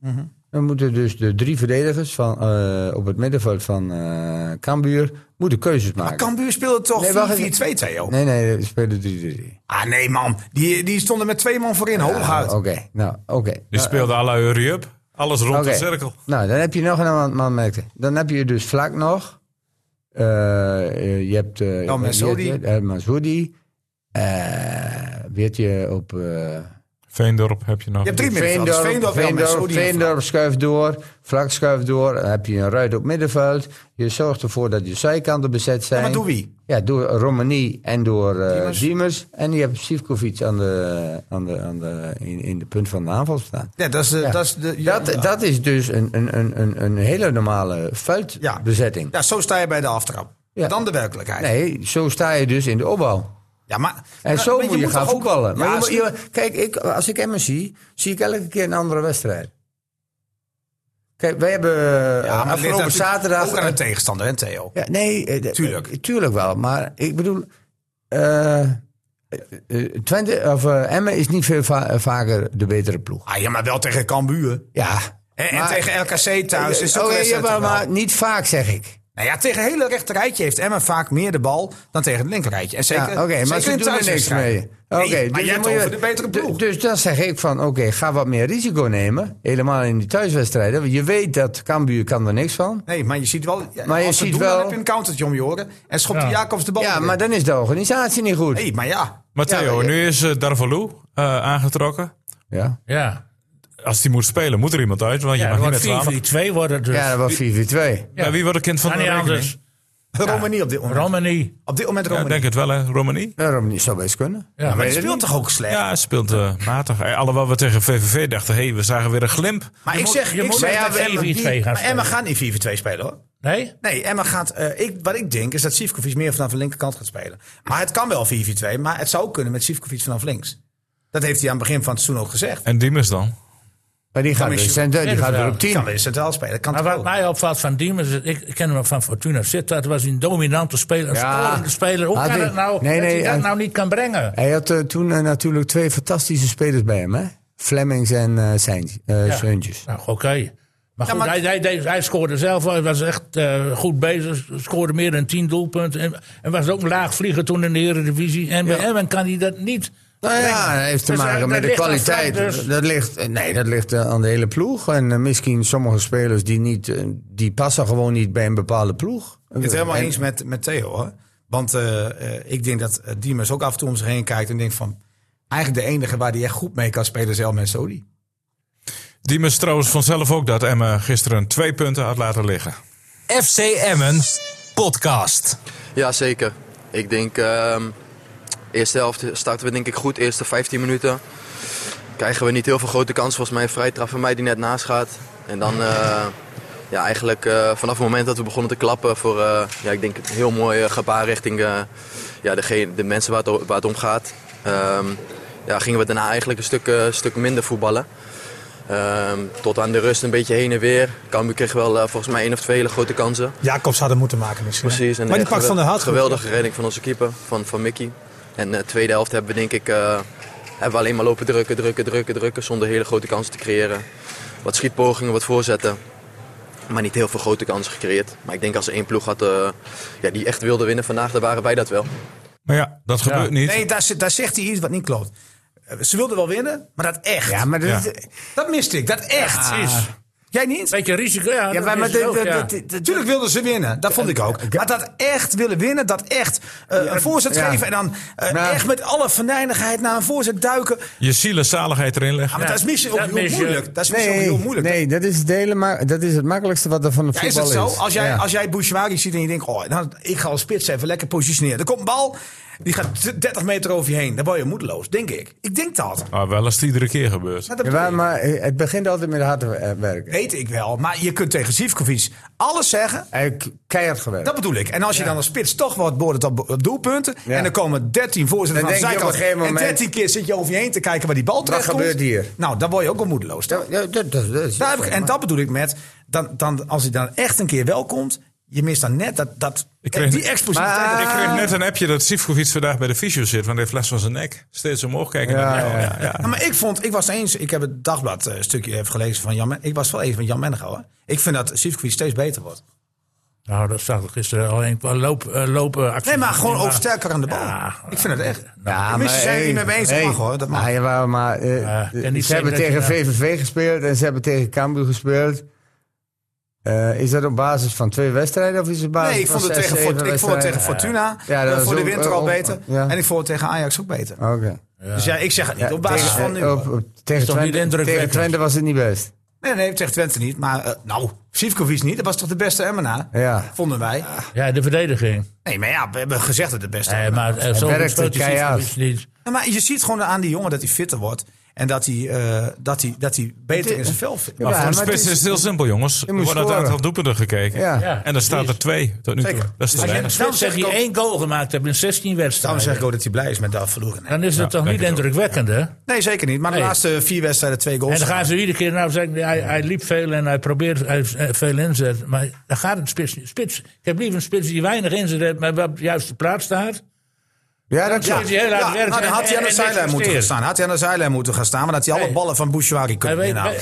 [SPEAKER 6] Dan moeten dus de drie verdedigers van, eh, op het middenveld van eh Cambuur moeten keuzes maken.
[SPEAKER 1] Ah, Cambuur speelde toch
[SPEAKER 6] Nee, wacht
[SPEAKER 1] 4-4-2,
[SPEAKER 6] even.
[SPEAKER 1] Theo?
[SPEAKER 6] Nee, nee, we spelen 3-3-3.
[SPEAKER 1] Ah, nee, man. Die, die stonden met twee man voorin,
[SPEAKER 6] Ah,
[SPEAKER 1] hooguit.
[SPEAKER 6] Oké, nou, oké.
[SPEAKER 5] Die
[SPEAKER 6] Nou,
[SPEAKER 5] speelde à la hurry up. Alles rond
[SPEAKER 6] Oké.
[SPEAKER 5] de cirkel.
[SPEAKER 6] Nou, dan heb je nog een aan- aanmerking. Dan heb je dus vlak nog. eh, eh, je hebt. eh,
[SPEAKER 1] El Masroudi.
[SPEAKER 6] je hebt- El Masroudi. Eh, weet je op. eh
[SPEAKER 5] Veendorp heb je nog.
[SPEAKER 1] Je hebt drie middenvelders.
[SPEAKER 6] Veendorp,
[SPEAKER 1] Dus Veendorp, Elmas,
[SPEAKER 6] Veendorp,
[SPEAKER 1] Odin en
[SPEAKER 6] Veendorp schuift door. Vlak schuift door. Dan heb je een ruit op middenveld. Je zorgt ervoor dat je zijkanten bezet
[SPEAKER 1] Ja,
[SPEAKER 6] zijn.
[SPEAKER 1] maar door wie?
[SPEAKER 6] Ja, door Romani en door eh,
[SPEAKER 1] Diemers.
[SPEAKER 6] Diemers. En je hebt Sivkovic aan de, aan de, aan de, in, in de punt van de aanval staan.
[SPEAKER 1] Ja, dat is de... Dat is de ja,
[SPEAKER 6] Dat, dat is dus een, een, een, een, een hele normale veldbezetting.
[SPEAKER 1] ja, zo sta je bij de aftrap.
[SPEAKER 6] Ja.
[SPEAKER 1] Dan de werkelijkheid.
[SPEAKER 6] Nee, zo sta je dus in de opbouw.
[SPEAKER 1] Ja, maar,
[SPEAKER 6] En
[SPEAKER 1] maar-
[SPEAKER 6] zo
[SPEAKER 1] maar
[SPEAKER 6] moet je, gaan
[SPEAKER 1] toch ook-
[SPEAKER 6] voetballen. maar
[SPEAKER 1] Ja,
[SPEAKER 6] je moet-
[SPEAKER 1] als-
[SPEAKER 6] je- kijk, ik, als ik Emmen zie, zie ik elke keer een andere wedstrijd. Kijk, wij hebben eh,
[SPEAKER 1] ja, maar het ligt
[SPEAKER 6] afgelopen
[SPEAKER 1] natuurlijk
[SPEAKER 6] zaterdag...
[SPEAKER 1] Ook aan een tegenstander, hè, Theo?
[SPEAKER 6] ja, nee, eh, d-
[SPEAKER 1] Tuurlijk.
[SPEAKER 6] eh, tuurlijk wel. Maar ik bedoel... eh, eh, eh, Twente, of, eh, Emmen is niet veel va- eh, vaker de betere ploeg.
[SPEAKER 1] Ah, ja, maar wel tegen Cambuur.
[SPEAKER 6] Ja.
[SPEAKER 1] En, en
[SPEAKER 6] Maar-
[SPEAKER 1] tegen LKC thuis. is ook
[SPEAKER 6] Oké,
[SPEAKER 1] wedstrijd
[SPEAKER 6] jawel,
[SPEAKER 1] wel.
[SPEAKER 6] maar niet vaak, zeg ik.
[SPEAKER 1] Nou ja, tegen het hele rechterrijtje heeft Emma vaak meer de bal dan tegen het linkerrijtje. En zeker,
[SPEAKER 6] Ja, oké, maar
[SPEAKER 1] zeker
[SPEAKER 6] ze
[SPEAKER 1] in
[SPEAKER 6] doen er niks
[SPEAKER 1] thuiswedstrijden.
[SPEAKER 6] mee. Oké,
[SPEAKER 1] Nee, maar
[SPEAKER 6] dus dan
[SPEAKER 1] jij hebt
[SPEAKER 6] moet je-
[SPEAKER 1] over de betere
[SPEAKER 6] d-
[SPEAKER 1] ploeg.
[SPEAKER 6] Dus dan zeg ik van, oké, ga wat meer risico nemen. Helemaal in die thuiswedstrijden. Want je weet dat Cambuur kan er niks van.
[SPEAKER 1] Nee, maar je ziet wel... Ja,
[SPEAKER 6] Maar je
[SPEAKER 1] als ze
[SPEAKER 6] ziet
[SPEAKER 1] doen, dan
[SPEAKER 6] wel-
[SPEAKER 1] heb je een countertje om je oren. En schopt die Jacobs de bal
[SPEAKER 6] Ja,
[SPEAKER 1] erin.
[SPEAKER 6] maar dan is de organisatie niet goed.
[SPEAKER 1] Nee, maar ja.
[SPEAKER 5] Matteo,
[SPEAKER 6] Ja,
[SPEAKER 5] nu is eh, Darvalu eh, aangetrokken.
[SPEAKER 6] Ja,
[SPEAKER 2] Ja,
[SPEAKER 5] Als die moet spelen, moet er iemand uit. Want je
[SPEAKER 2] ja
[SPEAKER 5] mag
[SPEAKER 2] dat
[SPEAKER 5] niet met
[SPEAKER 2] wordt
[SPEAKER 5] 12.
[SPEAKER 2] 4-4-2 wordt het dus.
[SPEAKER 6] ja
[SPEAKER 2] Ja,
[SPEAKER 6] dat was 4-4-2.
[SPEAKER 5] Ja, wie wordt het kind van de
[SPEAKER 2] niet
[SPEAKER 5] rekening?
[SPEAKER 2] anders.
[SPEAKER 1] Romani op dit moment.
[SPEAKER 2] Romani.
[SPEAKER 1] op dit moment
[SPEAKER 5] Ja, ik
[SPEAKER 1] Romani.
[SPEAKER 5] denk het wel, hè? Romani.
[SPEAKER 6] Waarom niet? Zou best kunnen.
[SPEAKER 2] Ja, weet
[SPEAKER 1] maar die
[SPEAKER 2] het
[SPEAKER 1] speelt
[SPEAKER 2] niet.
[SPEAKER 1] toch ook slecht?
[SPEAKER 5] Ja, hij speelt eh, matig. Eh, Alhoewel we tegen VVV dachten, hé, hey, we zagen weer een glimp.
[SPEAKER 1] Maar ik
[SPEAKER 2] moet-
[SPEAKER 1] zeg...
[SPEAKER 2] je
[SPEAKER 1] ik
[SPEAKER 2] moet
[SPEAKER 1] zeg
[SPEAKER 2] bij
[SPEAKER 1] dat
[SPEAKER 2] AV
[SPEAKER 1] Emma
[SPEAKER 2] 4-2
[SPEAKER 1] niet-
[SPEAKER 2] gaan
[SPEAKER 1] maar
[SPEAKER 2] spelen.
[SPEAKER 1] Emma gaat niet 4-2 spelen, hoor.
[SPEAKER 2] Nee?
[SPEAKER 1] Nee, Emma gaat... eh, ik, wat ik denk is dat Sivkovic meer vanaf de linkerkant gaat spelen. Maar het kan wel 4-4-2, maar het zou ook kunnen met Sivkovic vanaf links. Dat heeft hij aan het begin van het seizoen ook gezegd.
[SPEAKER 5] En Diemers dan?
[SPEAKER 6] Maar die gaat,
[SPEAKER 1] Dan
[SPEAKER 6] weer
[SPEAKER 1] is je-
[SPEAKER 6] cent- die
[SPEAKER 2] Nee,
[SPEAKER 6] gaat
[SPEAKER 2] dat
[SPEAKER 6] weer
[SPEAKER 2] wel.
[SPEAKER 6] op
[SPEAKER 1] Kan
[SPEAKER 6] 10.
[SPEAKER 1] weer centraal spelen. Kan
[SPEAKER 2] Maar
[SPEAKER 1] toch
[SPEAKER 8] Oh.
[SPEAKER 2] wat
[SPEAKER 1] ook?
[SPEAKER 2] mij opvalt van Diemers, is- ik, ik ken hem ook van Fortuna Sittard, was hij een dominante speler, een
[SPEAKER 6] Ja.
[SPEAKER 2] scorende speler. Hoe
[SPEAKER 6] Had
[SPEAKER 2] kan
[SPEAKER 6] hij-
[SPEAKER 2] het nou
[SPEAKER 6] Nee,
[SPEAKER 2] dat
[SPEAKER 6] nee,
[SPEAKER 2] hij dat
[SPEAKER 6] en-
[SPEAKER 2] nou niet kan brengen?
[SPEAKER 6] Hij had eh, toen eh, natuurlijk twee fantastische spelers bij hem, hè? Flemings en eh Seintje- eh,
[SPEAKER 2] Ja.
[SPEAKER 6] Seuntjes.
[SPEAKER 2] Nou, oké. Maar goed,
[SPEAKER 1] maar-
[SPEAKER 2] Hij, hij, deed- hij scoorde zelf, wel. hij was echt eh, goed bezig, scoorde meer dan 10 doelpunten. En, en was ook een laag vlieger toen in de Eredivisie. En bij Emmen kan hij dat niet.
[SPEAKER 6] Nou ja, dat heeft te
[SPEAKER 2] Dus, eh,
[SPEAKER 6] maken
[SPEAKER 2] dat
[SPEAKER 6] met de
[SPEAKER 2] ligt aan
[SPEAKER 6] kwaliteit.
[SPEAKER 2] Frank dus.
[SPEAKER 6] Dat ligt, eh, nee, dat ligt eh, aan de hele ploeg. En eh, misschien sommige spelers die, niet, eh, die passen gewoon niet bij een bepaalde ploeg.
[SPEAKER 1] Ik ben het helemaal
[SPEAKER 6] En-
[SPEAKER 1] eens met, met Theo hoor. Want eh, eh, ik denk dat eh, Diemers
[SPEAKER 8] dus
[SPEAKER 1] ook af en toe om zich heen kijkt en denkt van... Eigenlijk de enige waar die echt goed mee kan spelen is El Mensodi.
[SPEAKER 5] Diemers trouwens vanzelf ook dat Emma gisteren twee punten had laten liggen.
[SPEAKER 4] FC Emmen podcast.
[SPEAKER 9] Ja, zeker. Ik denk, ehm eerste helft starten we denk ik goed. Eerste 15 minuten krijgen we niet heel veel grote kansen. Volgens mij een vrije trap van mij die net naast gaat. En dan eh, ja, eigenlijk eh, vanaf het moment dat we begonnen te klappen voor eh, ja, ik denk een heel mooi eh, gebaar richting eh, ja, degene, de mensen waar het, o- waar het om gaat. Ehm, ja, gingen we daarna eigenlijk een stuk, eh, stuk minder voetballen. Ehm, tot aan de rust een beetje heen en weer. Cambuur kreeg wel eh, volgens mij één of twee hele grote kansen.
[SPEAKER 7] Jacobs hadden moeten maken misschien.
[SPEAKER 9] Precies. En
[SPEAKER 7] maar die
[SPEAKER 9] echt
[SPEAKER 7] pakt van de
[SPEAKER 9] gewel-
[SPEAKER 7] hout. goed.
[SPEAKER 9] Geweldige redding van onze keeper, van, van Mickey. En de tweede helft hebben we denk ik eh, hebben we alleen maar lopen drukken, drukken, drukken, drukken. Zonder hele grote kansen te creëren. Wat schietpogingen, wat voorzetten. Maar niet heel veel grote kansen gecreëerd. Maar ik denk als er één ploeg had eh, ja, die echt wilde winnen vandaag, dan waren wij dat wel.
[SPEAKER 5] Maar ja, dat gebeurt niet.
[SPEAKER 1] Nee, daar, zit- daar zegt hij iets wat niet klopt. Eh, Ze wilden wel winnen, maar dat echt.
[SPEAKER 6] Ja, maar dat,
[SPEAKER 5] Ja.
[SPEAKER 1] Dat miste ik, dat echt.
[SPEAKER 2] Precies.
[SPEAKER 1] Jij niet?
[SPEAKER 2] Beetje risico, ja.
[SPEAKER 6] Ja,
[SPEAKER 2] dat
[SPEAKER 6] maar,
[SPEAKER 2] is
[SPEAKER 6] maar
[SPEAKER 2] het
[SPEAKER 6] dit-
[SPEAKER 2] ook,
[SPEAKER 6] dit-
[SPEAKER 2] ja.
[SPEAKER 6] dit- dit-
[SPEAKER 1] Natuurlijk wilden ze winnen, dat vond ik ook. Maar dat echt willen winnen, dat echt eh, een voorzet
[SPEAKER 6] ja.
[SPEAKER 1] geven... en dan eh,
[SPEAKER 6] Ja.
[SPEAKER 1] echt met alle verneinigheid naar een voorzet duiken. Ah,
[SPEAKER 5] Je zielenzaligheid erin leggen.
[SPEAKER 1] maar dat is misschien ook
[SPEAKER 2] dat
[SPEAKER 1] heel
[SPEAKER 2] mis je.
[SPEAKER 1] moeilijk. Dat is misschien ook
[SPEAKER 6] Nee,
[SPEAKER 1] heel moeilijk.
[SPEAKER 6] nee dat, is het hele ma- dat is het makkelijkste wat er van de
[SPEAKER 1] Ja, is
[SPEAKER 6] voetbal
[SPEAKER 1] het
[SPEAKER 6] is.
[SPEAKER 1] zo? Als jij,
[SPEAKER 6] Ja.
[SPEAKER 1] als jij Bouchouari ziet en je denkt, oh, nou, ik ga als spits even lekker positioneren. Er komt een bal, die gaat 30 meter over je heen. Dan word je moedeloos, denk ik. Ik denk dat.
[SPEAKER 5] Maar Ah, wel als het iedere keer gebeurt.
[SPEAKER 1] Maar dat
[SPEAKER 6] Jawel, maar eh, het begint altijd met hard eh, werken.
[SPEAKER 1] weet ik wel. Maar je kunt tegen Sivkovic alles zeggen.
[SPEAKER 6] Hij k- keihard gewerkt.
[SPEAKER 1] Dat bedoel ik. En als je dan als spits toch wordt beoordeeld op op doelpunten.
[SPEAKER 6] Ja.
[SPEAKER 1] En dan komen 13 voorzetten
[SPEAKER 6] Dan
[SPEAKER 1] van de
[SPEAKER 6] denk je op
[SPEAKER 1] zijkant.
[SPEAKER 6] een gegeven
[SPEAKER 1] En
[SPEAKER 6] moment-
[SPEAKER 1] 13 keer zit je over je heen te kijken waar die bal terecht komt.
[SPEAKER 6] gebeurt hier?
[SPEAKER 1] Nou, dan word je ook wel moedeloos. toch? Nou,
[SPEAKER 6] Ja, ja, dat, dat, dat is-
[SPEAKER 1] Daar heb ik, en dat bedoel ik met, dan, dan, als hij dan echt een keer wel komt,
[SPEAKER 8] je mist dan net dat, dat
[SPEAKER 5] Ik kreeg-
[SPEAKER 8] die explosiviteit.
[SPEAKER 5] Ah. Ik
[SPEAKER 8] dat-
[SPEAKER 5] kreeg net een appje dat Sivkovic vandaag bij de fysio zit, want hij heeft last van zijn nek. Steeds omhoog kijken.
[SPEAKER 8] Ja,
[SPEAKER 5] naar
[SPEAKER 8] ja,
[SPEAKER 5] mij.
[SPEAKER 8] ja. Ja, maar ik vond, ik was eens, ik heb het dagblad eh, stukje even gelezen van Jan Men- Ik was wel even met Jan Mennegouw. hè. Ik vind dat Sivkovic steeds beter wordt.
[SPEAKER 2] Nou, dat zag ik gisteren alleen qua loop, eh, loopactie.
[SPEAKER 8] Nee, maar gewoon ook sterker aan de bal.
[SPEAKER 2] Ja.
[SPEAKER 8] ik vind het echt.
[SPEAKER 6] Ja,
[SPEAKER 8] Tenminste, zijn het niet mee eens. Dat
[SPEAKER 6] hey,
[SPEAKER 8] mag hoor, dat mag.
[SPEAKER 6] Ah, jawel, maar eh,
[SPEAKER 2] Ja,
[SPEAKER 6] de-
[SPEAKER 2] en niet
[SPEAKER 6] ze hebben
[SPEAKER 2] zeggen
[SPEAKER 6] tegen
[SPEAKER 2] dat je-
[SPEAKER 6] VVV gespeeld en ze hebben tegen Cambuur gespeeld. Eh, is dat op basis van twee wedstrijden of is het op basis
[SPEAKER 8] Nee, ik
[SPEAKER 6] van
[SPEAKER 8] vond het
[SPEAKER 6] zes,
[SPEAKER 8] tegen,
[SPEAKER 6] zeven
[SPEAKER 8] Fort- ik vond het tegen
[SPEAKER 6] wedstrijden?
[SPEAKER 8] Fortuna.
[SPEAKER 6] Ja, dat
[SPEAKER 8] eh,
[SPEAKER 6] was
[SPEAKER 8] voor de
[SPEAKER 6] ook-
[SPEAKER 8] winter al
[SPEAKER 6] ook-
[SPEAKER 8] beter.
[SPEAKER 6] ja.
[SPEAKER 8] En ik vond het tegen Ajax ook beter.
[SPEAKER 6] Oké.
[SPEAKER 8] Dus ja, ik zeg het niet.
[SPEAKER 6] Ja,
[SPEAKER 8] op basis
[SPEAKER 6] tegen- eh, oh.
[SPEAKER 8] van
[SPEAKER 6] op-
[SPEAKER 8] nu.
[SPEAKER 6] op- tegen,
[SPEAKER 2] toch niet
[SPEAKER 6] Twente, tegen
[SPEAKER 2] indrukwekkend?
[SPEAKER 6] Twente was het niet best.
[SPEAKER 8] Nee, nee, tegen Twente niet. Maar eh, nou, Sivkovic niet. Dat was toch de beste Emmenaar?
[SPEAKER 6] Ja.
[SPEAKER 8] Vonden wij.
[SPEAKER 2] Ja, de verdediging.
[SPEAKER 8] Nee, maar ja, we hebben gezegd dat het de beste
[SPEAKER 2] Nee,
[SPEAKER 8] Emmenaar
[SPEAKER 2] maar eh, zo
[SPEAKER 6] werkte
[SPEAKER 2] speelt hij
[SPEAKER 6] keihard.
[SPEAKER 2] Sivkovic niet.
[SPEAKER 8] Ja, maar je ziet gewoon aan die jongen dat hij fitter wordt. En dat hij, eh, dat hij, dat hij beter in zijn vel vindt.
[SPEAKER 5] Maar
[SPEAKER 6] Ja,
[SPEAKER 5] voor de
[SPEAKER 6] maar het
[SPEAKER 5] spits is
[SPEAKER 6] is-
[SPEAKER 5] het heel simpel, jongens. Er
[SPEAKER 6] moet
[SPEAKER 5] wordt naar het
[SPEAKER 6] scoren.
[SPEAKER 5] aantal doelpunten gekeken.
[SPEAKER 6] Ja.
[SPEAKER 2] Ja.
[SPEAKER 5] En dan staat er twee tot nu toe.
[SPEAKER 8] Zeker.
[SPEAKER 5] Dat is te
[SPEAKER 8] Als je-
[SPEAKER 5] weinig.
[SPEAKER 2] Spits
[SPEAKER 8] zeg
[SPEAKER 2] zeg
[SPEAKER 8] ik
[SPEAKER 2] die
[SPEAKER 8] ook-
[SPEAKER 2] één goal gemaakt hebt in 16
[SPEAKER 8] Daarom
[SPEAKER 2] wedstrijden.
[SPEAKER 8] zeg ik ook dat hij blij is met dat verloren.
[SPEAKER 2] dan is het toch
[SPEAKER 5] denk
[SPEAKER 2] niet
[SPEAKER 5] ik ook.
[SPEAKER 2] indrukwekkend, hè? En
[SPEAKER 8] Nee, zeker niet. Maar de
[SPEAKER 2] Nee.
[SPEAKER 8] laatste vier wedstrijden twee goals.
[SPEAKER 2] dan gaan ze iedere keer nou zeggen, hij, hij liep veel en hij probeert hij heeft, eh, veel inzet. Maar dan gaat een spits, niet. spits. Ik heb liever een spits die weinig inzet heeft, maar wel op de juiste plaats staat.
[SPEAKER 6] Ja, dat
[SPEAKER 2] Ja.
[SPEAKER 6] klopt.
[SPEAKER 2] die heel hard
[SPEAKER 8] Ja,
[SPEAKER 2] werkt
[SPEAKER 8] nou, dan
[SPEAKER 2] en-
[SPEAKER 8] had hij
[SPEAKER 2] en-
[SPEAKER 8] aan de
[SPEAKER 2] en
[SPEAKER 8] zijlijn
[SPEAKER 2] niks
[SPEAKER 8] moeten gaan
[SPEAKER 2] presteert.
[SPEAKER 8] staan. Had hij aan de zijlijn moeten gaan staan. Maar dat hij alle
[SPEAKER 2] Nee.
[SPEAKER 8] ballen van Bouchouari
[SPEAKER 2] Hij
[SPEAKER 8] kunnen
[SPEAKER 2] weet,
[SPEAKER 8] inhalen.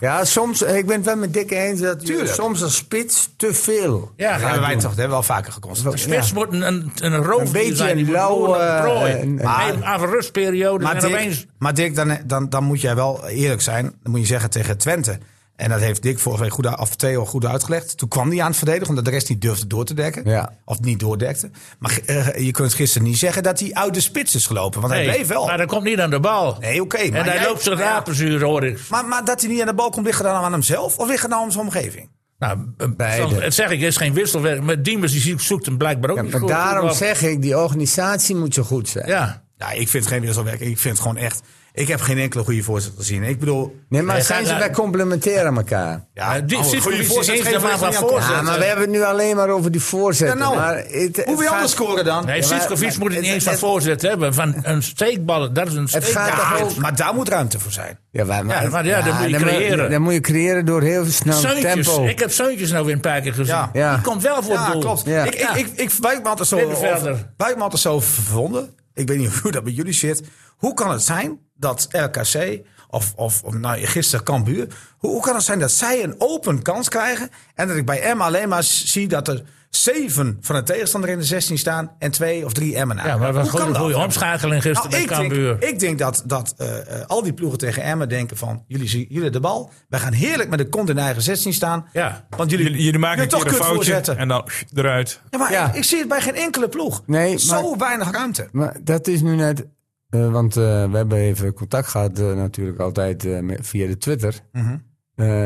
[SPEAKER 6] Ja, soms, ik ben het wel met Dick eens dat je
[SPEAKER 8] Tuurlijk.
[SPEAKER 6] soms als spits te veel.
[SPEAKER 2] ja,
[SPEAKER 8] Dat hebben wij toch dat hebben we wel vaker geconstateerd.
[SPEAKER 2] Spits moet een, een, een roofdier
[SPEAKER 6] Een beetje
[SPEAKER 2] zijn. die
[SPEAKER 6] een
[SPEAKER 2] moet
[SPEAKER 6] lauwe,
[SPEAKER 2] behoorlijk prooi.
[SPEAKER 6] eh, een-
[SPEAKER 2] Maar even af een rustperiode
[SPEAKER 8] Maar
[SPEAKER 2] en
[SPEAKER 8] Dick,
[SPEAKER 2] opeens...
[SPEAKER 8] maar Dick dan, dan, dan moet jij wel eerlijk zijn. Dan moet je zeggen tegen Twente. En dat heeft Dick vorige week goed, af Theo goed uitgelegd. Toen kwam hij aan het verdedigen, omdat de rest niet durfde door te dekken.
[SPEAKER 6] Ja.
[SPEAKER 8] Of niet doordekte. Maar eh, je kunt gisteren niet zeggen dat hij uit de spits is gelopen. Want hij
[SPEAKER 2] Nee,
[SPEAKER 8] bleef wel.
[SPEAKER 2] Maar dat komt niet aan de bal.
[SPEAKER 8] nee, oké.
[SPEAKER 2] en hij
[SPEAKER 8] jij-
[SPEAKER 2] loopt zich
[SPEAKER 8] maar ja,
[SPEAKER 2] rapenzuur, hoor ik.
[SPEAKER 8] Maar, maar dat hij niet aan de bal komt, ligt het dan aan hemzelf? Of ligt het nou aan zijn omgeving?
[SPEAKER 2] Nou,
[SPEAKER 6] Beide.
[SPEAKER 2] Het zeg ik, er is geen wisselwerking. Maar Diemers die zoekt- zoekt hem blijkbaar ook
[SPEAKER 6] Ja,
[SPEAKER 2] niet
[SPEAKER 6] maar
[SPEAKER 2] goed.
[SPEAKER 6] daarom
[SPEAKER 2] Voetbal.
[SPEAKER 6] zeg ik, die organisatie moet zo goed zijn.
[SPEAKER 2] Ja.
[SPEAKER 8] Nou, ik vind het geen wisselwerk. Ik vind het gewoon echt... Ik heb geen enkele goede voorzet gezien. Ik bedoel...
[SPEAKER 6] Nee, maar
[SPEAKER 2] Nee,
[SPEAKER 6] zijn
[SPEAKER 2] ga-
[SPEAKER 6] ze bij complementair aan elkaar?
[SPEAKER 8] Ja,
[SPEAKER 2] die
[SPEAKER 8] nou,
[SPEAKER 2] zit
[SPEAKER 8] goede
[SPEAKER 2] politie
[SPEAKER 8] voorzet
[SPEAKER 2] eens
[SPEAKER 8] geven
[SPEAKER 2] daarvan
[SPEAKER 8] we
[SPEAKER 2] van
[SPEAKER 8] niet aan
[SPEAKER 2] voor.
[SPEAKER 8] Kool.
[SPEAKER 6] Ja, maar we hebben het nu alleen maar over die voorzetten.
[SPEAKER 8] Ja, nou,
[SPEAKER 6] maar het, het
[SPEAKER 8] Hoe wil je
[SPEAKER 6] gaat-
[SPEAKER 8] anders scoren dan?
[SPEAKER 2] Nee,
[SPEAKER 6] maar-
[SPEAKER 2] Sitskovic moet het niet
[SPEAKER 6] het-
[SPEAKER 2] eens van
[SPEAKER 6] het-
[SPEAKER 2] voorzet hebben. Van een steekbal, dat is een
[SPEAKER 6] Het
[SPEAKER 2] steekbal.
[SPEAKER 6] gaat
[SPEAKER 8] Ja,
[SPEAKER 6] toch ook...
[SPEAKER 8] maar daar moet ruimte voor zijn.
[SPEAKER 6] Ja, maar,
[SPEAKER 2] Ja, maar ja, dat moet je
[SPEAKER 6] dan
[SPEAKER 2] creëren.
[SPEAKER 6] dan moet je creëren door heel snel
[SPEAKER 2] Zeuntjes.
[SPEAKER 6] tempo.
[SPEAKER 2] Ik heb Zeuntjes nou weer een paar keer gezien.
[SPEAKER 8] Ja.
[SPEAKER 6] Ja.
[SPEAKER 2] Die komt wel voor het
[SPEAKER 8] Ja,
[SPEAKER 2] doel.
[SPEAKER 8] klopt.
[SPEAKER 6] Ja.
[SPEAKER 8] Ik, ik, ik, ik, waar ik me altijd zo,
[SPEAKER 2] Middenvelder.
[SPEAKER 8] of- waar ik me altijd zo verwonden. Ik weet niet hoe dat bij jullie zit. Hoe kan het zijn dat RKC of, of, of nou, gisteren Cambuur... Hoe, hoe kan het zijn dat zij een open kans krijgen... en dat ik bij M alleen maar s- zie dat er zeven van de tegenstander in de 16 staan... en twee of drie Emmen
[SPEAKER 2] Ja, maar
[SPEAKER 8] Hoe
[SPEAKER 2] wat
[SPEAKER 8] kan
[SPEAKER 2] een
[SPEAKER 8] dat?
[SPEAKER 2] goede omschakeling gisteren
[SPEAKER 8] Nou,
[SPEAKER 2] bij
[SPEAKER 8] ik,
[SPEAKER 2] Cambuur.
[SPEAKER 8] denk, ik denk dat, dat eh, eh, al die ploegen tegen Emmen denken van... jullie zien jullie de bal, wij gaan heerlijk met de kont in eigen 16 staan...
[SPEAKER 2] Ja.
[SPEAKER 8] want jullie,
[SPEAKER 5] Jullie, jullie maken een
[SPEAKER 8] toch
[SPEAKER 5] keer een
[SPEAKER 8] kunt
[SPEAKER 5] foutje
[SPEAKER 8] voorzetten.
[SPEAKER 5] en dan pff, eruit.
[SPEAKER 8] Ja, maar
[SPEAKER 6] Ja.
[SPEAKER 8] Ik, ik zie het bij geen enkele ploeg.
[SPEAKER 6] Nee,
[SPEAKER 8] Zo weinig ruimte.
[SPEAKER 6] Maar dat is nu net. eh, want eh, we hebben even contact gehad, eh, natuurlijk altijd eh, met- via de Twitter. Eh,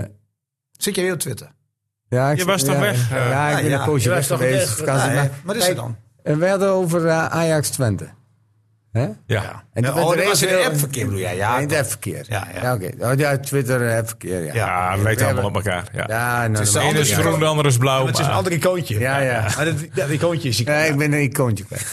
[SPEAKER 8] Zit je weer op Twitter?
[SPEAKER 6] ja, ik
[SPEAKER 5] Je
[SPEAKER 6] zat-
[SPEAKER 5] was toch
[SPEAKER 6] ja,
[SPEAKER 5] weg, eh?
[SPEAKER 6] Ja, ik ben
[SPEAKER 8] ja,
[SPEAKER 6] een
[SPEAKER 2] je
[SPEAKER 6] poosje
[SPEAKER 2] was
[SPEAKER 6] weg
[SPEAKER 2] toch
[SPEAKER 6] geweest.
[SPEAKER 2] weg,
[SPEAKER 6] vakantie,
[SPEAKER 8] Nee,
[SPEAKER 6] maar-
[SPEAKER 8] wat is er
[SPEAKER 6] Kijk,
[SPEAKER 8] dan?
[SPEAKER 6] eh, we hadden over Ajax Twente. Hè? En
[SPEAKER 5] Ja.
[SPEAKER 6] toen
[SPEAKER 8] Ja,
[SPEAKER 6] werd
[SPEAKER 8] oh,
[SPEAKER 6] er
[SPEAKER 8] dat was in
[SPEAKER 6] even-
[SPEAKER 8] de appverkeer, bedoel jij? Ja,
[SPEAKER 6] in het appverkeer.
[SPEAKER 8] Ja, ja.
[SPEAKER 6] oké. Oh, ja, Twitter eh, appverkeer, ja.
[SPEAKER 8] Ja,
[SPEAKER 5] Ja, het lijkt allemaal op elkaar. Ja.
[SPEAKER 6] Ja, nou,
[SPEAKER 8] is
[SPEAKER 6] dan-
[SPEAKER 5] de ene is groen, de andere is blauw.
[SPEAKER 8] het is een
[SPEAKER 5] maar-
[SPEAKER 8] ander icoontje.
[SPEAKER 6] ja, ja.
[SPEAKER 8] Maar dat, dat icoontje is
[SPEAKER 6] Ja,
[SPEAKER 8] icoontje.
[SPEAKER 6] ik ben een icoontje kwijt.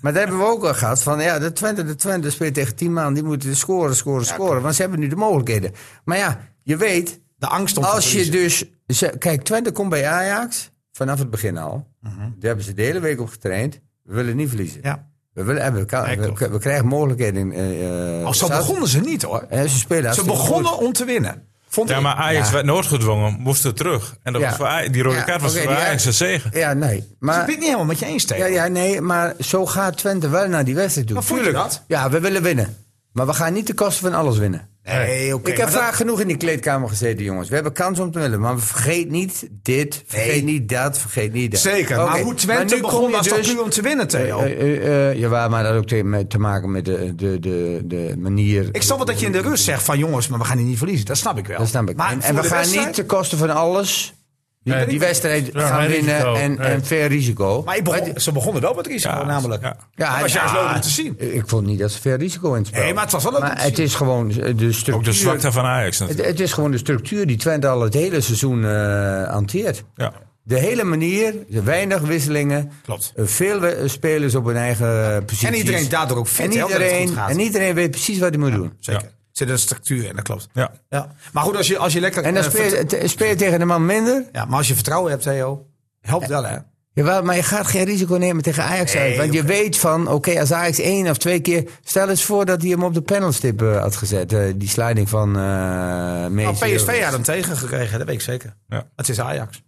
[SPEAKER 6] maar dat hebben we ook al gehad. Van, ja, de Twente, de Twente speelt tegen tien man. Die moeten scoren, scoren, scoren. Want ze hebben nu de mogelijkheden. Maar ja, je weet,
[SPEAKER 8] De angst om te
[SPEAKER 6] als je
[SPEAKER 8] verliezen.
[SPEAKER 6] dus... ze- Kijk, Twente komt bij Ajax vanaf het begin al. Daar hebben ze de hele week op getraind. We willen niet verliezen.
[SPEAKER 8] Mhm. Ja.
[SPEAKER 6] We, willen, en we, kan-
[SPEAKER 8] Nee,
[SPEAKER 6] we-
[SPEAKER 8] klopt.
[SPEAKER 6] we, krijgen mogelijkheden. eh, eh,
[SPEAKER 8] Oh, zo
[SPEAKER 6] Zuid-
[SPEAKER 8] begonnen ze niet hoor.
[SPEAKER 6] Eh, ze spelen
[SPEAKER 8] Ze
[SPEAKER 6] hartstikke goed.
[SPEAKER 8] begonnen om te winnen. Vond
[SPEAKER 5] Ja,
[SPEAKER 8] ik.
[SPEAKER 5] maar Ajax werd nooit gedwongen, moest er terug. En dat
[SPEAKER 6] Ja.
[SPEAKER 5] was voor Aj- die rode
[SPEAKER 6] Ja,
[SPEAKER 5] kaart was
[SPEAKER 6] oké,
[SPEAKER 5] voor
[SPEAKER 6] die
[SPEAKER 5] Ajax een zegen.
[SPEAKER 6] Ja, nee.
[SPEAKER 8] Dus ik ben
[SPEAKER 6] Maar,
[SPEAKER 8] het niet helemaal met je eens
[SPEAKER 6] Ah. ja,
[SPEAKER 8] tegen.
[SPEAKER 6] ja, nee, maar zo gaat Twente wel naar die wedstrijd toe.
[SPEAKER 8] Maar vond je dat?
[SPEAKER 6] Ja, we willen winnen. Maar we gaan niet de kosten van alles winnen.
[SPEAKER 8] Nee, oké.
[SPEAKER 6] Ik heb
[SPEAKER 8] maar dat-
[SPEAKER 6] vaak genoeg in die kleedkamer gezeten, jongens. We hebben kans om te winnen. Maar vergeet niet dit, vergeet
[SPEAKER 8] Nee.
[SPEAKER 6] niet dat, vergeet niet dat.
[SPEAKER 8] Zeker, maar
[SPEAKER 6] Oké,
[SPEAKER 8] hoe Twente
[SPEAKER 6] maar nu kom
[SPEAKER 8] begon
[SPEAKER 6] je
[SPEAKER 8] was toch
[SPEAKER 6] dus-
[SPEAKER 8] puur om te winnen, Theo?
[SPEAKER 6] Eh, eh, eh, jawel, maar dat had ook te, met- te maken met de, de, de, de manier...
[SPEAKER 8] ik snap wel dat je in de rust zegt van jongens, maar we gaan die niet verliezen. Dat snap ik wel.
[SPEAKER 6] Dat snap ik.
[SPEAKER 8] Maar
[SPEAKER 6] en en
[SPEAKER 8] voor
[SPEAKER 6] we
[SPEAKER 8] de
[SPEAKER 6] gaan
[SPEAKER 8] wedstrijd-
[SPEAKER 6] niet ten koste van alles die,
[SPEAKER 2] Nee.
[SPEAKER 6] die wedstrijd
[SPEAKER 2] Ja,
[SPEAKER 6] gaan
[SPEAKER 2] geen
[SPEAKER 6] winnen
[SPEAKER 2] risico.
[SPEAKER 6] en,
[SPEAKER 2] Nee.
[SPEAKER 6] en ver risico.
[SPEAKER 8] Maar ik begon- ze begonnen wel met risico
[SPEAKER 5] Ja,
[SPEAKER 8] namelijk.
[SPEAKER 5] ja.
[SPEAKER 6] Ja,
[SPEAKER 8] Dat was
[SPEAKER 6] ja.
[SPEAKER 8] juist leuk om te zien.
[SPEAKER 6] Ik vond niet dat ze ver risico in het spel.
[SPEAKER 8] Nee, maar het was wel leuk om te
[SPEAKER 6] Maar het
[SPEAKER 8] zien.
[SPEAKER 6] is gewoon de structuur...
[SPEAKER 5] Ook de zwakte van Ajax natuurlijk.
[SPEAKER 6] Het, het is gewoon de structuur die Twente al het hele seizoen eh hanteert.
[SPEAKER 5] Ja.
[SPEAKER 6] De hele manier, weinig wisselingen.
[SPEAKER 8] Klopt.
[SPEAKER 6] eh, Veel we- spelers op hun eigen eh, positie.
[SPEAKER 8] En iedereen daardoor ook fit,
[SPEAKER 6] En
[SPEAKER 8] hè, omdat het
[SPEAKER 6] iedereen,
[SPEAKER 8] goed gaat.
[SPEAKER 6] en iedereen weet precies wat hij moet doen.
[SPEAKER 8] Zeker.
[SPEAKER 5] Ja.
[SPEAKER 8] Er zit een structuur in, dat klopt.
[SPEAKER 5] Ja.
[SPEAKER 8] Ja. Maar goed, als je, als je lekker...
[SPEAKER 6] En dan
[SPEAKER 8] eh,
[SPEAKER 6] speel je,
[SPEAKER 8] vert-
[SPEAKER 6] te- speel je tegen de man minder.
[SPEAKER 8] ja, maar als je vertrouwen hebt, Theo,
[SPEAKER 1] Helpt wel, hè?
[SPEAKER 6] Jawel, maar je gaat geen risico nemen tegen Ajax uit. Want je weet van, oké, als Ajax één of twee keer... Stel eens voor dat hij hem op de penalstip eh, had gezet. eh, die sliding van eh
[SPEAKER 1] Nou,
[SPEAKER 6] Mees.
[SPEAKER 1] PSV had hem tegengekregen, dat weet ik zeker.
[SPEAKER 5] Ja.
[SPEAKER 1] Het is Ajax.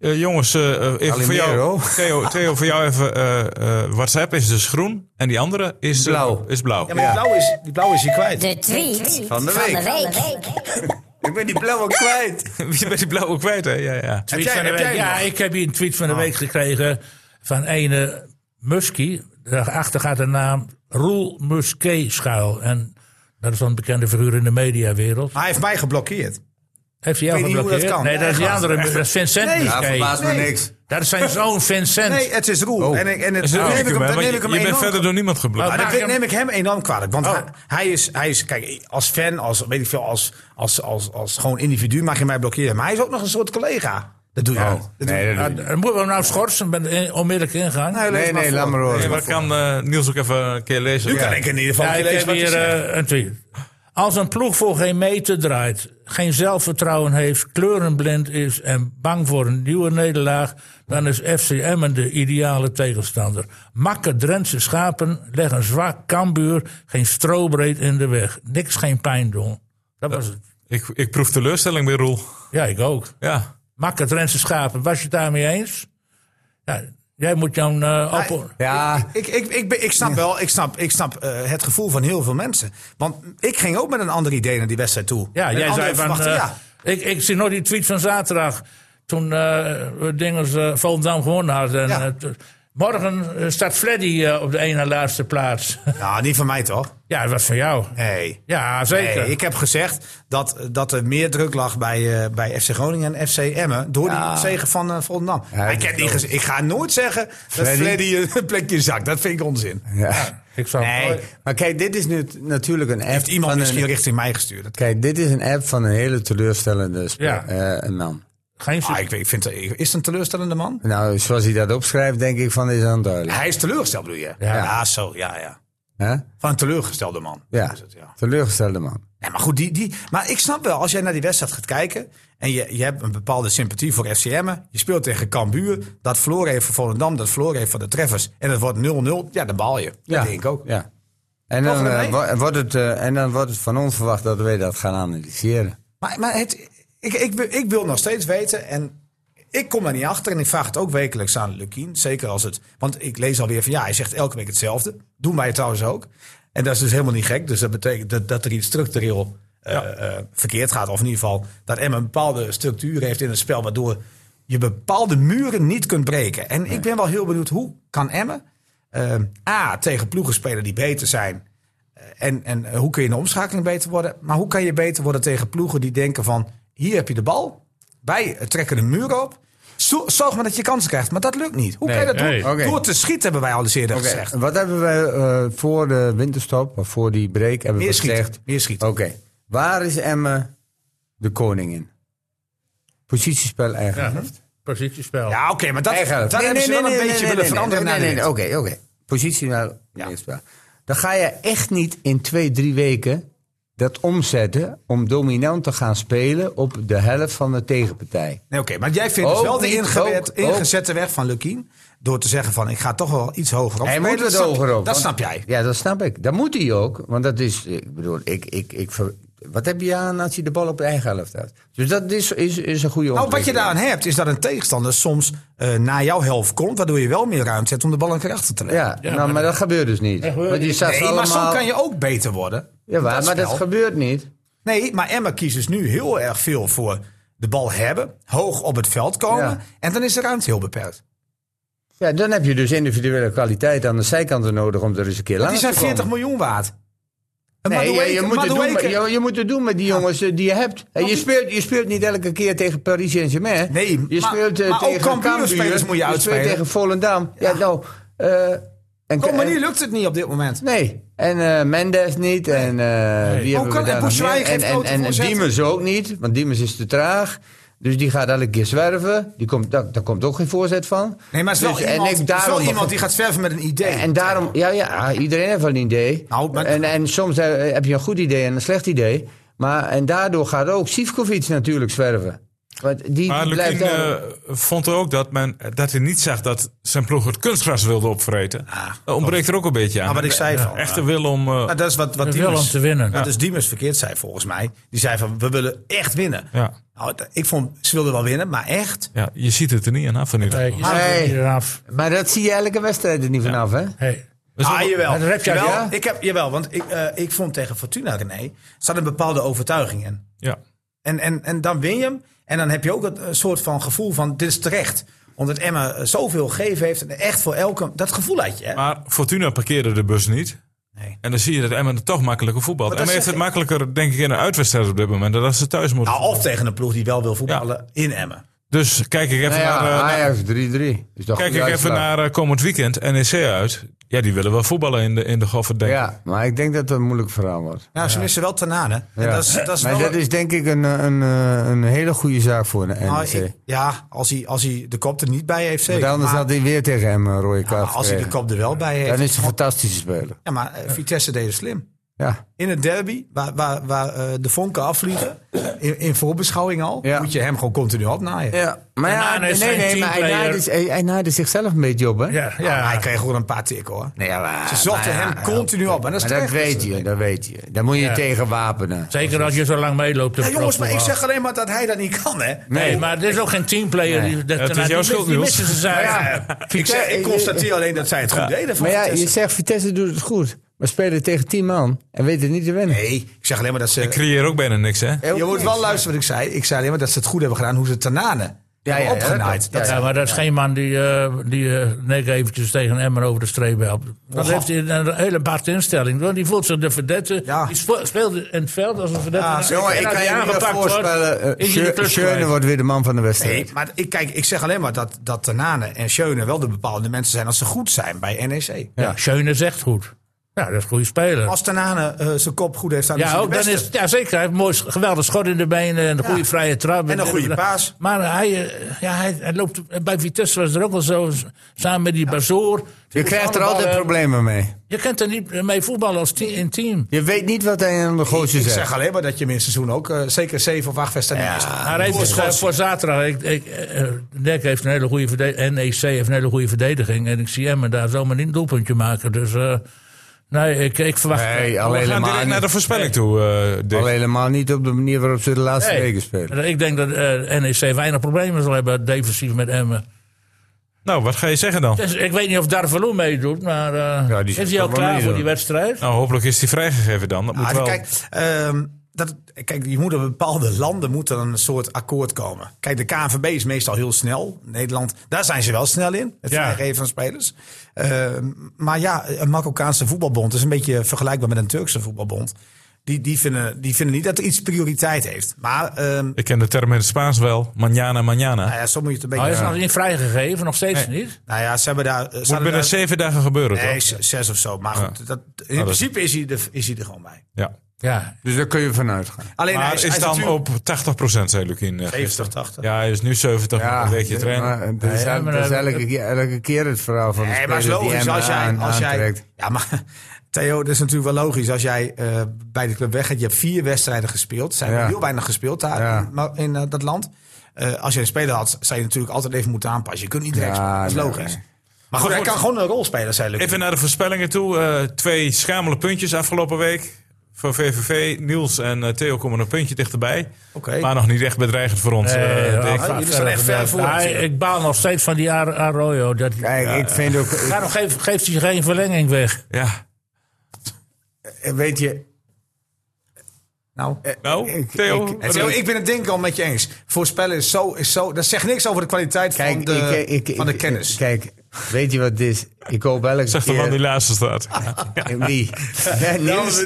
[SPEAKER 5] Eh, jongens, eh, eh, even voor jou,
[SPEAKER 6] Calimero.
[SPEAKER 5] Theo, Theo, voor jou even. eh, eh, WhatsApp is dus groen en die andere is eh,
[SPEAKER 6] Blauw.
[SPEAKER 5] Is blauw.
[SPEAKER 1] Ja, maar Die, blauw is, die blauw is hier kwijt.
[SPEAKER 10] De tweet
[SPEAKER 6] Van de week. Ik ben die blauwe kwijt.
[SPEAKER 5] Je bent die blauw ook kwijt, hè? Ja, ja.
[SPEAKER 1] Heb
[SPEAKER 2] Tweet
[SPEAKER 1] jij-
[SPEAKER 2] van de
[SPEAKER 1] heb
[SPEAKER 2] week.
[SPEAKER 1] jij
[SPEAKER 2] Ja,
[SPEAKER 1] nog?
[SPEAKER 2] ik heb hier een tweet van de week gekregen van ene Muskie. Daarachter gaat de naam Roel Muske schuil. En dat is wel een bekende figuur in de
[SPEAKER 8] Ah,
[SPEAKER 2] mediawereld.
[SPEAKER 1] Maar hij heeft mij geblokkeerd.
[SPEAKER 2] Heeft hij jou
[SPEAKER 1] weet niet hoe dat
[SPEAKER 2] geblokkeerd?
[SPEAKER 1] kan.
[SPEAKER 2] Nee, dat is die
[SPEAKER 1] Echt?
[SPEAKER 2] andere. Dat is Vincent
[SPEAKER 1] Nee.
[SPEAKER 2] Muske.
[SPEAKER 1] Ja,
[SPEAKER 6] verbaast me
[SPEAKER 1] Nee.
[SPEAKER 6] niks.
[SPEAKER 2] Dat is zijn zoon Vincent.
[SPEAKER 1] Nee, het is Roel. En, ik, en het,
[SPEAKER 5] Is het
[SPEAKER 1] dan
[SPEAKER 5] een
[SPEAKER 1] neem ik
[SPEAKER 5] unicum, hè?
[SPEAKER 1] hem, dan
[SPEAKER 5] Want
[SPEAKER 1] neem
[SPEAKER 5] je-
[SPEAKER 1] ik hem
[SPEAKER 5] je bent
[SPEAKER 1] enorm
[SPEAKER 5] verder door niemand
[SPEAKER 2] Maar-
[SPEAKER 5] geblokt.
[SPEAKER 1] Maar
[SPEAKER 2] maak
[SPEAKER 1] Ah, dat
[SPEAKER 2] hem-
[SPEAKER 1] neem ik hem enorm kwalijk.
[SPEAKER 2] Oh.
[SPEAKER 1] Want hij, hij is, hij is, kijk, als fan, als, weet ik veel, als, als, als, als gewoon individu mag je mij blokkeren. Maar hij is ook nog een soort collega. Dat doe je
[SPEAKER 2] Oh.
[SPEAKER 1] niet. Dat doe je
[SPEAKER 6] Nee,
[SPEAKER 1] niet.
[SPEAKER 2] Ja, dan moeten we hem nou schorsen. Ik ben in- onmiddellijk ingaan.
[SPEAKER 1] Nee, lees
[SPEAKER 6] nee,
[SPEAKER 1] maar
[SPEAKER 6] nee,
[SPEAKER 1] voor.
[SPEAKER 6] laat maar horen.
[SPEAKER 5] Nee, maar kan eh, Niels ook even een keer lezen?
[SPEAKER 1] Nu kan ik in ieder geval
[SPEAKER 2] Ja,
[SPEAKER 1] niet
[SPEAKER 2] ik
[SPEAKER 1] lezen
[SPEAKER 2] heb
[SPEAKER 1] wat je
[SPEAKER 2] hier
[SPEAKER 1] zegt.
[SPEAKER 2] eh, een tweet. Als een ploeg voor geen meter draait, geen zelfvertrouwen heeft, kleurenblind is en bang voor een nieuwe nederlaag, dan is FC Emmen de ideale tegenstander. Makke Drentse schapen leggen zwak kambuur geen strobreed in de weg. Niks geen pijn doen. Dat was het.
[SPEAKER 5] Ik, ik proef teleurstelling bij Roel.
[SPEAKER 2] Ja, ik ook.
[SPEAKER 5] Ja.
[SPEAKER 2] Makke Drentse schapen, was je het daarmee eens? Ja, jij moet jouw eh oppo-
[SPEAKER 6] Ja,
[SPEAKER 1] Ik, ik, ik, ben- ik snap wel, ik snap, ik snap eh, het gevoel van heel veel mensen. Want ik ging ook met een ander idee naar die wedstrijd toe.
[SPEAKER 2] Ja,
[SPEAKER 1] Met
[SPEAKER 2] jij
[SPEAKER 1] andere
[SPEAKER 2] zei van.
[SPEAKER 1] verwachtingen,
[SPEAKER 2] eh,
[SPEAKER 1] ja.
[SPEAKER 2] ik, ik zie nog die tweet van zaterdag. Toen eh Dingers eh Volendam gewonnen had. En,
[SPEAKER 1] Ja.
[SPEAKER 2] eh, t- morgen eh, staat Freddy eh, op de ene laatste plaats.
[SPEAKER 1] Nou, niet van mij toch?
[SPEAKER 2] ja, dat was van jou.
[SPEAKER 1] Nee.
[SPEAKER 2] Ja, zeker.
[SPEAKER 1] Nee, Eh, ik heb gezegd dat, dat er meer druk lag bij, eh, bij FC Groningen en FC Emmen. door die zege van eh, Volendam. Maar ik, heb niet gez- ik ga nooit zeggen dat Freddy een plekje zakt. Dat vind ik onzin.
[SPEAKER 6] ja.
[SPEAKER 2] Ik zou
[SPEAKER 1] Nee. eh,
[SPEAKER 6] Maar kijk, dit is nu t- natuurlijk een app.
[SPEAKER 1] Heeft iemand
[SPEAKER 6] van
[SPEAKER 1] misschien
[SPEAKER 6] een,
[SPEAKER 1] richting mij gestuurd? Dat-
[SPEAKER 6] kijk, dit is een app van een hele teleurstellende spe-
[SPEAKER 2] Ja.
[SPEAKER 6] eh, een man.
[SPEAKER 2] geen
[SPEAKER 1] Ah, ik, weet- ik vind, is het een teleurstellende man?
[SPEAKER 6] Nou, zoals hij dat opschrijft, denk ik van is aan duidelijk.
[SPEAKER 1] Hij is teleurgesteld, bedoel je? Ja, zo, ja, ja.
[SPEAKER 6] Hè?
[SPEAKER 1] Van een teleurgestelde man.
[SPEAKER 6] Ja,
[SPEAKER 1] Is het, ja.
[SPEAKER 6] teleurgestelde man.
[SPEAKER 1] Nee, maar goed, die, die, maar ik snap wel, als jij naar die wedstrijd gaat kijken... en je, je hebt een bepaalde sympathie voor FCM, je speelt tegen Cambuur... dat verloren heeft van Volendam, dat verloren heeft van de treffers... en het wordt 0-0, ja, dan baal je. Ja. Dat denk ik ook.
[SPEAKER 6] Ja. En, dan,
[SPEAKER 1] Mogen we
[SPEAKER 6] eh,
[SPEAKER 1] mee?
[SPEAKER 6] wo- wordt het, eh, en dan wordt het van ons verwacht dat wij dat gaan analyseren.
[SPEAKER 1] Maar, maar het, ik, ik, wil- ik wil nog steeds weten en ik kom er niet achter. En ik vraag het ook wekelijks aan Lukien. Zeker als het... Want ik lees alweer van ja, hij zegt elke week hetzelfde. Doen wij het trouwens ook. En dat is dus helemaal niet gek. Dus dat betekent dat, dat er iets structureel eh, eh, verkeerd gaat. Of in ieder geval dat Emma een bepaalde structuur heeft in het spel... waardoor je bepaalde muren niet kunt breken. En ik ben wel heel benieuwd, hoe kan Emmen... eh, A, tegen ploegen spelen die beter zijn... En, en eh, hoe kun je in de omschakeling beter worden? Maar hoe kan je beter worden tegen ploegen die denken van... hier heb je de bal, wij trekken de muur op. Zo- Zorg maar dat je kansen krijgt. Maar dat lukt niet. Hoe kan je dat doen?
[SPEAKER 2] Nee.
[SPEAKER 6] Oké.
[SPEAKER 1] Door te schieten hebben wij al eens eerder
[SPEAKER 6] Oké,
[SPEAKER 1] gezegd.
[SPEAKER 6] Wat hebben wij eh, voor de winterstop, of voor die break, hebben we
[SPEAKER 1] Meer
[SPEAKER 6] gezegd...
[SPEAKER 1] schieten. Meer schieten.
[SPEAKER 6] Oké, waar is Emme de koning in? Positiespel eigen
[SPEAKER 2] Ja,
[SPEAKER 6] helft.
[SPEAKER 2] positiespel.
[SPEAKER 1] Ja, oké, maar dat,
[SPEAKER 6] Eigen helft.
[SPEAKER 1] dat hebben ze wel een beetje willen
[SPEAKER 6] nee,
[SPEAKER 1] veranderen.
[SPEAKER 6] Nee,
[SPEAKER 1] naar
[SPEAKER 6] nee,
[SPEAKER 1] dit.
[SPEAKER 6] nee, oké, oké. Positie naar
[SPEAKER 1] Ja.
[SPEAKER 6] spel. Dan ga je echt niet in twee, drie weken dat omzetten om dominant te gaan spelen op de helft van de tegenpartij.
[SPEAKER 1] Nee, oké, maar jij vindt dus
[SPEAKER 6] Ook
[SPEAKER 1] wel de
[SPEAKER 6] niet,
[SPEAKER 1] ingewet,
[SPEAKER 6] ook, ook.
[SPEAKER 1] ingezette weg van Lukien... door te zeggen van, ik ga toch wel iets hoger op.
[SPEAKER 6] Hij
[SPEAKER 1] spelen.
[SPEAKER 6] moet
[SPEAKER 1] Dat
[SPEAKER 6] het
[SPEAKER 1] snap-
[SPEAKER 6] hoger op.
[SPEAKER 1] Dat
[SPEAKER 6] want-
[SPEAKER 1] snap jij.
[SPEAKER 6] Ja, dat snap ik. Dat moet hij ook. Want dat is, ik bedoel, ik, ik, ik, ver- wat heb je aan als je de bal op de eigen helft houdt? Dus dat is, is, is een goede
[SPEAKER 1] Nou, wat je
[SPEAKER 6] ontwikkeling.
[SPEAKER 1] daaraan hebt, is dat een tegenstander soms eh, naar jouw helft komt... waardoor je wel meer ruimte hebt om de bal een keer achter te leggen.
[SPEAKER 6] Ja, nou, maar, dat gebeurt dus niet. Want je staat
[SPEAKER 1] Nee,
[SPEAKER 6] allemaal...
[SPEAKER 1] maar zo kan je ook beter worden.
[SPEAKER 6] Ja, maar
[SPEAKER 1] Dat
[SPEAKER 6] dat
[SPEAKER 1] spel.
[SPEAKER 6] gebeurt niet.
[SPEAKER 1] Nee, maar Emma kiest dus nu heel erg veel voor de bal hebben, hoog op het veld komen.
[SPEAKER 6] Ja.
[SPEAKER 1] En dan is de ruimte heel beperkt.
[SPEAKER 6] Ja, dan heb je dus individuele kwaliteit aan de zijkanten nodig om er eens een keer
[SPEAKER 1] Die
[SPEAKER 6] langs
[SPEAKER 1] zijn
[SPEAKER 6] te komen.
[SPEAKER 1] 40 miljoen waard. Een
[SPEAKER 6] Nee, ja,
[SPEAKER 1] Madueke-
[SPEAKER 6] je, moet het doen,
[SPEAKER 1] Madueke-
[SPEAKER 6] met- je, je moet het doen met die jongens eh, die je hebt. En je, speelt, je speelt niet elke keer tegen Paris Saint-Germain.
[SPEAKER 1] Nee,
[SPEAKER 6] je
[SPEAKER 1] maar-
[SPEAKER 6] speelt eh,
[SPEAKER 1] maar ook
[SPEAKER 6] tegen
[SPEAKER 1] Cambuurspelers
[SPEAKER 6] Cambuur.
[SPEAKER 1] moet je uitspelen.
[SPEAKER 6] speelt tegen Volendam. Ja, nou... eh, en,
[SPEAKER 1] Op een manier
[SPEAKER 6] en-
[SPEAKER 1] Oh, lukt het niet op dit moment.
[SPEAKER 6] Nee, en eh, Mendes niet. En eh wie
[SPEAKER 1] Ook
[SPEAKER 6] hebben
[SPEAKER 1] kan-
[SPEAKER 6] we daar
[SPEAKER 1] en
[SPEAKER 6] nog
[SPEAKER 1] Boussaï
[SPEAKER 6] meer?
[SPEAKER 1] geeft
[SPEAKER 6] En, en,
[SPEAKER 1] grote
[SPEAKER 6] en, en
[SPEAKER 1] voorzetten.
[SPEAKER 6] Diemers ook niet, want Diemers is te traag. Dus die gaat elke keer zwerven. Die komt, daar, daar komt ook geen voorzet van.
[SPEAKER 1] Nee, maar het is wel,
[SPEAKER 6] Dus- en
[SPEAKER 1] iemand,
[SPEAKER 6] ik
[SPEAKER 1] het is
[SPEAKER 6] daarom
[SPEAKER 1] wel
[SPEAKER 6] begrijp-
[SPEAKER 1] iemand die gaat zwerven met een idee.
[SPEAKER 6] en daarom, ja, ja, iedereen heeft wel een idee.
[SPEAKER 1] Nou, maar-
[SPEAKER 6] en, en soms eh, heb je een goed idee en een slecht idee. Maar, en daardoor gaat ook Sivkovic natuurlijk zwerven.
[SPEAKER 10] Want die,
[SPEAKER 5] Maar
[SPEAKER 10] die blijft
[SPEAKER 5] Lukien
[SPEAKER 10] daar-
[SPEAKER 5] eh, vond ook dat, men, eh, dat hij niet zag dat zijn ploeg het kunstgras wilde opvreten. dat ontbreekt er ook een beetje aan. Eh,
[SPEAKER 1] Maar Ah, wat ik zei van,
[SPEAKER 5] Echte wil om... eh,
[SPEAKER 1] Maar dat is wat, wat
[SPEAKER 2] wil
[SPEAKER 1] Diemers-
[SPEAKER 2] om te winnen.
[SPEAKER 1] Wat dus Diemers verkeerd zei volgens mij. Die zei van, we willen echt winnen.
[SPEAKER 5] ja.
[SPEAKER 1] Nou, het- ik vond, ze wilden wel winnen, maar echt.
[SPEAKER 5] Ja, je ziet het er niet aan af in ieder
[SPEAKER 2] Nee,
[SPEAKER 5] geval.
[SPEAKER 2] je staat er
[SPEAKER 10] Nee.
[SPEAKER 2] niet eraf.
[SPEAKER 5] eh,
[SPEAKER 10] Maar dat zie je elke wedstrijd er niet vanaf, hè?
[SPEAKER 2] Hey.
[SPEAKER 5] Dus
[SPEAKER 1] ah,
[SPEAKER 5] ook-
[SPEAKER 1] jawel.
[SPEAKER 2] dat heb jij,
[SPEAKER 1] jawel,
[SPEAKER 2] ja?
[SPEAKER 1] ik heb, jawel, want ik, eh, ik vond tegen Fortuna René, zat een bepaalde overtuiging in.
[SPEAKER 5] ja.
[SPEAKER 1] En, en, en dan win je hem. En dan heb je ook een, een soort van gevoel van, dit is terecht. Omdat Emma eh, zoveel gegeven heeft en echt voor elke... Dat gevoel had je, hè?
[SPEAKER 5] Maar Fortuna parkeerde de bus niet.
[SPEAKER 1] Nee.
[SPEAKER 5] En dan zie je dat Emmen het toch makkelijker voetbalt.
[SPEAKER 1] Maar dat
[SPEAKER 5] Emmen heeft
[SPEAKER 1] zeg
[SPEAKER 5] het makkelijker, denk ik, in een uitwedstrijd op dit moment. Dan dat ze thuis moeten.
[SPEAKER 1] Nou, of tegen een ploeg die wel wil voetballen in Emmen.
[SPEAKER 5] Dus kijk ik even
[SPEAKER 6] Nou ja,
[SPEAKER 5] naar, eh, naar-
[SPEAKER 6] Ajax 3-3. Is toch
[SPEAKER 5] kijk
[SPEAKER 6] een
[SPEAKER 5] ik even
[SPEAKER 6] uitslag.
[SPEAKER 5] naar eh, komend weekend. NEC uit. Ja, die willen wel voetballen in de, in de Goffert, denk ik.
[SPEAKER 6] Ja, maar ik denk dat dat een moeilijk verhaal wordt.
[SPEAKER 1] Ja, nou, ze missen wel Tanane. En
[SPEAKER 6] Ja.
[SPEAKER 1] dat is, dat is
[SPEAKER 6] maar
[SPEAKER 1] wel
[SPEAKER 6] dat is denk ik een, eh, een, eh, een hele goede zaak voor de NEC.
[SPEAKER 1] Nou, ik- ja, als hij, als hij de kop er niet bij heeft, zeker.
[SPEAKER 6] Want anders
[SPEAKER 1] Maar-
[SPEAKER 6] had hij weer tegen hem een rode kaart
[SPEAKER 1] maar als hij de
[SPEAKER 6] gekregen.
[SPEAKER 1] kop er wel bij heeft.
[SPEAKER 6] Dan is hij een fantastische speler.
[SPEAKER 1] Ja, maar eh, Vitesse deed het slim.
[SPEAKER 6] Ja.
[SPEAKER 1] In het derby, waar, waar, waar eh, de vonken afvliegen, in, in voorbeschouwing al,
[SPEAKER 6] Ja.
[SPEAKER 1] moet je hem gewoon continu opnaaien.
[SPEAKER 6] ja. Maar ja,
[SPEAKER 2] Daarna
[SPEAKER 6] nee,
[SPEAKER 2] is hij
[SPEAKER 6] nee,
[SPEAKER 2] een
[SPEAKER 6] maar hij
[SPEAKER 2] teamplayer.
[SPEAKER 6] naaide, z- hij, hij naaide zichzelf een beetje op, hè? Ah,
[SPEAKER 2] Ja,
[SPEAKER 1] Ja, maar
[SPEAKER 2] ja.
[SPEAKER 1] hij kreeg gewoon een paar tikken hoor.
[SPEAKER 6] Nee, ja, maar,
[SPEAKER 1] Ze zochten
[SPEAKER 6] maar ja,
[SPEAKER 1] hem continu op. En dat is
[SPEAKER 6] Maar dat dus-
[SPEAKER 1] terecht.
[SPEAKER 6] weet je, dat weet je. Daar moet je
[SPEAKER 2] Ja.
[SPEAKER 6] tegen wapenen.
[SPEAKER 2] Zeker als je zo lang meeloopt. op
[SPEAKER 1] Ja, jongens, maar ik
[SPEAKER 2] profvoetbal.
[SPEAKER 1] zeg alleen maar dat hij dat niet kan, hè?
[SPEAKER 2] Nee, maar er is ook geen teamplayer. Die, dat,
[SPEAKER 5] het is
[SPEAKER 2] nou,
[SPEAKER 5] jouw
[SPEAKER 2] die
[SPEAKER 5] schuld,
[SPEAKER 2] mis- die
[SPEAKER 5] Niels.
[SPEAKER 2] missen ze zijn.
[SPEAKER 1] Ik, zeg, ik constateer alleen dat zij het goed deden. voor
[SPEAKER 6] Maar ja, je
[SPEAKER 1] Vitesse.
[SPEAKER 6] zegt Vitesse doet het goed. Maar spelen tegen 10 man en weten niet te winnen.
[SPEAKER 1] Nee, ik zeg alleen maar dat ze...
[SPEAKER 5] Ik creëer ook bijna niks, hè?
[SPEAKER 1] je moet wel luisteren wat ik zei. Ik zei alleen maar dat ze het goed hebben gedaan, hoe ze Tanane
[SPEAKER 6] ja,
[SPEAKER 1] ja,
[SPEAKER 6] ja, dat
[SPEAKER 1] opgenaaid.
[SPEAKER 6] klopt.
[SPEAKER 1] Dat-
[SPEAKER 2] Ja, maar dat is geen man die, eh die eh nek eventjes tegen Emmer over de streep helpt. Dat heeft hij een hele aparte instelling. Want die voelt zich de verdette.
[SPEAKER 1] Ja.
[SPEAKER 2] Die spo- speelt in het veld als een verdette.
[SPEAKER 1] Ja,
[SPEAKER 2] En
[SPEAKER 1] jongen,
[SPEAKER 2] als
[SPEAKER 1] ik
[SPEAKER 2] die
[SPEAKER 1] kan je
[SPEAKER 6] Ik
[SPEAKER 2] aangepakt
[SPEAKER 6] ga
[SPEAKER 2] wordt,
[SPEAKER 6] voorspellen, eh,
[SPEAKER 2] is je de
[SPEAKER 6] Schö-
[SPEAKER 2] klus
[SPEAKER 6] Schöne
[SPEAKER 2] kwijt.
[SPEAKER 6] wordt weer de man van de wedstrijd.
[SPEAKER 1] Nee, maar ik, kijk, ik zeg alleen maar dat, dat Tanane en Schöne wel de bepaalde mensen zijn als ze goed zijn bij E NEC.
[SPEAKER 2] Ja, Schöne is echt goed. Ja, dat is een goede speler.
[SPEAKER 1] Als Tanane eh, zijn kop goed heeft, dan is
[SPEAKER 2] ja,
[SPEAKER 1] hij
[SPEAKER 2] ook,
[SPEAKER 1] de
[SPEAKER 2] dan
[SPEAKER 1] beste.
[SPEAKER 2] is, ja, zeker. Hij heeft een mooi, geweldig schot in de benen en een goede vrije trap.
[SPEAKER 1] En een goede paas.
[SPEAKER 2] Maar hij, eh, ja, hij, hij loopt, bij Vitesse was er ook al zo, s- samen met die Bazoor.
[SPEAKER 6] Je krijgt er altijd problemen mee.
[SPEAKER 2] Je kunt er niet mee voetballen als te- in team.
[SPEAKER 6] Je weet niet wat hij aan de gootje
[SPEAKER 1] Ik
[SPEAKER 6] zegt.
[SPEAKER 1] zeg alleen maar dat je hem in het seizoen ook eh, zeker zeven of acht wedstrijden mist.
[SPEAKER 2] Maar even eh, voor zaterdag. Ik, ik, eh, NEC heeft een hele goede verdediging. NEC heeft een hele goede verdediging. En ik zie hem daar zomaar niet een doelpuntje maken. Dus eh, nee, ik, ik verwacht.
[SPEAKER 6] Nee,
[SPEAKER 5] We
[SPEAKER 6] alleen
[SPEAKER 5] gaan
[SPEAKER 6] helemaal,
[SPEAKER 5] direct naar de
[SPEAKER 6] niet,
[SPEAKER 5] voorspelling toe, eh Dick.
[SPEAKER 6] al helemaal niet op de manier waarop ze de laatste
[SPEAKER 2] Nee.
[SPEAKER 6] weken spelen.
[SPEAKER 2] Ik denk dat eh, NEC weinig problemen zal hebben defensief met Emmen.
[SPEAKER 5] Nou, wat ga je zeggen dan?
[SPEAKER 2] Dus ik weet niet of Darvalu meedoet, maar eh,
[SPEAKER 6] Ja, die
[SPEAKER 2] is
[SPEAKER 6] zit
[SPEAKER 2] hij al
[SPEAKER 6] toch wel
[SPEAKER 2] klaar
[SPEAKER 6] mee,
[SPEAKER 2] voor
[SPEAKER 6] hoor.
[SPEAKER 2] die wedstrijd?
[SPEAKER 5] Nou, hopelijk is die vrijgegeven dan. Dat moet
[SPEAKER 1] Ah,
[SPEAKER 5] wel.
[SPEAKER 1] kijk, ehm, dat, kijk, je moet op bepaalde landen moet er een soort akkoord komen. Kijk, de KNVB is meestal heel snel. Nederland, daar zijn ze wel snel in. Het
[SPEAKER 5] Ja.
[SPEAKER 1] vrijgeven van spelers. Ehm, maar ja, een Marokkaanse voetbalbond is een beetje vergelijkbaar met een Turkse voetbalbond. Die, die, vinden, die vinden niet dat er iets prioriteit heeft. Maar ehm,
[SPEAKER 5] Ik ken de term in het Spaans wel. Manjana, manjana.
[SPEAKER 1] nou ja, zo moet je het een beetje.
[SPEAKER 2] Hij is nog niet vrijgegeven, nog steeds niet.
[SPEAKER 1] Nou ja, ze hebben daar. eh, ze
[SPEAKER 5] moet
[SPEAKER 1] hadden
[SPEAKER 5] binnen
[SPEAKER 1] daar-
[SPEAKER 5] zeven dagen gebeuren,
[SPEAKER 1] Nee,
[SPEAKER 5] toch? Nou,
[SPEAKER 1] z- zes of zo. Maar goed, dat, in principe is hij, er, is hij er gewoon bij.
[SPEAKER 5] Ja.
[SPEAKER 2] Ja.
[SPEAKER 6] Dus daar kun je vanuit gaan.
[SPEAKER 1] Alleen
[SPEAKER 5] Maar
[SPEAKER 1] hij is,
[SPEAKER 5] is,
[SPEAKER 1] hij is
[SPEAKER 5] dan
[SPEAKER 1] natuurlijk-
[SPEAKER 5] op 80%, zei Lukien. eh, gisteren.
[SPEAKER 1] 70, 80.
[SPEAKER 5] Ja, hij is nu 70,
[SPEAKER 6] Ja,
[SPEAKER 5] een beetje trainen.
[SPEAKER 6] maar dat is,
[SPEAKER 2] Nee,
[SPEAKER 6] elke-
[SPEAKER 2] maar
[SPEAKER 6] dat is
[SPEAKER 2] dat-
[SPEAKER 6] elke, keer, elke keer het verhaal van de
[SPEAKER 1] Nee, maar het is
[SPEAKER 6] speler die
[SPEAKER 1] logisch
[SPEAKER 6] hem
[SPEAKER 1] als jij,
[SPEAKER 6] aan-
[SPEAKER 1] als jij.
[SPEAKER 6] aantrekt.
[SPEAKER 1] Ja, maar Theo, dat is natuurlijk wel logisch. Als jij eh, bij de club weg gaat, je hebt vier wedstrijden gespeeld. Zijn
[SPEAKER 6] Ja.
[SPEAKER 1] heel weinig gespeeld daar
[SPEAKER 6] Ja.
[SPEAKER 1] in, maar in eh, dat land. Eh, als je een speler had, zou je natuurlijk altijd even moeten aanpassen. Je kunt niet
[SPEAKER 6] Ja,
[SPEAKER 1] direct spelen, dat is
[SPEAKER 6] nee,
[SPEAKER 1] logisch.
[SPEAKER 6] nee.
[SPEAKER 1] Maar goed, hij
[SPEAKER 5] goed.
[SPEAKER 1] kan gewoon een rol spelen, zei Luc.
[SPEAKER 5] Even naar de voorspellingen toe. Eh, twee schamele puntjes afgelopen week. Voor VVV, Niels en eh, Theo komen een puntje dichterbij.
[SPEAKER 1] Oké.
[SPEAKER 5] Maar nog niet echt bedreigend voor ons. eh,
[SPEAKER 2] Eh,
[SPEAKER 5] Dick.
[SPEAKER 2] af-
[SPEAKER 1] jullie staan echt ver voor
[SPEAKER 2] Hij-
[SPEAKER 1] natuurlijk.
[SPEAKER 2] ik baal nog steeds van die Ar- Arroyo. Dat,
[SPEAKER 6] Kijk, ik vind ook...
[SPEAKER 2] daarom geeft, geeft hij geen verlenging weg.
[SPEAKER 5] ja.
[SPEAKER 6] ik- Weet je...
[SPEAKER 1] Nou,
[SPEAKER 5] Nou, Theo.
[SPEAKER 6] ik-
[SPEAKER 1] Theo, ik ben het denk ik al met je eens. Voorspellen is zo, is zo. Dat zegt niks over de kwaliteit van,
[SPEAKER 6] Kijk,
[SPEAKER 1] de,
[SPEAKER 6] ik, ik,
[SPEAKER 1] van de
[SPEAKER 6] ik-
[SPEAKER 1] kennis.
[SPEAKER 6] Kijk, weet je wat het is? Ik hoop elke
[SPEAKER 5] Zegt de
[SPEAKER 6] keer...
[SPEAKER 5] man die laatste staat.
[SPEAKER 6] Wie? Ja, Niels?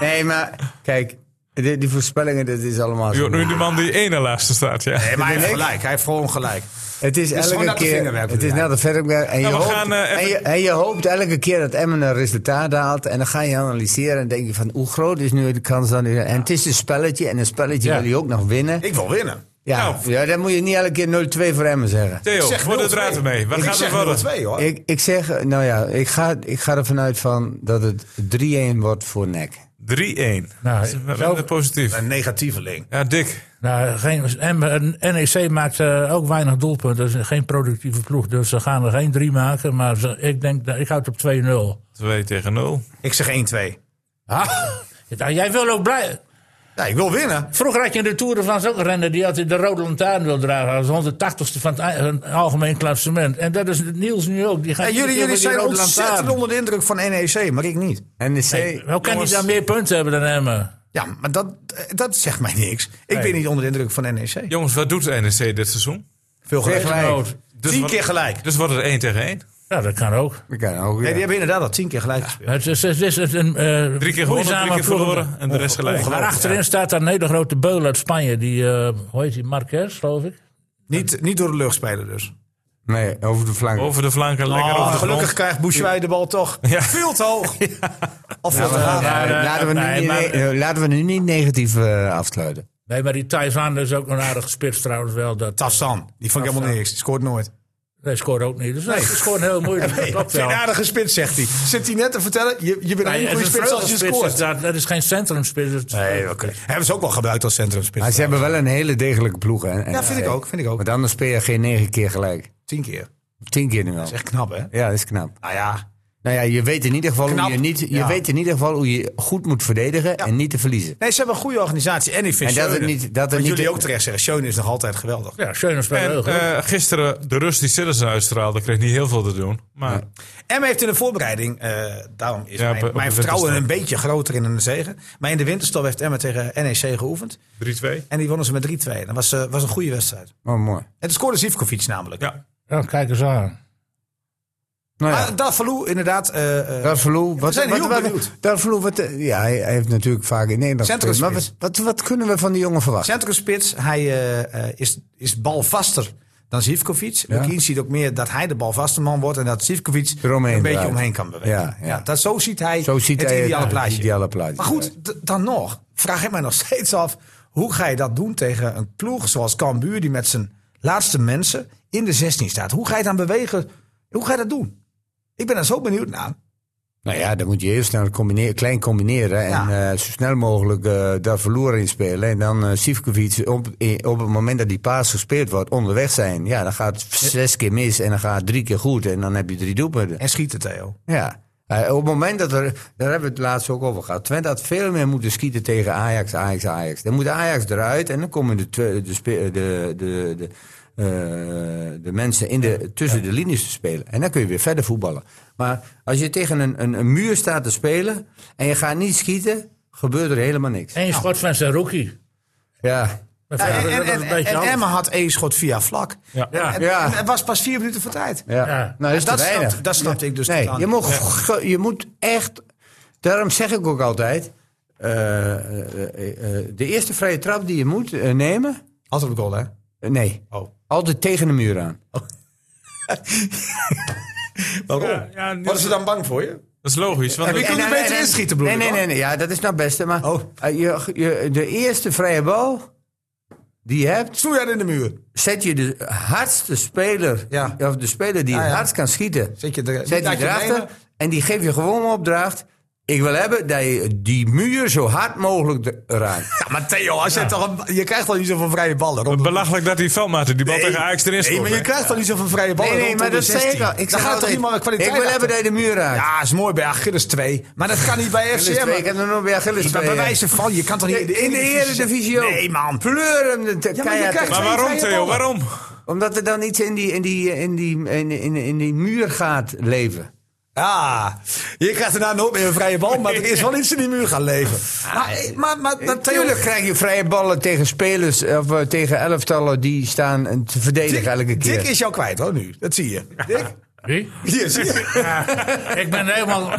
[SPEAKER 6] Nee, maar kijk, die, die voorspellingen, dat is allemaal
[SPEAKER 5] Nu
[SPEAKER 6] zo.
[SPEAKER 5] nu die man die ene laatste staat. Ja.
[SPEAKER 1] Nee, maar hij heeft
[SPEAKER 6] ik-
[SPEAKER 1] gelijk. Hij heeft gewoon gelijk.
[SPEAKER 6] Het is
[SPEAKER 1] gewoon
[SPEAKER 6] elke
[SPEAKER 1] naar de
[SPEAKER 6] keer.
[SPEAKER 1] vingerwerk,
[SPEAKER 6] Het is
[SPEAKER 1] ja.
[SPEAKER 6] naar de verder. En, je
[SPEAKER 5] we
[SPEAKER 6] hoopt-
[SPEAKER 5] gaan, eh, even-
[SPEAKER 6] en, je, en je hoopt elke keer dat Emmen een resultaat haalt. En dan ga je analyseren en denk je van hoe groot is nu de kans dan. En het is een spelletje en een spelletje
[SPEAKER 2] Ja.
[SPEAKER 6] wil je ook nog winnen.
[SPEAKER 1] Ik wil winnen.
[SPEAKER 6] Ja,
[SPEAKER 5] Nou.
[SPEAKER 6] ja, dan moet je niet elke keer 0-2 voor Emmen zeggen.
[SPEAKER 5] Theo,
[SPEAKER 1] zeg
[SPEAKER 5] voor de
[SPEAKER 1] 0-2.
[SPEAKER 5] draad ermee. Wat
[SPEAKER 1] ik
[SPEAKER 5] gaat er
[SPEAKER 1] zeg
[SPEAKER 5] worden?
[SPEAKER 1] 0-2, hoor.
[SPEAKER 6] Ik, ik zeg, nou ja, ik ga, ik ga ervan uit van dat het 3-1 wordt voor NEC.
[SPEAKER 5] 3-1.
[SPEAKER 2] Nou,
[SPEAKER 5] Dus we- we
[SPEAKER 2] zo-
[SPEAKER 5] zijn positief.
[SPEAKER 1] Een negatieveling.
[SPEAKER 5] Ja, Dick.
[SPEAKER 2] Nou, geen, en, en NEC maakt eh, ook weinig doelpunten. Dat is geen productieve ploeg. Dus ze gaan er geen drie maken. Maar ze- ik denk, dat- ik houd op 2-0.
[SPEAKER 5] 2 tegen 0.
[SPEAKER 1] Ik zeg 1-2.
[SPEAKER 2] Nou, jij wil ook blij.
[SPEAKER 1] Ja, ik wil winnen.
[SPEAKER 2] Vroeger had je in de Tour de France ook een renner die altijd de rode lantaarn wil dragen. als 180ste van het ei- van het algemeen klassement. En dat is Niels nu ook. Die gaat
[SPEAKER 1] En jullie,
[SPEAKER 2] iedere
[SPEAKER 1] jullie
[SPEAKER 2] keer met die
[SPEAKER 1] zijn
[SPEAKER 2] rode
[SPEAKER 1] ontzettend
[SPEAKER 2] lantaarn.
[SPEAKER 1] onder de indruk van
[SPEAKER 6] E
[SPEAKER 1] NEC, maar ik niet.
[SPEAKER 6] NEC.
[SPEAKER 2] Hoe kan hij
[SPEAKER 5] Jongens.
[SPEAKER 2] dan meer punten hebben dan Emmen?
[SPEAKER 1] Ja, maar dat, dat zegt mij niks. Ik ben niet onder de indruk van E NEC.
[SPEAKER 5] Jongens, wat doet NEC dit seizoen?
[SPEAKER 1] Veel gelijk.
[SPEAKER 2] Nood.
[SPEAKER 5] Dus
[SPEAKER 1] tien
[SPEAKER 5] wat-
[SPEAKER 1] keer gelijk.
[SPEAKER 5] Dus wordt het 1 tegen 1.
[SPEAKER 2] Ja, dat kan ook.
[SPEAKER 6] Ik kan ook, ja.
[SPEAKER 1] Nee, die hebben inderdaad al tien keer gelijk gespeeld.
[SPEAKER 2] Het is, het is het is een eh
[SPEAKER 5] Drie keer gewonnen,
[SPEAKER 2] moeizame
[SPEAKER 5] drie keer
[SPEAKER 2] ploeg.
[SPEAKER 5] verloren en de rest gelijk.
[SPEAKER 2] Maar achterin staat daar een hele grote beul uit Spanje. Die, eh hoe heet die? Marquez, geloof ik.
[SPEAKER 1] Niet, niet door de lucht spelen dus.
[SPEAKER 6] Nee, over de flank.
[SPEAKER 5] Over de flanken, lekker
[SPEAKER 1] Oh,
[SPEAKER 5] over de
[SPEAKER 1] gelukkig
[SPEAKER 5] grond.
[SPEAKER 1] krijgt Bouchouai de bal toch veel te hoog. Of
[SPEAKER 6] Ja,
[SPEAKER 1] veel te
[SPEAKER 6] we gaan-
[SPEAKER 1] laag.
[SPEAKER 2] maar, eh,
[SPEAKER 6] laten, we nu
[SPEAKER 2] nee,
[SPEAKER 6] niet,
[SPEAKER 2] maar-
[SPEAKER 6] eh, laten we nu niet negatief eh, afsluiten.
[SPEAKER 2] Nee, maar die Taizan is ook een aardige spits trouwens wel. Dat,
[SPEAKER 1] Tafsan, die vond ik helemaal niks. Die scoort nooit.
[SPEAKER 2] hij scoort ook niet. Dus nee, het is gewoon heel moeilijk. dat
[SPEAKER 1] Hey,
[SPEAKER 2] klopt
[SPEAKER 1] vind
[SPEAKER 2] wel.
[SPEAKER 1] je een aardige spits, zegt hij. Zit hij net te vertellen, je, je bent
[SPEAKER 2] Nee,
[SPEAKER 1] een
[SPEAKER 2] het is
[SPEAKER 1] goede
[SPEAKER 2] een
[SPEAKER 1] spits als je
[SPEAKER 2] vleugelspits,
[SPEAKER 1] scoort.
[SPEAKER 2] is Dat, dat is geen centrumspits. dus- dat is-
[SPEAKER 1] Nee, oké. Hebben ze ook wel gebruikt als centrumspits.
[SPEAKER 6] Maar ze hebben wel een hele degelijke ploeg. Hè?
[SPEAKER 1] ja, vind ik ook. Vind ik ook.
[SPEAKER 6] Want anders speel je geen negen keer gelijk.
[SPEAKER 1] Tien keer.
[SPEAKER 6] Of tien keer nu wel.
[SPEAKER 1] Dat is echt knap, hè?
[SPEAKER 6] Ja, dat is knap.
[SPEAKER 1] Nou ja,
[SPEAKER 6] Nou ja, je weet in ieder geval,
[SPEAKER 1] Knap.
[SPEAKER 6] hoe je, niet, je,
[SPEAKER 1] Ja.
[SPEAKER 6] weet in ieder geval hoe je goed moet verdedigen en niet te verliezen.
[SPEAKER 1] Nee, ze hebben een goede organisatie. En ik vind
[SPEAKER 6] En dat het
[SPEAKER 1] Schöne-
[SPEAKER 6] niet- dat het
[SPEAKER 1] Wat
[SPEAKER 6] niet-
[SPEAKER 1] jullie ook terecht zeggen. Schöne is nog altijd geweldig.
[SPEAKER 2] Ja, Schöne speelt
[SPEAKER 5] En
[SPEAKER 2] heel goed.
[SPEAKER 5] eh, gisteren de rust die Sillissen uitstraalde, kreeg niet heel veel te doen. Maar
[SPEAKER 1] En heeft in de voorbereiding, eh, daarom is
[SPEAKER 5] Ja, op-
[SPEAKER 1] mijn,
[SPEAKER 5] op de
[SPEAKER 1] mijn vertrouwen een
[SPEAKER 5] winterstop.
[SPEAKER 1] beetje groter in een zegen. Maar in de winterstop heeft Emma tegen NEC geoefend.
[SPEAKER 5] 3-2.
[SPEAKER 1] En die wonnen ze met 3-2. Dat was, eh, was een goede wedstrijd.
[SPEAKER 6] Oh, mooi.
[SPEAKER 1] En toen scoorde Zivkovic namelijk.
[SPEAKER 5] Ja.
[SPEAKER 2] Ja, kijk eens aan.
[SPEAKER 6] Nou ja,
[SPEAKER 1] Maar Davaloe inderdaad... eh, eh,
[SPEAKER 6] Darvalu, wat,
[SPEAKER 1] zijn
[SPEAKER 6] wat,
[SPEAKER 1] heel
[SPEAKER 6] wat,
[SPEAKER 1] benieuwd.
[SPEAKER 6] Darvalu, wat, eh, ja, hij, hij heeft natuurlijk vaak in Nederland gespeeld. Maar wat,
[SPEAKER 1] Centrumspits.
[SPEAKER 6] wat, wat kunnen we van die jongen verwachten?
[SPEAKER 1] centrumspits. Hij eh, eh, is, is balvaster dan Zivkovic.
[SPEAKER 6] Ja.
[SPEAKER 1] Lukien ziet ook meer dat hij de balvaste man wordt. En dat Zivkovic
[SPEAKER 6] Eromheen
[SPEAKER 1] een beetje
[SPEAKER 6] draait.
[SPEAKER 1] omheen kan bewegen.
[SPEAKER 6] Ja, ja.
[SPEAKER 1] dat, zo ziet hij
[SPEAKER 6] Zo ziet
[SPEAKER 1] het
[SPEAKER 6] hij het
[SPEAKER 1] ideale plaatje.
[SPEAKER 6] ideale plaatje.
[SPEAKER 1] Maar goed, d- dan nog. Vraag ik mij nog steeds af. Hoe ga je dat doen tegen een ploeg zoals Cambuur... die met zijn laatste mensen in de 16 staat? Hoe ga je dan bewegen? Hoe ga je dat doen? Ik ben er zo benieuwd naar.
[SPEAKER 6] Nou ja, dan moet je heel snel combineren, klein combineren. En
[SPEAKER 1] Ja.
[SPEAKER 6] eh, zo snel mogelijk eh daar verloren in spelen. En dan eh Sivkovic, op, eh, op het moment dat die paas gespeeld wordt, onderweg zijn. Ja, dan gaat het zes keer mis en dan gaat het drie keer goed. En dan heb je drie doelpunten.
[SPEAKER 1] En schieten, Theo.
[SPEAKER 6] Ja. Eh, op het moment dat er, daar hebben we het laatst ook over gehad. Twente had veel meer moeten schieten tegen Ajax, Ajax, Ajax. Dan moet Ajax eruit en dan komen de, twe- de, spe- de, de, de, eh, de mensen in de, tussen de linies te spelen. En dan kun je weer verder voetballen. Maar als je tegen een, een, een muur staat te spelen en je gaat niet schieten, gebeurt er helemaal niks.
[SPEAKER 2] Eén schot van zijn rookie.
[SPEAKER 6] Ja.
[SPEAKER 2] Maar
[SPEAKER 1] Ja,
[SPEAKER 2] verder,
[SPEAKER 1] en,
[SPEAKER 2] dat
[SPEAKER 1] en,
[SPEAKER 2] was
[SPEAKER 1] en,
[SPEAKER 2] een beetje
[SPEAKER 1] en
[SPEAKER 2] anders.
[SPEAKER 1] Emma had één schot via vlak.
[SPEAKER 5] Ja.
[SPEAKER 2] Ja.
[SPEAKER 1] En,
[SPEAKER 6] Ja.
[SPEAKER 1] en het was pas vier minuten voor tijd.
[SPEAKER 6] Ja.
[SPEAKER 2] Ja.
[SPEAKER 6] Nou, dat is te
[SPEAKER 1] dat,
[SPEAKER 6] weinig.
[SPEAKER 1] snapte, dat snapte ik dus
[SPEAKER 6] nee,
[SPEAKER 1] totaal
[SPEAKER 6] je,
[SPEAKER 1] niet.
[SPEAKER 6] moet, ge- je moet echt. Daarom zeg ik ook altijd. eh, eh, eh, eh, de eerste vrije trap die je moet eh, nemen.
[SPEAKER 1] Altijd op goal, hè?
[SPEAKER 6] eh, nee.
[SPEAKER 1] Oh.
[SPEAKER 6] Altijd tegen de muur aan.
[SPEAKER 1] Waarom?
[SPEAKER 5] Ja, ja, nu-
[SPEAKER 1] Worden ze dan bang voor je?
[SPEAKER 5] Dat is logisch. Want
[SPEAKER 1] je
[SPEAKER 5] ik-
[SPEAKER 1] kunt er beter inschieten, bedoel
[SPEAKER 6] Nee,
[SPEAKER 1] ik,
[SPEAKER 6] nee, nee,
[SPEAKER 1] hoor.
[SPEAKER 6] nee. Ja, dat is nou het beste. Maar
[SPEAKER 1] Oh.
[SPEAKER 6] eh, je, je, de eerste vrije bal die je hebt.
[SPEAKER 1] Snoeien in de muur.
[SPEAKER 6] Zet je de hardste speler.
[SPEAKER 1] Ja.
[SPEAKER 6] Of de speler die
[SPEAKER 1] Ja,
[SPEAKER 6] het
[SPEAKER 1] ja.
[SPEAKER 6] hardst kan schieten.
[SPEAKER 1] Zet je er,
[SPEAKER 6] Zet die
[SPEAKER 1] laat je
[SPEAKER 6] erachter
[SPEAKER 1] benen.
[SPEAKER 6] en die geeft je gewoon een opdracht. Ik wil hebben dat je die muur zo hard mogelijk raakt.
[SPEAKER 1] Ja, maar Theo, als je, toch een- je krijgt al niet zoveel vrije ballen. Rondom-
[SPEAKER 5] Belachelijk dat die veldmaten die bal
[SPEAKER 1] Nee.
[SPEAKER 5] tegen Ajax erin
[SPEAKER 1] Nee,
[SPEAKER 5] scoort.
[SPEAKER 1] maar je krijgt al niet zoveel vrije ballen.
[SPEAKER 6] Nee, nee,
[SPEAKER 1] rondom
[SPEAKER 6] maar
[SPEAKER 1] de
[SPEAKER 6] dat zei ik
[SPEAKER 1] 16.
[SPEAKER 6] al. Ik
[SPEAKER 1] dan
[SPEAKER 6] zeg
[SPEAKER 1] gaat toch
[SPEAKER 6] altijd,
[SPEAKER 1] iemand een kwaliteit
[SPEAKER 6] Ik wil hebben dat je de muur raakt.
[SPEAKER 1] Ja, is mooi bij Achilles 2. Maar dat kan niet bij
[SPEAKER 6] Achilles twee,
[SPEAKER 1] FCM.
[SPEAKER 6] ik heb nog nooit bij Achilles
[SPEAKER 1] Maar bij
[SPEAKER 6] twee,
[SPEAKER 1] wijze van, je kan toch niet
[SPEAKER 6] In de Eredivisie ook.
[SPEAKER 1] Nee, man.
[SPEAKER 6] Pleur hem de
[SPEAKER 1] je
[SPEAKER 6] keihard
[SPEAKER 1] krijgt-
[SPEAKER 6] in.
[SPEAKER 5] Maar
[SPEAKER 1] Twee
[SPEAKER 5] waarom,
[SPEAKER 1] vrije
[SPEAKER 5] Theo?
[SPEAKER 1] ballen.
[SPEAKER 5] Waarom?
[SPEAKER 6] Omdat er dan iets in die, in die, in die, in, in, in die muur gaat leven.
[SPEAKER 1] Ja, je krijgt daarna nooit meer een vrije bal, maar er is wel iets in die muur gaan leven. Maar, maar, maar, maar
[SPEAKER 6] Natuurlijk
[SPEAKER 1] Eh, Theo,
[SPEAKER 6] krijg je vrije ballen tegen spelers of eh, tegen elftallen die staan eh, te verdedigen elke
[SPEAKER 1] Dick,
[SPEAKER 6] keer.
[SPEAKER 1] Dick is jou kwijt hoor nu, dat zie je. Dick,
[SPEAKER 2] Wie?
[SPEAKER 1] hier zie je.
[SPEAKER 2] Ik ben helemaal.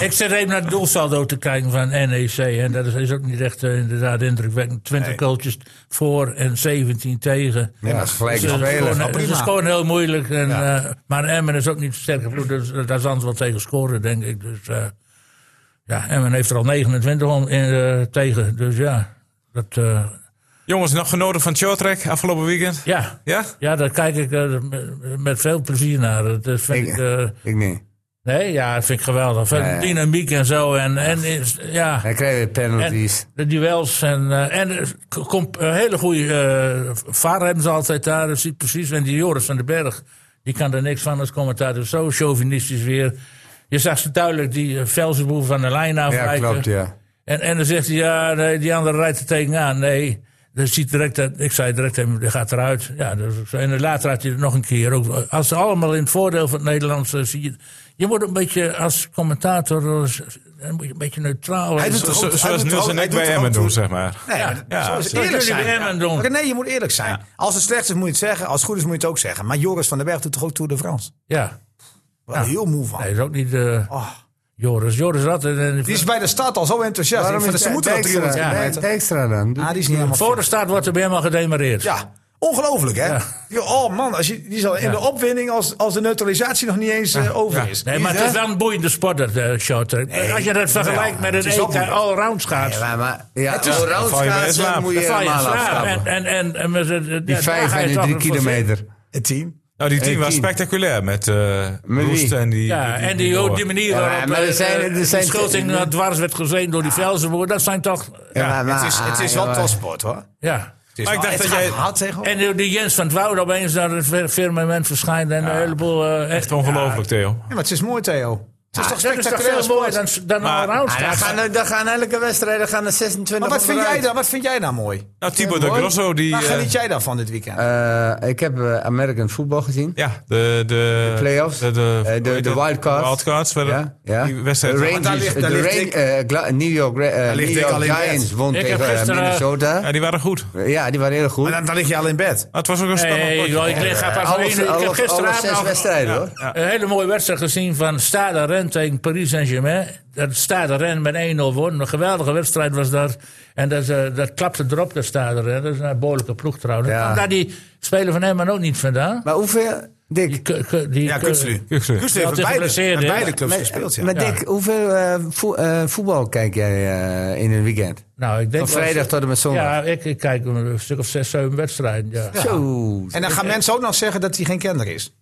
[SPEAKER 2] ik zit even naar het doelsaldo te kijken van NEC. En dat is, is ook niet echt eh, inderdaad indrukwekkend. 20
[SPEAKER 1] Nee.
[SPEAKER 2] kooltjes voor en 17 tegen.
[SPEAKER 6] Ja, dat is gelijk
[SPEAKER 2] Dus, eh, het is
[SPEAKER 6] spelen.
[SPEAKER 2] gewoon-
[SPEAKER 1] Nou,
[SPEAKER 2] Het is
[SPEAKER 1] prima.
[SPEAKER 2] gewoon heel moeilijk. En, eh, maar Emmen is ook niet sterker ploeg. Dus eh, daar zal ze wel tegen scoren, denk ik. Dus, eh, ja, Emmen heeft er al 29 om, in, eh, tegen. Dus ja, dat, eh,
[SPEAKER 5] Jongens, nog genoten van Chotrek afgelopen weekend?
[SPEAKER 2] ja.
[SPEAKER 5] Ja?
[SPEAKER 2] ja daar kijk ik eh, met- met veel plezier naar. Dat eh, vind
[SPEAKER 6] Ik-
[SPEAKER 2] ik, eh,
[SPEAKER 6] Ik nee.
[SPEAKER 2] Nee, ja, dat vind ik geweldig. Van
[SPEAKER 6] Ja, ja.
[SPEAKER 2] Dynamiek en zo. En, en is, ja.
[SPEAKER 6] Dan krijgen we
[SPEAKER 2] En
[SPEAKER 6] penalties.
[SPEAKER 2] de duels. En, eh, en er komt een hele goede eh, vaar hebben ze altijd daar. Dat ziet precies. En die Joris van den Berg, die kan er niks van Dus als commentator. Zo chauvinistisch weer. Je zag ze duidelijk die eh, Velzenboer van de lijn
[SPEAKER 6] ja,
[SPEAKER 2] afwijken.
[SPEAKER 6] klopt, ja.
[SPEAKER 2] En, en dan zegt hij, ja, nee, die andere rijdt er tegenaan. Nee, dan ziet direct dat, ik zei direct, hem, die gaat eruit. Ja, dus, en dan later had hij het nog een keer. Ook, als ze allemaal in het voordeel van het Nederlands eh, zie je... Je moet een beetje als commentator eh, dan moet je een beetje neutraal
[SPEAKER 1] Hij doet
[SPEAKER 2] zijn.
[SPEAKER 1] het ook-
[SPEAKER 5] Zo-
[SPEAKER 1] hij
[SPEAKER 5] Zoals
[SPEAKER 1] doet
[SPEAKER 5] Niels
[SPEAKER 1] het
[SPEAKER 5] en
[SPEAKER 1] ook-
[SPEAKER 5] ik bij
[SPEAKER 1] hij doet het
[SPEAKER 5] Emmen
[SPEAKER 1] ook
[SPEAKER 5] doen,
[SPEAKER 1] toe.
[SPEAKER 5] zeg maar.
[SPEAKER 1] Nee,
[SPEAKER 2] Ja.
[SPEAKER 1] maar
[SPEAKER 5] Ja,
[SPEAKER 1] dat- zo is
[SPEAKER 5] dat
[SPEAKER 1] eerlijk
[SPEAKER 2] jullie
[SPEAKER 1] zijn.
[SPEAKER 2] bij Emmen doen.
[SPEAKER 1] René, je moet eerlijk zijn. Als het slecht is, moet je het zeggen. Als het goed is, moet je het ook zeggen. Maar Joris van den Berg doet toch ook Tour de France?
[SPEAKER 2] Ja,
[SPEAKER 1] Wel heel moe van.
[SPEAKER 2] nee, dat is ook niet eh,
[SPEAKER 1] Oh.
[SPEAKER 2] Joris. Joris eh, had het. en-
[SPEAKER 1] Die is bij de stad al zo enthousiast. Ik vind dat ze moeten dat 300
[SPEAKER 2] Ja,
[SPEAKER 6] Ja,
[SPEAKER 1] kilometer.
[SPEAKER 6] Dijkstra dan.
[SPEAKER 1] Ah, die is niet helemaal
[SPEAKER 2] Voor de
[SPEAKER 1] fit.
[SPEAKER 2] start wordt er bij hem al gedemareerd.
[SPEAKER 1] Ja, ongelooflijk hè. Ja, Oh man, als je, die is al in
[SPEAKER 2] Ja.
[SPEAKER 1] de opwinding als, als de neutralisatie nog niet eens eh, over is.
[SPEAKER 2] Nee, maar
[SPEAKER 1] Die
[SPEAKER 2] het is wel een boeiende sport, dat eh, shorten. Als je dat vergelijkt
[SPEAKER 1] Ja,
[SPEAKER 2] met
[SPEAKER 1] het
[SPEAKER 2] een
[SPEAKER 1] is ook
[SPEAKER 2] EK
[SPEAKER 1] niet-
[SPEAKER 2] allround schaats.
[SPEAKER 6] Ja, maar ja,
[SPEAKER 1] Het is-
[SPEAKER 6] allround
[SPEAKER 5] Dan val je maar in
[SPEAKER 6] schaatsen
[SPEAKER 5] slaap.
[SPEAKER 6] moet je
[SPEAKER 2] dan val je in
[SPEAKER 6] helemaal
[SPEAKER 2] slaap.
[SPEAKER 6] afstappen.
[SPEAKER 2] En, en, en, en, met het- het-
[SPEAKER 6] Die
[SPEAKER 2] ja, daar
[SPEAKER 6] vijf
[SPEAKER 2] ga je
[SPEAKER 6] en die
[SPEAKER 2] toch
[SPEAKER 6] drie
[SPEAKER 2] een voorzien.
[SPEAKER 6] kilometer.
[SPEAKER 1] Het team.
[SPEAKER 5] Nou, die team was
[SPEAKER 6] 18.
[SPEAKER 5] spectaculair met eh Roest
[SPEAKER 6] wie?
[SPEAKER 5] en die...
[SPEAKER 2] Ja, en die, ook die manier
[SPEAKER 6] maar-
[SPEAKER 2] waarop
[SPEAKER 6] maar er
[SPEAKER 2] eh,
[SPEAKER 6] zijn- er
[SPEAKER 2] de
[SPEAKER 6] zijn-
[SPEAKER 2] schulting naar dwars werd gezien door die Velzenboer, dat zijn toch... Ja.
[SPEAKER 6] Ja, maar-
[SPEAKER 1] het is, het is wel
[SPEAKER 6] jongen.
[SPEAKER 1] topsport hoor. Het is
[SPEAKER 5] Maar ik
[SPEAKER 1] wel-
[SPEAKER 2] Oh,
[SPEAKER 5] dacht
[SPEAKER 1] het
[SPEAKER 5] dat
[SPEAKER 1] gaat
[SPEAKER 5] jij-
[SPEAKER 1] hard tegen
[SPEAKER 2] En die, die Jens van het Woud opeens naar het fir- firmament verschijnt en een heleboel... eh,
[SPEAKER 5] Echt ongelooflijk, Theo. Nou,
[SPEAKER 1] Ja, maar het is mooi Theo. Het is
[SPEAKER 2] Ja,
[SPEAKER 1] toch
[SPEAKER 2] dat is toch
[SPEAKER 1] spectaculair
[SPEAKER 2] veel mooier
[SPEAKER 1] sport.
[SPEAKER 2] dan, dan
[SPEAKER 5] Maar-
[SPEAKER 2] allround
[SPEAKER 6] Ah, dan,
[SPEAKER 2] schaatsen.
[SPEAKER 6] gaan, er- dan gaan elke wedstrijd er gaan er 26
[SPEAKER 1] Maar wat vind jij
[SPEAKER 6] onderuit.
[SPEAKER 1] dan? Wat vind jij nou mooi?
[SPEAKER 5] Nou, Thibaut de Grosso, die...
[SPEAKER 1] Waar
[SPEAKER 5] eh,
[SPEAKER 1] geniet jij dan van dit weekend?
[SPEAKER 6] Eh, ik heb eh, American voetbal gezien.
[SPEAKER 5] Ja, de... De
[SPEAKER 6] playoffs?
[SPEAKER 5] De, de,
[SPEAKER 6] Eh, de-
[SPEAKER 5] hoe heet
[SPEAKER 6] de
[SPEAKER 5] het?
[SPEAKER 6] wildcards.
[SPEAKER 5] Wildcards. werden-
[SPEAKER 6] Ja, ja.
[SPEAKER 5] Die wedstrijd.
[SPEAKER 6] De
[SPEAKER 1] daar
[SPEAKER 6] Rangers,
[SPEAKER 1] ligt-
[SPEAKER 6] de
[SPEAKER 1] daar ligt
[SPEAKER 6] Ran-
[SPEAKER 1] ik-
[SPEAKER 6] eh, Gla- New York, Ra- eh, New
[SPEAKER 1] ligt ik
[SPEAKER 6] York
[SPEAKER 1] al in bed.
[SPEAKER 6] Giants won
[SPEAKER 2] Ik heb
[SPEAKER 6] tegen eh,
[SPEAKER 2] gisteren, eh,
[SPEAKER 6] Minnesota.
[SPEAKER 5] Ja, die waren goed. Maar
[SPEAKER 6] ja, die waren heel goed.
[SPEAKER 1] Maar dan, dan lig je al in bed.
[SPEAKER 5] het was ook een spannend
[SPEAKER 2] Nee,
[SPEAKER 5] potje.
[SPEAKER 2] joh, ik lig ga pas
[SPEAKER 6] Alles-
[SPEAKER 2] alleen- Ik
[SPEAKER 6] alles-
[SPEAKER 2] heb
[SPEAKER 6] alles
[SPEAKER 2] gisteravond
[SPEAKER 6] zes
[SPEAKER 2] nog
[SPEAKER 6] wedstrijden hoor.
[SPEAKER 2] een hele mooie wedstrijd gezien van Stade Rennes tegen Paris Saint-Germain. Dat Stade Rennes met 1-0 won. Een geweldige wedstrijd was dat. En dat, eh, dat klapte erop, dat Stade Rennes. Dat is een behoorlijke ploeg trouwens.
[SPEAKER 6] Ja.
[SPEAKER 2] Daar die speler van Emmen ook niet vandaan.
[SPEAKER 6] Maar hoeveel,
[SPEAKER 2] Die,
[SPEAKER 6] Dick,
[SPEAKER 2] ke- ke- die,
[SPEAKER 1] Ja,
[SPEAKER 2] ke-
[SPEAKER 1] Kuxlu.
[SPEAKER 5] Kuxlu.
[SPEAKER 1] heeft
[SPEAKER 2] Ja,
[SPEAKER 1] bij
[SPEAKER 2] tegen
[SPEAKER 1] beide,
[SPEAKER 2] geblesseerd,
[SPEAKER 1] bij
[SPEAKER 2] hè?
[SPEAKER 1] beide clubs gespeeld. Ja.
[SPEAKER 6] maar Dick hoeveel eh, vo- eh, voetbal kijk jij eh, in een weekend?
[SPEAKER 2] Nou, ik denk
[SPEAKER 6] Van vrijdag tot en met zondag.
[SPEAKER 2] Ja, ik, ik kijk een stuk of zes, zeven wedstrijden. Ja.
[SPEAKER 6] Zo.
[SPEAKER 1] En dan gaan mensen ook nog zeggen dat hij geen kenner is.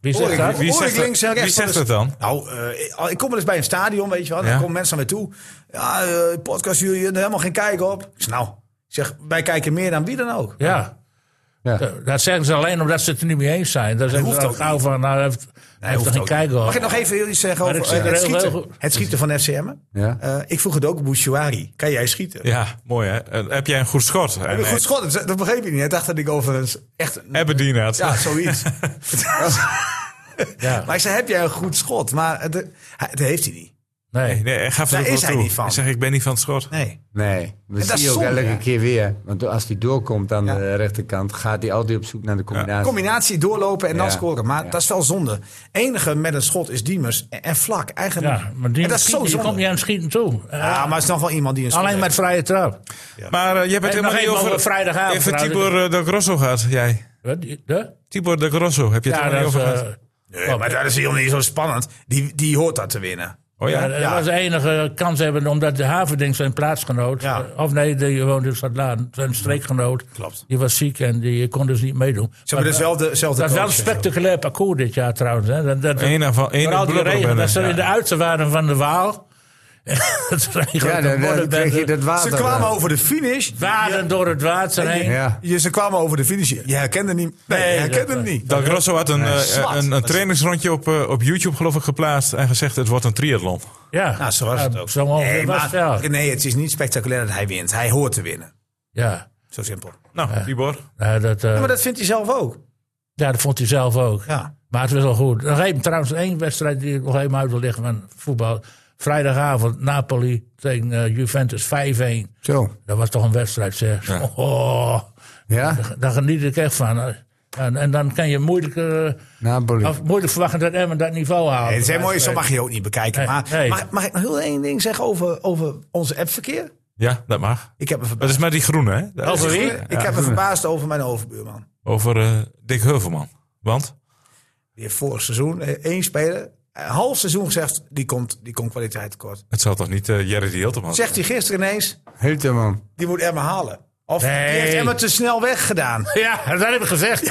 [SPEAKER 2] Wie
[SPEAKER 1] Hoor
[SPEAKER 2] zegt
[SPEAKER 1] ik-
[SPEAKER 2] dat?
[SPEAKER 1] hoor
[SPEAKER 5] Wie
[SPEAKER 1] ik
[SPEAKER 5] zegt, dat-
[SPEAKER 1] links en rechts
[SPEAKER 5] wie
[SPEAKER 1] van
[SPEAKER 5] zegt
[SPEAKER 1] de-
[SPEAKER 5] dat dan?
[SPEAKER 1] Nou, eh, ik- ik kom wel eens bij een stadion, weet je wel. Dan
[SPEAKER 5] Ja.
[SPEAKER 1] komen mensen naar me toe. Ja, eh, podcast jullie, er helemaal geen kijk op. Ik zeg, nou, ik zeg, wij kijken meer dan wie dan ook.
[SPEAKER 2] Ja.
[SPEAKER 6] Ja.
[SPEAKER 2] Dat- Dat zeggen ze alleen omdat ze het er niet mee eens zijn. Dat zeggen
[SPEAKER 1] hoeft
[SPEAKER 2] ze al
[SPEAKER 1] ook
[SPEAKER 2] gauw van, nou, hij heeft, hij heeft er
[SPEAKER 1] hoeft
[SPEAKER 2] geen
[SPEAKER 1] ook
[SPEAKER 2] kijk op.
[SPEAKER 1] Mag ik nog even iets zeggen
[SPEAKER 2] Maar
[SPEAKER 1] over
[SPEAKER 2] ik zie
[SPEAKER 1] eh,
[SPEAKER 2] er
[SPEAKER 1] het,
[SPEAKER 2] heel
[SPEAKER 1] schieten,
[SPEAKER 2] veel-
[SPEAKER 1] het schieten van FCM?
[SPEAKER 6] Ja.
[SPEAKER 1] ik vroeg het ook, Bouchouari. Kan jij schieten?
[SPEAKER 5] Ja, mooi hè. Eh, Heb jij een goed schot? Eh,
[SPEAKER 1] Heb je goed schot? Dat- Dat begreep ik niet. Hij dacht dat ik overigens echt... een-
[SPEAKER 5] Aberdeen had.
[SPEAKER 1] Ja, zoiets.
[SPEAKER 2] Ja.
[SPEAKER 1] maar ik zei, heb jij een goed schot? Maar het, eh, hij- dat heeft hij niet.
[SPEAKER 2] Nee.
[SPEAKER 5] Nee, hij gaf er
[SPEAKER 1] Daar
[SPEAKER 5] ook wel
[SPEAKER 1] is hij
[SPEAKER 5] toe.
[SPEAKER 1] niet van.
[SPEAKER 5] Ik zeg, ik ben niet van het schot.
[SPEAKER 1] Nee.
[SPEAKER 6] Nee, we
[SPEAKER 1] En dat
[SPEAKER 6] zien
[SPEAKER 1] is
[SPEAKER 6] je ook
[SPEAKER 1] zonde,
[SPEAKER 6] elke
[SPEAKER 1] ja.
[SPEAKER 6] keer weer. Want als die doorkomt aan
[SPEAKER 1] Ja.
[SPEAKER 6] de rechterkant, gaat hij altijd op zoek naar de combinatie.
[SPEAKER 1] Combinatie doorlopen en dan
[SPEAKER 6] Ja.
[SPEAKER 1] scoren. Maar
[SPEAKER 6] Ja.
[SPEAKER 1] dat is wel zonde. Enige met een schot is Diemers en, en vlak. Eigenlijk.
[SPEAKER 2] Ja, maar die
[SPEAKER 1] en dat is zo
[SPEAKER 2] schiet- die
[SPEAKER 1] zonde.
[SPEAKER 2] komt niet aan het schieten toe. Eh,
[SPEAKER 1] Ja, maar het is nog wel iemand die een schot
[SPEAKER 2] alleen met
[SPEAKER 1] heeft.
[SPEAKER 2] vrije trap.
[SPEAKER 5] Maar eh, je hebt het
[SPEAKER 2] Hey, nog
[SPEAKER 5] helemaal niet
[SPEAKER 2] even
[SPEAKER 5] over...
[SPEAKER 2] over vrijdagavond
[SPEAKER 5] Even
[SPEAKER 2] trouwens.
[SPEAKER 5] Tibor eh, de Grosso gehad, jij.
[SPEAKER 2] Wat? Die- De?
[SPEAKER 5] Tibor de Grosso, heb je het
[SPEAKER 2] Ja,
[SPEAKER 5] er helemaal
[SPEAKER 2] dat
[SPEAKER 5] niet
[SPEAKER 2] is...
[SPEAKER 5] over gehad?
[SPEAKER 2] eh,
[SPEAKER 1] Nee, maar dat is helemaal niet zo spannend. Die, die hoort dat te winnen.
[SPEAKER 5] Oh ja?
[SPEAKER 2] eh, ja,
[SPEAKER 5] ja,
[SPEAKER 2] dat was de enige kans hebben omdat de Haverding zijn plaatsgenoot.
[SPEAKER 1] Ja.
[SPEAKER 2] eh, Of nee, die woonde in Stadlaan. Zijn streekgenoot.
[SPEAKER 1] Klopt.
[SPEAKER 2] Die was ziek en die kon dus niet meedoen.
[SPEAKER 1] Ze hebben dezelfde, dezelfde
[SPEAKER 2] Dat is wel een
[SPEAKER 1] coach en zo.
[SPEAKER 2] spectaculair parcours dit jaar trouwens. Hè. Dat, dat,
[SPEAKER 5] Eén en van- één
[SPEAKER 2] vooral
[SPEAKER 5] en
[SPEAKER 2] die
[SPEAKER 5] blubber
[SPEAKER 2] regen,
[SPEAKER 5] binnen,
[SPEAKER 2] dat ze
[SPEAKER 5] ja.
[SPEAKER 2] in de uiterste waren van de Waal. dat regent
[SPEAKER 6] Ja, dan,
[SPEAKER 2] de
[SPEAKER 6] dan
[SPEAKER 2] modder
[SPEAKER 6] krijg je
[SPEAKER 2] bende.
[SPEAKER 6] dat water.
[SPEAKER 1] Ze kwamen
[SPEAKER 6] eh,
[SPEAKER 1] over de finish.
[SPEAKER 2] Waden door het water heen.
[SPEAKER 6] Ja.
[SPEAKER 1] Je, ze kwamen over de finish. Je herkende niet. Nee,
[SPEAKER 2] Nee,
[SPEAKER 1] je herkende
[SPEAKER 2] dat-
[SPEAKER 1] hem niet.
[SPEAKER 5] Del Grosso had een, eh,
[SPEAKER 1] zwart.
[SPEAKER 5] een, een trainingsrondje op, eh, op YouTube, geloof ik, geplaatst. En gezegd, het wordt een triathlon.
[SPEAKER 2] Ja,
[SPEAKER 1] Nou, zo was
[SPEAKER 2] Ja,
[SPEAKER 1] het ook.
[SPEAKER 2] Zo ongeveer
[SPEAKER 1] nee,
[SPEAKER 2] was
[SPEAKER 1] maar,
[SPEAKER 2] het wel.
[SPEAKER 1] nee, het is niet spectaculair dat hij wint. Hij hoort te winnen.
[SPEAKER 2] Ja,
[SPEAKER 1] Zo simpel.
[SPEAKER 5] Nou, Tibor.
[SPEAKER 2] nou, dat, eh,
[SPEAKER 1] Ja, maar dat vindt hij zelf ook.
[SPEAKER 2] ja, dat vond hij zelf ook.
[SPEAKER 1] Ja.
[SPEAKER 2] Maar het was wel goed. Nog even, trouwens, één wedstrijd die ik nog even uit wil leggen van voetbal. Vrijdagavond, Napoli tegen eh, Juventus 5-1.
[SPEAKER 6] Zo,
[SPEAKER 2] Dat was toch een wedstrijd, zeg. Oh,
[SPEAKER 6] ja,
[SPEAKER 2] daar geniet ik echt van. eh, En, en dan kan je moeilijk, eh,
[SPEAKER 6] Napoli.
[SPEAKER 2] of moeilijk verwachten dat Emmen dat niveau haalt. eh,
[SPEAKER 1] Nee, het zijn mooie, zo
[SPEAKER 2] Wedstrijd.
[SPEAKER 1] mag je ook niet bekijken.
[SPEAKER 2] Nee,
[SPEAKER 1] Maar
[SPEAKER 2] nee.
[SPEAKER 1] Mag, mag ik nog heel één ding zeggen over, over ons appverkeer?
[SPEAKER 5] Ja, dat mag.
[SPEAKER 1] Ik Oh, heb me verbaasd.
[SPEAKER 5] Dat is met die groene, hè? Daar-
[SPEAKER 2] Over wie?
[SPEAKER 1] Ik heb me verbaasd over mijn overbuurman.
[SPEAKER 5] Over eh, Dick Heuvelman. Want?
[SPEAKER 1] Die heeft vorig seizoen eh, één speler, een half seizoen gezegd, die komt, die komt kwaliteit tekort.
[SPEAKER 5] Het zal toch niet eh, Jerry de Hilteman zijn?
[SPEAKER 1] Zegt hij gisteren ineens,
[SPEAKER 6] Hilterman.
[SPEAKER 1] die moet Emma halen. Of
[SPEAKER 2] Nee.
[SPEAKER 1] die heeft Emma te snel weggedaan.
[SPEAKER 2] Ja, dat heb ik gezegd.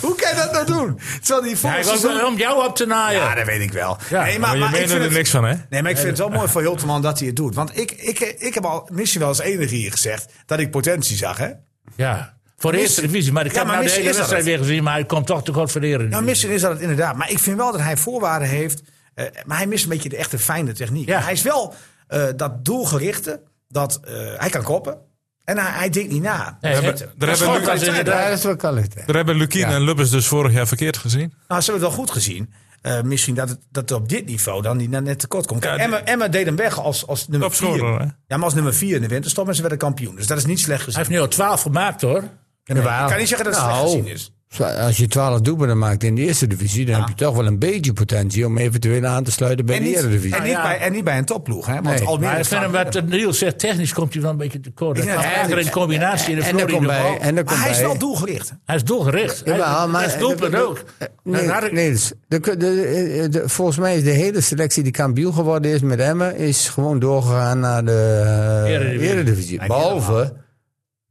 [SPEAKER 1] Hoe kan je dat nou doen? Terwijl die
[SPEAKER 2] Hij
[SPEAKER 1] volgens
[SPEAKER 2] was wel om jou op te naaien.
[SPEAKER 1] Ja, dat weet ik wel. nee, maar,
[SPEAKER 5] maar je meent
[SPEAKER 1] maar ik
[SPEAKER 5] er
[SPEAKER 1] vind het,
[SPEAKER 5] niks van, hè?
[SPEAKER 1] Nee, maar ik vind het wel mooi voor Hilterman dat hij het doet. Want ik, ik, ik heb al misschien wel als enige hier gezegd dat ik potentie zag, hè?
[SPEAKER 2] Ja, voor de
[SPEAKER 1] Mis-
[SPEAKER 2] eerste divisie. Maar ik
[SPEAKER 1] Ja,
[SPEAKER 2] heb
[SPEAKER 1] maar
[SPEAKER 2] nou de
[SPEAKER 1] mis-
[SPEAKER 2] hele
[SPEAKER 1] is dat
[SPEAKER 2] wedstrijd
[SPEAKER 1] het?
[SPEAKER 2] weer gezien, maar hij komt toch te kort voor de
[SPEAKER 1] Nou,
[SPEAKER 2] Eredivisie.
[SPEAKER 1] misschien is dat het inderdaad. Maar ik vind wel dat hij voorwaarden heeft. eh, maar hij mist een beetje de echte fijne techniek.
[SPEAKER 2] Ja.
[SPEAKER 1] Hij is wel eh, dat doelgerichte. Dat, eh, hij kan koppen. En hij, hij denkt niet na.
[SPEAKER 2] Nee, het-
[SPEAKER 5] Daar hebben-
[SPEAKER 2] dat
[SPEAKER 5] daar
[SPEAKER 2] is
[SPEAKER 5] hebben
[SPEAKER 2] goed, dat is
[SPEAKER 5] we-
[SPEAKER 2] inderdaad-
[SPEAKER 6] dat is wel kwaliteit.
[SPEAKER 5] Daar hebben Lukien en Lubbers dus vorig jaar verkeerd gezien.
[SPEAKER 1] Nou, ze hebben het wel goed gezien. Eh, misschien dat het, dat het op dit niveau dan niet naar net tekort komt. Kijk,
[SPEAKER 5] Ja,
[SPEAKER 1] Emma, Emma deed hem weg als, als nummer
[SPEAKER 5] Topscorer, hè?
[SPEAKER 1] 4. Ja, maar als nummer 4 in de winterstop en ze werden kampioen. Dus dat is niet
[SPEAKER 2] Hij
[SPEAKER 1] slecht gezien.
[SPEAKER 2] heeft nu al 12 gemaakt hoor.
[SPEAKER 1] Ik kan niet zeggen dat het
[SPEAKER 6] Nou,
[SPEAKER 1] slecht gezien is.
[SPEAKER 6] zo- Als je 12 doelpunten maakt in de eerste divisie, dan heb je toch wel een beetje potentie om eventueel aan te sluiten bij
[SPEAKER 1] En
[SPEAKER 6] de
[SPEAKER 1] niet,
[SPEAKER 6] eredivisie.
[SPEAKER 1] en, niet bij, en niet bij een topploeg. Hè? Want
[SPEAKER 6] Nee,
[SPEAKER 1] Almere
[SPEAKER 2] Maar ik
[SPEAKER 1] is
[SPEAKER 2] vind hem
[SPEAKER 1] vaak-
[SPEAKER 2] wat Niels zegt, technisch komt hij wel een beetje tekort.
[SPEAKER 1] Ik
[SPEAKER 2] Hij
[SPEAKER 1] vind
[SPEAKER 2] kan
[SPEAKER 1] het
[SPEAKER 2] vaker
[SPEAKER 1] wel-
[SPEAKER 2] in combinatie in de
[SPEAKER 6] En daar
[SPEAKER 2] Florida
[SPEAKER 6] komt bij.
[SPEAKER 2] bal.
[SPEAKER 6] En daar
[SPEAKER 1] Maar
[SPEAKER 6] komt
[SPEAKER 1] hij is
[SPEAKER 6] bij-
[SPEAKER 1] wel doelgericht.
[SPEAKER 2] Hij is doelgericht. Hij
[SPEAKER 6] Jawel, maar-
[SPEAKER 2] hij is doelpunt ook.
[SPEAKER 6] Nee,
[SPEAKER 2] Dan had ik-
[SPEAKER 6] Niels, de, de, de- de- volgens mij is de hele selectie die kampioen geworden is met Emmen, is gewoon doorgegaan naar de eh,
[SPEAKER 2] Eredivisie.
[SPEAKER 6] Eredivisie. Behalve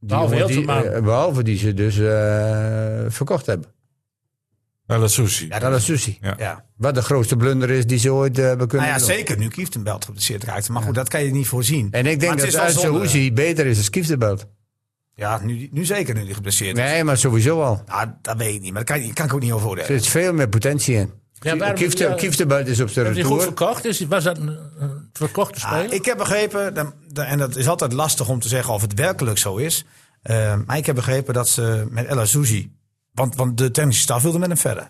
[SPEAKER 6] die,
[SPEAKER 2] Behalve
[SPEAKER 6] jongen die,
[SPEAKER 2] Hilterman.
[SPEAKER 6] eh, behalve die ze dus eh, verkocht hebben.
[SPEAKER 5] Wel Nou, dat sushi.
[SPEAKER 6] Ja, dat is Susie.
[SPEAKER 5] Ja.
[SPEAKER 1] Ja.
[SPEAKER 6] Wat de grootste blunder is die ze ooit eh, hebben kunnen
[SPEAKER 1] Nou ja,
[SPEAKER 6] doen.
[SPEAKER 1] zeker. Nu Kieftenbelt geblesseerd raakt. Maar goed, dat kan je niet voorzien.
[SPEAKER 6] En ik denk
[SPEAKER 1] Maar het
[SPEAKER 6] dat
[SPEAKER 1] is wel
[SPEAKER 6] uit
[SPEAKER 1] zonde.
[SPEAKER 6] Saoezi beter is als Kieftenbelt.
[SPEAKER 1] Ja, nu, nu zeker nu die geblesseerd is.
[SPEAKER 6] Nee, maar sowieso al.
[SPEAKER 1] Nou, dat weet ik niet. Maar daar kan, daar kan ik ook niet over
[SPEAKER 6] Er
[SPEAKER 1] oordelen.
[SPEAKER 6] is veel meer potentie in.
[SPEAKER 2] Ja, waarom-
[SPEAKER 6] Kiefte-
[SPEAKER 2] ja.
[SPEAKER 6] Kieftenbelt is op zijn
[SPEAKER 2] Hebben ze die goed
[SPEAKER 6] retour.
[SPEAKER 2] verkocht? Is, was dat een, een verkochte
[SPEAKER 1] Ah,
[SPEAKER 2] speler?
[SPEAKER 1] ik heb begrepen, dan- dan- en dat is altijd lastig om te zeggen of het werkelijk zo is. eh, maar ik heb begrepen dat ze met El Azouzi, want, want de technische staf wilde met hem verder.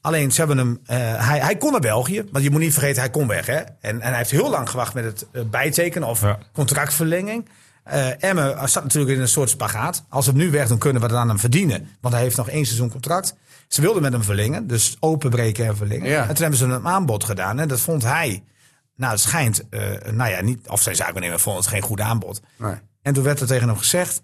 [SPEAKER 1] Alleen ze hebben hem, eh, hij, hij kon naar België, want je moet niet vergeten, hij kon weg. Hè? En, en hij heeft heel lang gewacht met het eh, bijtekenen of
[SPEAKER 5] Ja.
[SPEAKER 1] contractverlenging. Eh Emme zat natuurlijk in een soort spagaat. Als we hem nu weg doen, kunnen we het aan hem verdienen. Want hij heeft nog één seizoen contract. Ze wilden met hem verlengen, dus openbreken en verlengen.
[SPEAKER 6] Ja.
[SPEAKER 1] En toen hebben ze een aanbod gedaan en dat vond hij nou, het schijnt, eh, nou ja, niet, of zijn zakennemer vond het geen goed aanbod.
[SPEAKER 6] Nee.
[SPEAKER 1] En toen werd er tegen hem gezegd,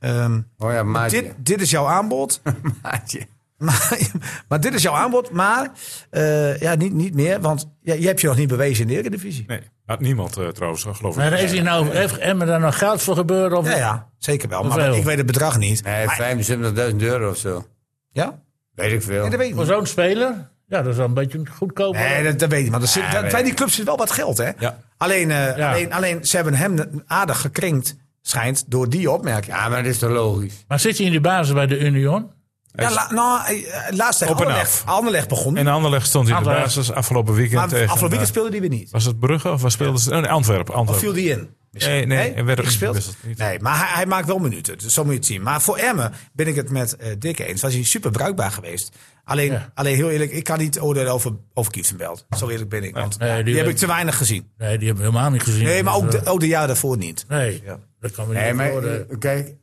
[SPEAKER 1] ehm,
[SPEAKER 6] Oh ja, Maatje.
[SPEAKER 1] dit, dit is jouw aanbod,
[SPEAKER 6] Maatje.
[SPEAKER 1] maar, maar dit is jouw aanbod, maar eh, ja, niet, niet meer, want ja, je hebt je nog niet bewezen in de Eredivisie.
[SPEAKER 5] Nee, had niemand eh, trouwens, hoor, geloof ik.
[SPEAKER 2] maar is hij nou, heeft Emmen daar nog geld voor gebeuren? Of,
[SPEAKER 1] Ja, ja, zeker wel, maar
[SPEAKER 2] Hoeveel?
[SPEAKER 1] ik weet het bedrag niet.
[SPEAKER 6] Nee,
[SPEAKER 1] Maar-
[SPEAKER 6] 75.000 Eh, euro of zo.
[SPEAKER 1] ja?
[SPEAKER 6] Weet ik veel.
[SPEAKER 1] Nee, dat weet ik
[SPEAKER 2] Voor
[SPEAKER 1] niet.
[SPEAKER 2] zo'n speler? Ja, dat is wel een beetje goedkoop.
[SPEAKER 1] Nee, dat, dat weet ik niet, want er zit, dat- bij die club zit wel wat geld, hè?
[SPEAKER 5] Ja.
[SPEAKER 1] Alleen, eh,
[SPEAKER 2] Ja.
[SPEAKER 1] alleen, alleen, ze hebben hem aardig gekrinkt, schijnt, door die opmerking.
[SPEAKER 6] Ja, maar dat is toch logisch?
[SPEAKER 2] Maar zit hij in de basis bij de Union?
[SPEAKER 1] Ja, la, nou, eh, eh, laatst tegen
[SPEAKER 5] Op en
[SPEAKER 1] Anderlecht, Anderlecht begon.
[SPEAKER 5] In Anderlecht stond hij in de
[SPEAKER 2] Anderlecht.
[SPEAKER 5] basis afgelopen weekend
[SPEAKER 1] Maar
[SPEAKER 5] tegen...
[SPEAKER 1] afgelopen weekend
[SPEAKER 5] eh,
[SPEAKER 1] speelde die weer niet.
[SPEAKER 5] was het Brugge of waar speelden ze? Oh, nee, Antwerpen.
[SPEAKER 1] Of
[SPEAKER 5] Antwerpen.
[SPEAKER 1] viel die in? Misschien.
[SPEAKER 5] Nee, nee, er werd ook
[SPEAKER 1] gespeeld.
[SPEAKER 5] niet gewisseld, niet.
[SPEAKER 1] Nee, maar hij, hij maakt wel minuten. Dus zo moet je het zien. Maar voor Emmen ben ik het met eh Dick eens. Was hij super bruikbaar geweest. Alleen,
[SPEAKER 2] Ja.
[SPEAKER 1] alleen heel eerlijk, ik kan niet oordelen over, over Kieftenbelt. Zo eerlijk ben ik. Want
[SPEAKER 2] Nee, die
[SPEAKER 1] die, heb
[SPEAKER 2] werd-
[SPEAKER 1] ik te weinig gezien.
[SPEAKER 2] Nee, die hebben we helemaal niet gezien.
[SPEAKER 1] Nee, maar ook
[SPEAKER 2] Dus,
[SPEAKER 1] de, ook de jaar daarvoor niet.
[SPEAKER 2] eh, Nee, dat kan we niet
[SPEAKER 6] Nee, maar
[SPEAKER 2] worden.
[SPEAKER 6] eh, kijk.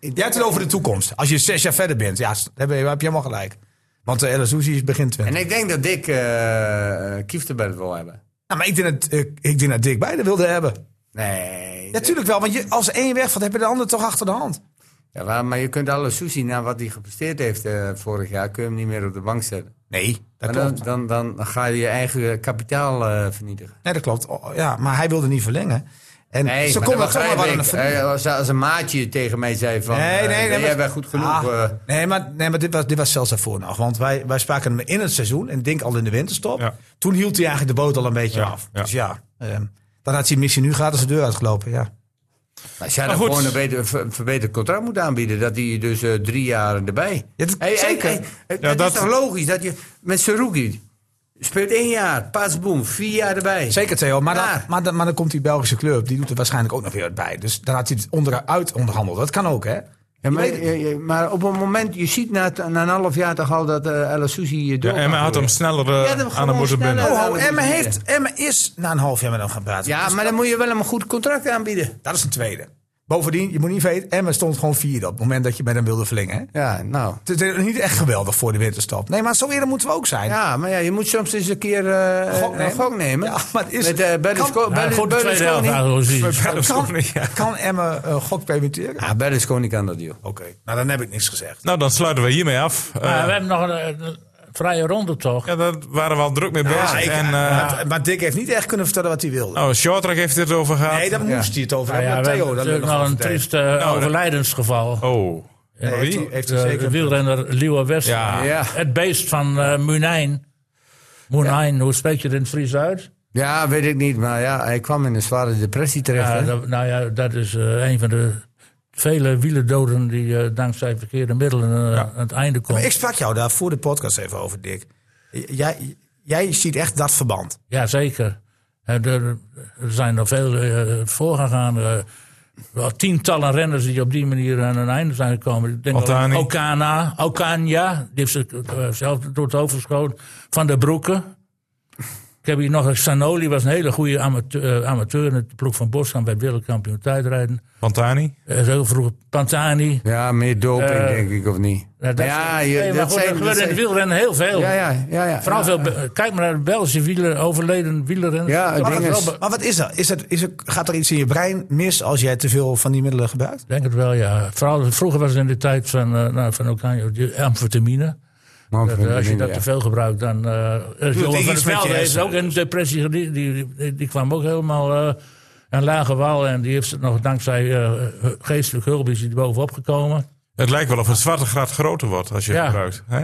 [SPEAKER 1] Jij hebt het over de toekomst. Als je zes jaar verder bent, ja, s- heb je, heb je helemaal gelijk. Want de El Azouzi is begin 20.
[SPEAKER 6] En ik denk dat Dick eh Kieftenbelt wil hebben.
[SPEAKER 1] Nou, maar ik denk, dat, eh, ik denk dat Dick beide wilde hebben.
[SPEAKER 6] Nee.
[SPEAKER 1] Natuurlijk wel, want je, als één wegvalt, heb je de ander toch achter de hand.
[SPEAKER 6] Ja, maar, maar je kunt alle sushi na wat hij gepresteerd heeft eh, vorig jaar, kun je hem niet meer op de bank zetten.
[SPEAKER 1] Nee, dat
[SPEAKER 6] Maar
[SPEAKER 1] klopt.
[SPEAKER 6] dan, dan, dan ga je je eigen kapitaal eh, vernietigen.
[SPEAKER 1] Nee, dat klopt. Oh, ja, maar hij wilde niet verlengen. En
[SPEAKER 6] Nee,
[SPEAKER 1] ze
[SPEAKER 6] maar
[SPEAKER 1] konden
[SPEAKER 6] dat
[SPEAKER 1] het toch maar
[SPEAKER 6] begrijp
[SPEAKER 1] wat aan de
[SPEAKER 6] ik.
[SPEAKER 1] verliezen.
[SPEAKER 6] Eh, als, als een maatje tegen mij zei van, eh,
[SPEAKER 1] Nee, nee, nee.
[SPEAKER 6] jij
[SPEAKER 1] maar-
[SPEAKER 6] bent goed genoeg.
[SPEAKER 1] Ah,
[SPEAKER 6] eh,
[SPEAKER 1] nee, maar, nee, maar dit was, dit was zelfs daarvoor nog. Want wij, wij spraken hem in het seizoen en denk al in de winterstop.
[SPEAKER 5] Ja.
[SPEAKER 1] Toen hield hij eigenlijk de boot al een beetje
[SPEAKER 5] Ja,
[SPEAKER 1] af.
[SPEAKER 5] ja.
[SPEAKER 1] Dus ja, ehm, dan had hij missie nu gratis de deur uitgelopen. Ja.
[SPEAKER 6] Als jij
[SPEAKER 5] Maar
[SPEAKER 6] dan
[SPEAKER 5] goed.
[SPEAKER 6] gewoon een, beter, ver- een verbeterd contract moet aanbieden, dat hij dus eh, drie jaar erbij.
[SPEAKER 1] Ja, dat-
[SPEAKER 6] Hey, hey,
[SPEAKER 1] zeker.
[SPEAKER 6] hey, het-
[SPEAKER 5] Ja,
[SPEAKER 6] het
[SPEAKER 5] dat-
[SPEAKER 6] is toch logisch dat je met Saruki speelt één jaar, pas boom, vier jaar erbij.
[SPEAKER 1] Zeker Theo, maar,
[SPEAKER 6] Ja.
[SPEAKER 1] dan, maar, dan, maar dan komt die Belgische club, die doet er waarschijnlijk ook nog weer wat bij. Dus dan had hij het onderuit onderhandeld. Dat kan ook, hè?
[SPEAKER 6] Ja, maar,
[SPEAKER 1] Je weet het
[SPEAKER 6] je- je- maar op een moment, je ziet na, het- na een half jaar toch al dat eh El Asusi eh, door.
[SPEAKER 5] Ja, en hij had hem sneller eh,
[SPEAKER 6] Ja, dat
[SPEAKER 5] aan de
[SPEAKER 6] gewoon
[SPEAKER 5] moeten
[SPEAKER 6] sneller.
[SPEAKER 5] binden.
[SPEAKER 1] Oh,
[SPEAKER 6] laten
[SPEAKER 1] oh,
[SPEAKER 6] we
[SPEAKER 1] Emma,
[SPEAKER 6] het
[SPEAKER 1] heeft, Emma is na een half jaar met hem gaan praten.
[SPEAKER 6] Ja,
[SPEAKER 1] Dus
[SPEAKER 6] maar dan moet je wel hem een goed contract aanbieden.
[SPEAKER 1] dat is een tweede. Bovendien, je moet niet weten, Emma stond gewoon vierde op het moment dat je met hem wilde verlengen. Hè?
[SPEAKER 6] Ja, nou.
[SPEAKER 1] Het is niet echt geweldig voor de winterstop. Nee, maar zo eerder moeten we ook zijn.
[SPEAKER 6] Ja, maar ja, je moet soms eens een keer eh
[SPEAKER 1] Gok
[SPEAKER 6] een
[SPEAKER 1] nemen.
[SPEAKER 6] gok nemen.
[SPEAKER 1] Ja, maar het is-
[SPEAKER 6] Met eh Berlusco-
[SPEAKER 1] Kan-
[SPEAKER 2] Nou,
[SPEAKER 6] Berlus-
[SPEAKER 2] goed, de tweede helft
[SPEAKER 6] Berlusconi.
[SPEAKER 2] laten we zien.
[SPEAKER 1] Kan, kan Emme eh, gok permitteren?
[SPEAKER 6] Ja, Berlusconi kan dat, joh.
[SPEAKER 1] Oké, nou dan heb ik niks gezegd.
[SPEAKER 5] Nou, dan sluiten we hiermee af. Eh,
[SPEAKER 2] Maar we hebben nog een, een vrije ronde toch?
[SPEAKER 5] ja, daar waren we al druk mee bezig.
[SPEAKER 1] ik-
[SPEAKER 5] en, eh,
[SPEAKER 1] maar, maar Dick heeft niet echt kunnen vertellen wat hij wilde.
[SPEAKER 5] nou, Shortrack heeft dit over gehad.
[SPEAKER 1] nee, daar moest hij het over
[SPEAKER 2] Nou
[SPEAKER 1] hebben.
[SPEAKER 2] ja,
[SPEAKER 1] met
[SPEAKER 2] we
[SPEAKER 1] Theo,
[SPEAKER 2] hebben
[SPEAKER 1] dat wil ik
[SPEAKER 2] natuurlijk
[SPEAKER 1] nog
[SPEAKER 2] nog een
[SPEAKER 1] vertellen.
[SPEAKER 2] triest eh,
[SPEAKER 5] dat-
[SPEAKER 2] overlijdensgeval.
[SPEAKER 5] Oh,
[SPEAKER 2] Ja,
[SPEAKER 1] Nee, heeft hij- heeft hij
[SPEAKER 2] de-
[SPEAKER 1] zeker.
[SPEAKER 2] de wielrenner Liewe West.
[SPEAKER 5] Ja.
[SPEAKER 6] Ja.
[SPEAKER 2] Het beest van eh Munijn. Munijn, hoe spreek je het in het Fries uit?
[SPEAKER 6] Ja, weet ik niet. Maar ja, hij kwam in een zware depressie terecht.
[SPEAKER 2] Ja,
[SPEAKER 6] hè?
[SPEAKER 2] dat- nou ja, dat is eh, een van de vele wielerdoden die eh, dankzij verkeerde middelen eh, aan het einde
[SPEAKER 1] Maar
[SPEAKER 2] komt.
[SPEAKER 1] ik sprak jou daar voor de podcast even over, Dick. J- Jij, jij ziet echt dat verband.
[SPEAKER 2] Ja, zeker. En er er zijn er veel eh, voorgegaan. eh, wel tientallen renners die op die manier aan een einde zijn gekomen. Ik denk al aan
[SPEAKER 5] Altani.
[SPEAKER 2] Okana, Okanja, die heeft zichzelf door het hoofd geschoten. Van der Broeken. Ik heb hier nog een Sanoli, was een hele goede amateur, eh, amateur in de ploeg van Boskamp bij het wereldkampioen tijdrijden.
[SPEAKER 5] Pantani?
[SPEAKER 2] Eh, heel vroeg Pantani.
[SPEAKER 6] Ja, meer doping,
[SPEAKER 2] Eh,
[SPEAKER 6] denk ik, of niet?
[SPEAKER 2] Nou, dat
[SPEAKER 6] ja,
[SPEAKER 2] zijn-
[SPEAKER 6] je-
[SPEAKER 2] nee, maar
[SPEAKER 6] dat
[SPEAKER 2] goed,
[SPEAKER 6] zijn-
[SPEAKER 2] er
[SPEAKER 6] dat
[SPEAKER 2] gebeurt in
[SPEAKER 6] zijn-
[SPEAKER 2] het wielrennen heel veel.
[SPEAKER 6] Ja, ja, ja. ja.
[SPEAKER 2] Vooral
[SPEAKER 6] Ja.
[SPEAKER 2] veel, be- kijk maar naar de Belgische wieler, overleden wielrenners.
[SPEAKER 6] Ja, het
[SPEAKER 2] Toch
[SPEAKER 6] ding
[SPEAKER 2] wel
[SPEAKER 6] is-
[SPEAKER 2] be-
[SPEAKER 1] Maar wat is dat? Is het, is het, gaat er iets in je brein mis als jij te veel van die middelen gebruikt?
[SPEAKER 2] Ik denk het wel, ja. Vooral vroeger was het in de tijd van, eh nou, van Okanjo, die amfetamine.
[SPEAKER 6] Man,
[SPEAKER 2] Dat, eh,
[SPEAKER 6] vriendin,
[SPEAKER 2] als je dat
[SPEAKER 6] ja.
[SPEAKER 2] te veel gebruikt, dan... eh eh, Johan
[SPEAKER 1] iets
[SPEAKER 2] van
[SPEAKER 1] met
[SPEAKER 2] der
[SPEAKER 1] je
[SPEAKER 2] Velde heeft
[SPEAKER 1] hersenen.
[SPEAKER 2] ook een depressie. Die, die, die, die kwam ook helemaal eh aan lage wal. En die heeft het nog dankzij eh geestelijk hulp is hij er bovenop gekomen.
[SPEAKER 5] Het lijkt wel of het zwarte graad groter wordt als je
[SPEAKER 2] Ja.
[SPEAKER 5] het gebruikt. Hè?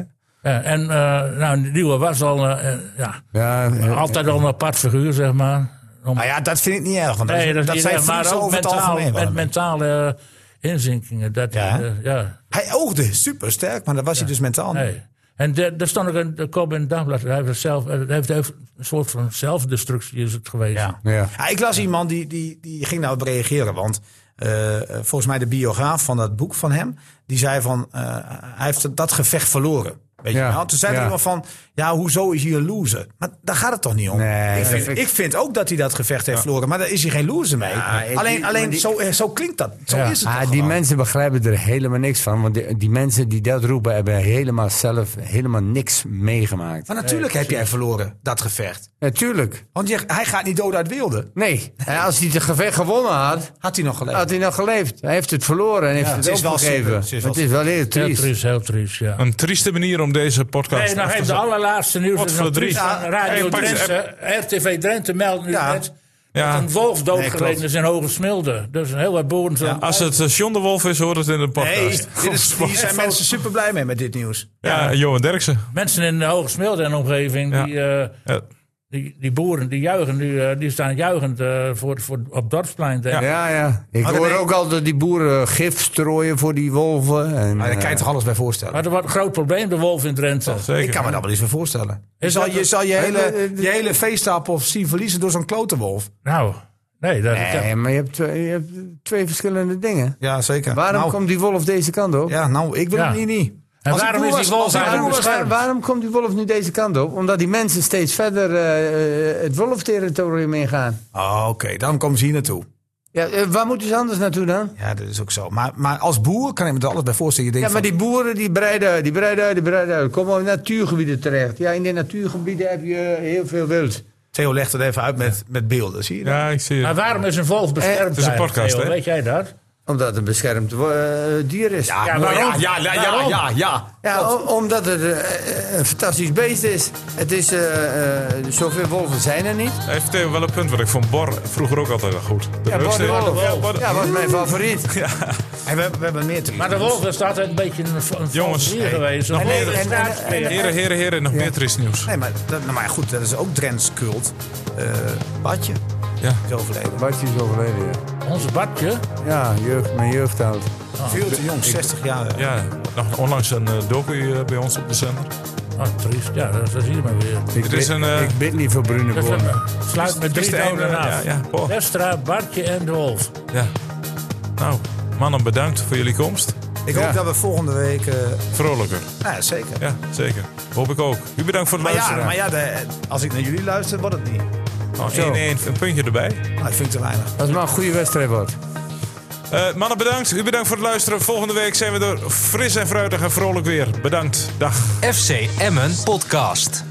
[SPEAKER 2] Ja, en eh nou, Nieuwe was al eh, eh, ja,
[SPEAKER 6] Ja, eh,
[SPEAKER 2] altijd al een apart figuur, zeg maar. Om-
[SPEAKER 1] Nou ja, dat vind ik niet erg. Want dat,
[SPEAKER 2] Nee, dat,
[SPEAKER 1] dat
[SPEAKER 2] is
[SPEAKER 1] zijn
[SPEAKER 2] niet erg,
[SPEAKER 1] vrienden
[SPEAKER 2] maar ook
[SPEAKER 1] over het
[SPEAKER 2] mentaal,
[SPEAKER 1] algemeen wel
[SPEAKER 2] met
[SPEAKER 1] een beetje.
[SPEAKER 2] mentale eh, inzinkingen. Dat,
[SPEAKER 1] Ja.
[SPEAKER 2] eh, ja,
[SPEAKER 1] Hij oogde super sterk, maar dat was hij dus mentaal niet.
[SPEAKER 2] Nee. En daar daar stond ook een de kop in het dagblad. Hij heeft, het zelf, eh, hij heeft heeft een soort van zelfdestructie is het geweest.
[SPEAKER 1] Ja.
[SPEAKER 6] ja.
[SPEAKER 1] Ja, ik las iemand die, die, die ging daarop reageren. Want eh, volgens mij de biograaf van dat boek van hem, die zei van eh, hij heeft dat gevecht verloren. Weet
[SPEAKER 6] Ja,
[SPEAKER 1] je wel? Toen zei er
[SPEAKER 6] ja.
[SPEAKER 1] iemand van, ja, hoezo is hij een loser? Maar daar gaat het toch niet om?
[SPEAKER 6] Nee,
[SPEAKER 1] ik,
[SPEAKER 6] dat
[SPEAKER 1] vind,
[SPEAKER 6] vind
[SPEAKER 1] ik vind ook dat hij dat gevecht heeft verloren, maar daar is hij geen loser mee.
[SPEAKER 6] en
[SPEAKER 1] alleen
[SPEAKER 6] die-
[SPEAKER 1] alleen
[SPEAKER 6] maar die-
[SPEAKER 1] zo, eh, zo klinkt dat. Zo
[SPEAKER 2] Ja.
[SPEAKER 1] is het
[SPEAKER 6] Ah,
[SPEAKER 1] toch
[SPEAKER 6] die
[SPEAKER 1] gewoon.
[SPEAKER 6] mensen begrijpen er helemaal niks van. Want die, die mensen die dat roepen hebben helemaal zelf helemaal niks meegemaakt.
[SPEAKER 1] Maar natuurlijk heb jij verloren, dat gevecht.
[SPEAKER 6] Natuurlijk.
[SPEAKER 1] Want je, hij gaat niet dood uit wilde.
[SPEAKER 6] nee. En als hij het gevecht gewonnen had,
[SPEAKER 1] Had hij nog gelijk.
[SPEAKER 6] had hij nog geleefd. Hij heeft het verloren en heeft het,
[SPEAKER 1] het is wel
[SPEAKER 6] opgegeven.
[SPEAKER 1] super. Het is wel
[SPEAKER 6] het is wel heel
[SPEAKER 2] Heel
[SPEAKER 6] triest.
[SPEAKER 2] triest, heel triest, ja.
[SPEAKER 5] Een trieste manier om deze podcast
[SPEAKER 1] nou,
[SPEAKER 2] Nee, nog
[SPEAKER 5] af te
[SPEAKER 2] even de
[SPEAKER 5] zetten.
[SPEAKER 2] allerlaatste nieuws.
[SPEAKER 5] Wat
[SPEAKER 2] Dat is
[SPEAKER 5] voor
[SPEAKER 2] nog triest
[SPEAKER 5] drie?
[SPEAKER 2] aan Radio
[SPEAKER 5] Hey, pak eens,
[SPEAKER 2] Drenthe, RTV Drenthe meldt nu
[SPEAKER 1] Ja.
[SPEAKER 2] net
[SPEAKER 5] Ja.
[SPEAKER 2] dat een wolf doodgereden
[SPEAKER 1] Nee, klopt.
[SPEAKER 2] is in Hogesmilde. Dus een heel wat boeren zijn.
[SPEAKER 5] Als het eh, John de Wolf is, hoort het in de
[SPEAKER 1] Nee,
[SPEAKER 5] podcast.
[SPEAKER 1] dit is, hier zijn mensen super blij mee met dit nieuws.
[SPEAKER 5] Ja, Johan Derksen.
[SPEAKER 2] Mensen in Hogesmilde en omgeving,
[SPEAKER 5] Ja.
[SPEAKER 2] die, eh,
[SPEAKER 5] Ja.
[SPEAKER 2] die, die boeren, die juichen nu, eh, die staan juichend eh, voor, voor, op Dorpsplein. denk ik.
[SPEAKER 6] Ja, ja. Ik hoor
[SPEAKER 1] nee.
[SPEAKER 6] ook altijd die boeren gif strooien voor die wolven. En,
[SPEAKER 1] Maar daar kan
[SPEAKER 6] eh,
[SPEAKER 1] je toch alles bij voorstellen.
[SPEAKER 2] Maar dat wordt een groot probleem, de wolf in Drenthe.
[SPEAKER 5] Zeker.
[SPEAKER 1] Ik kan me daar wel eens voor voorstellen. Je
[SPEAKER 2] Is
[SPEAKER 1] zal
[SPEAKER 2] dat
[SPEAKER 1] je,
[SPEAKER 2] een-
[SPEAKER 1] zal je,
[SPEAKER 6] eh,
[SPEAKER 1] hele,
[SPEAKER 6] eh,
[SPEAKER 1] je hele feestapel zien verliezen door zo'n klotenwolf.
[SPEAKER 2] Nou, nee, dat is
[SPEAKER 6] nee, maar je hebt, twee- je hebt twee verschillende dingen.
[SPEAKER 1] Ja, zeker.
[SPEAKER 6] Waarom
[SPEAKER 1] nou,
[SPEAKER 6] komt die wolf deze kant op?
[SPEAKER 1] Ja, nou, ik wil
[SPEAKER 2] Ja.
[SPEAKER 1] het hier niet.
[SPEAKER 2] En
[SPEAKER 1] Als ik
[SPEAKER 2] waarom
[SPEAKER 1] moe
[SPEAKER 2] is die
[SPEAKER 1] was-
[SPEAKER 2] wolf
[SPEAKER 1] als ik
[SPEAKER 2] eigenlijk
[SPEAKER 1] moe was-
[SPEAKER 2] beschermd?
[SPEAKER 6] Waar- waarom komt die wolf nu deze kant op? Omdat die mensen steeds verder eh, eh, het wolfterritorium ingaan.
[SPEAKER 1] Oh, Oké, dan komen ze hier naartoe.
[SPEAKER 6] Ja, eh, waar moeten ze anders naartoe dan?
[SPEAKER 1] Ja, dat is ook zo. Maar, maar als boer kan ik me er alles bij voorstellen. Je
[SPEAKER 6] Ja,
[SPEAKER 1] denkt
[SPEAKER 6] maar die boeren die breiden uit, die breiden uit, die breiden uit. Komen in natuurgebieden terecht. Ja, in de natuurgebieden heb je heel veel wild.
[SPEAKER 1] van- Theo legt het even uit met, met beelden, zie je dat?
[SPEAKER 5] Ja, ik zie
[SPEAKER 2] Maar
[SPEAKER 5] het.
[SPEAKER 2] waarom is een wolf beschermd?
[SPEAKER 6] Eh, het
[SPEAKER 5] is een
[SPEAKER 2] eigenlijk,
[SPEAKER 5] podcast,
[SPEAKER 2] Theo?
[SPEAKER 5] hè?
[SPEAKER 2] Weet jij dat?
[SPEAKER 6] Omdat het een beschermd wo- eh, dier is. Ja,
[SPEAKER 2] Ja, waarom?
[SPEAKER 1] Ah, Ja, ja, ja,
[SPEAKER 2] Waarom?
[SPEAKER 1] ja, ja.
[SPEAKER 6] o- omdat het eh, een fantastisch beest is. Het is, eh, eh, zoveel wolven zijn er niet.
[SPEAKER 5] Even tegen wel een punt, want ik vond Bor vroeger ook altijd wel goed. De
[SPEAKER 6] Ja,
[SPEAKER 5] rust-
[SPEAKER 6] Bor de Wolf.
[SPEAKER 5] Ja, Bor de-
[SPEAKER 6] Ja, was mijn favoriet.
[SPEAKER 1] En we, we hebben meer te
[SPEAKER 2] Maar de wolf is altijd een beetje een, v- een
[SPEAKER 5] Jongens,
[SPEAKER 2] vals dier
[SPEAKER 5] hey,
[SPEAKER 2] geweest.
[SPEAKER 5] nog
[SPEAKER 2] Een
[SPEAKER 5] meer-
[SPEAKER 2] hele
[SPEAKER 5] en- en-
[SPEAKER 2] straatspiller.
[SPEAKER 5] Heren, heren, heren, nog meer triest nieuws.
[SPEAKER 1] Nee, maar, dat, nou, maar goed, dat is ook Drents cult. Eh, Badje
[SPEAKER 5] Ja.
[SPEAKER 1] is overleden.
[SPEAKER 6] Bartje is overleden, ja.
[SPEAKER 2] Onze badje.
[SPEAKER 6] Ja, jeugd, mijn jeugdheld.
[SPEAKER 1] Veel te jong, 60 jaar.
[SPEAKER 5] Ja, nog onlangs een eh, docu eh, bij ons op de zender.
[SPEAKER 2] Oh, triest. Ja, dat, dat zie je maar weer.
[SPEAKER 6] Ik,
[SPEAKER 5] Het is
[SPEAKER 6] bid-
[SPEAKER 5] een, eh,
[SPEAKER 6] ik bid niet voor Brune
[SPEAKER 2] Dat is
[SPEAKER 6] Boer.
[SPEAKER 2] een- sluit met
[SPEAKER 5] trieste
[SPEAKER 2] drie doden
[SPEAKER 5] einde,
[SPEAKER 2] af.
[SPEAKER 5] ja, ja, Paul.
[SPEAKER 2] Westra, Bartje en de wolf.
[SPEAKER 5] Ja. Nou, mannen, bedankt voor jullie komst.
[SPEAKER 1] Ik hoop dat we volgende week... eh,
[SPEAKER 5] Vrolijker.
[SPEAKER 1] nou, ja, zeker.
[SPEAKER 5] Ja, zeker. Hoop ik ook. U bedankt voor het
[SPEAKER 1] Maar ja,
[SPEAKER 5] luisteren.
[SPEAKER 1] maar ja de- als ik naar jullie luister, wordt het niet.
[SPEAKER 5] Oh, 1-1, een puntje erbij.
[SPEAKER 1] Nou, ik vind het te weinig.
[SPEAKER 6] Als het maar een goede wedstrijd wordt.
[SPEAKER 5] Eh, mannen, bedankt. U bedankt voor het luisteren. Volgende week zijn we er fris en fruitig en vrolijk weer. Bedankt. Dag.
[SPEAKER 4] FC Emmen Podcast.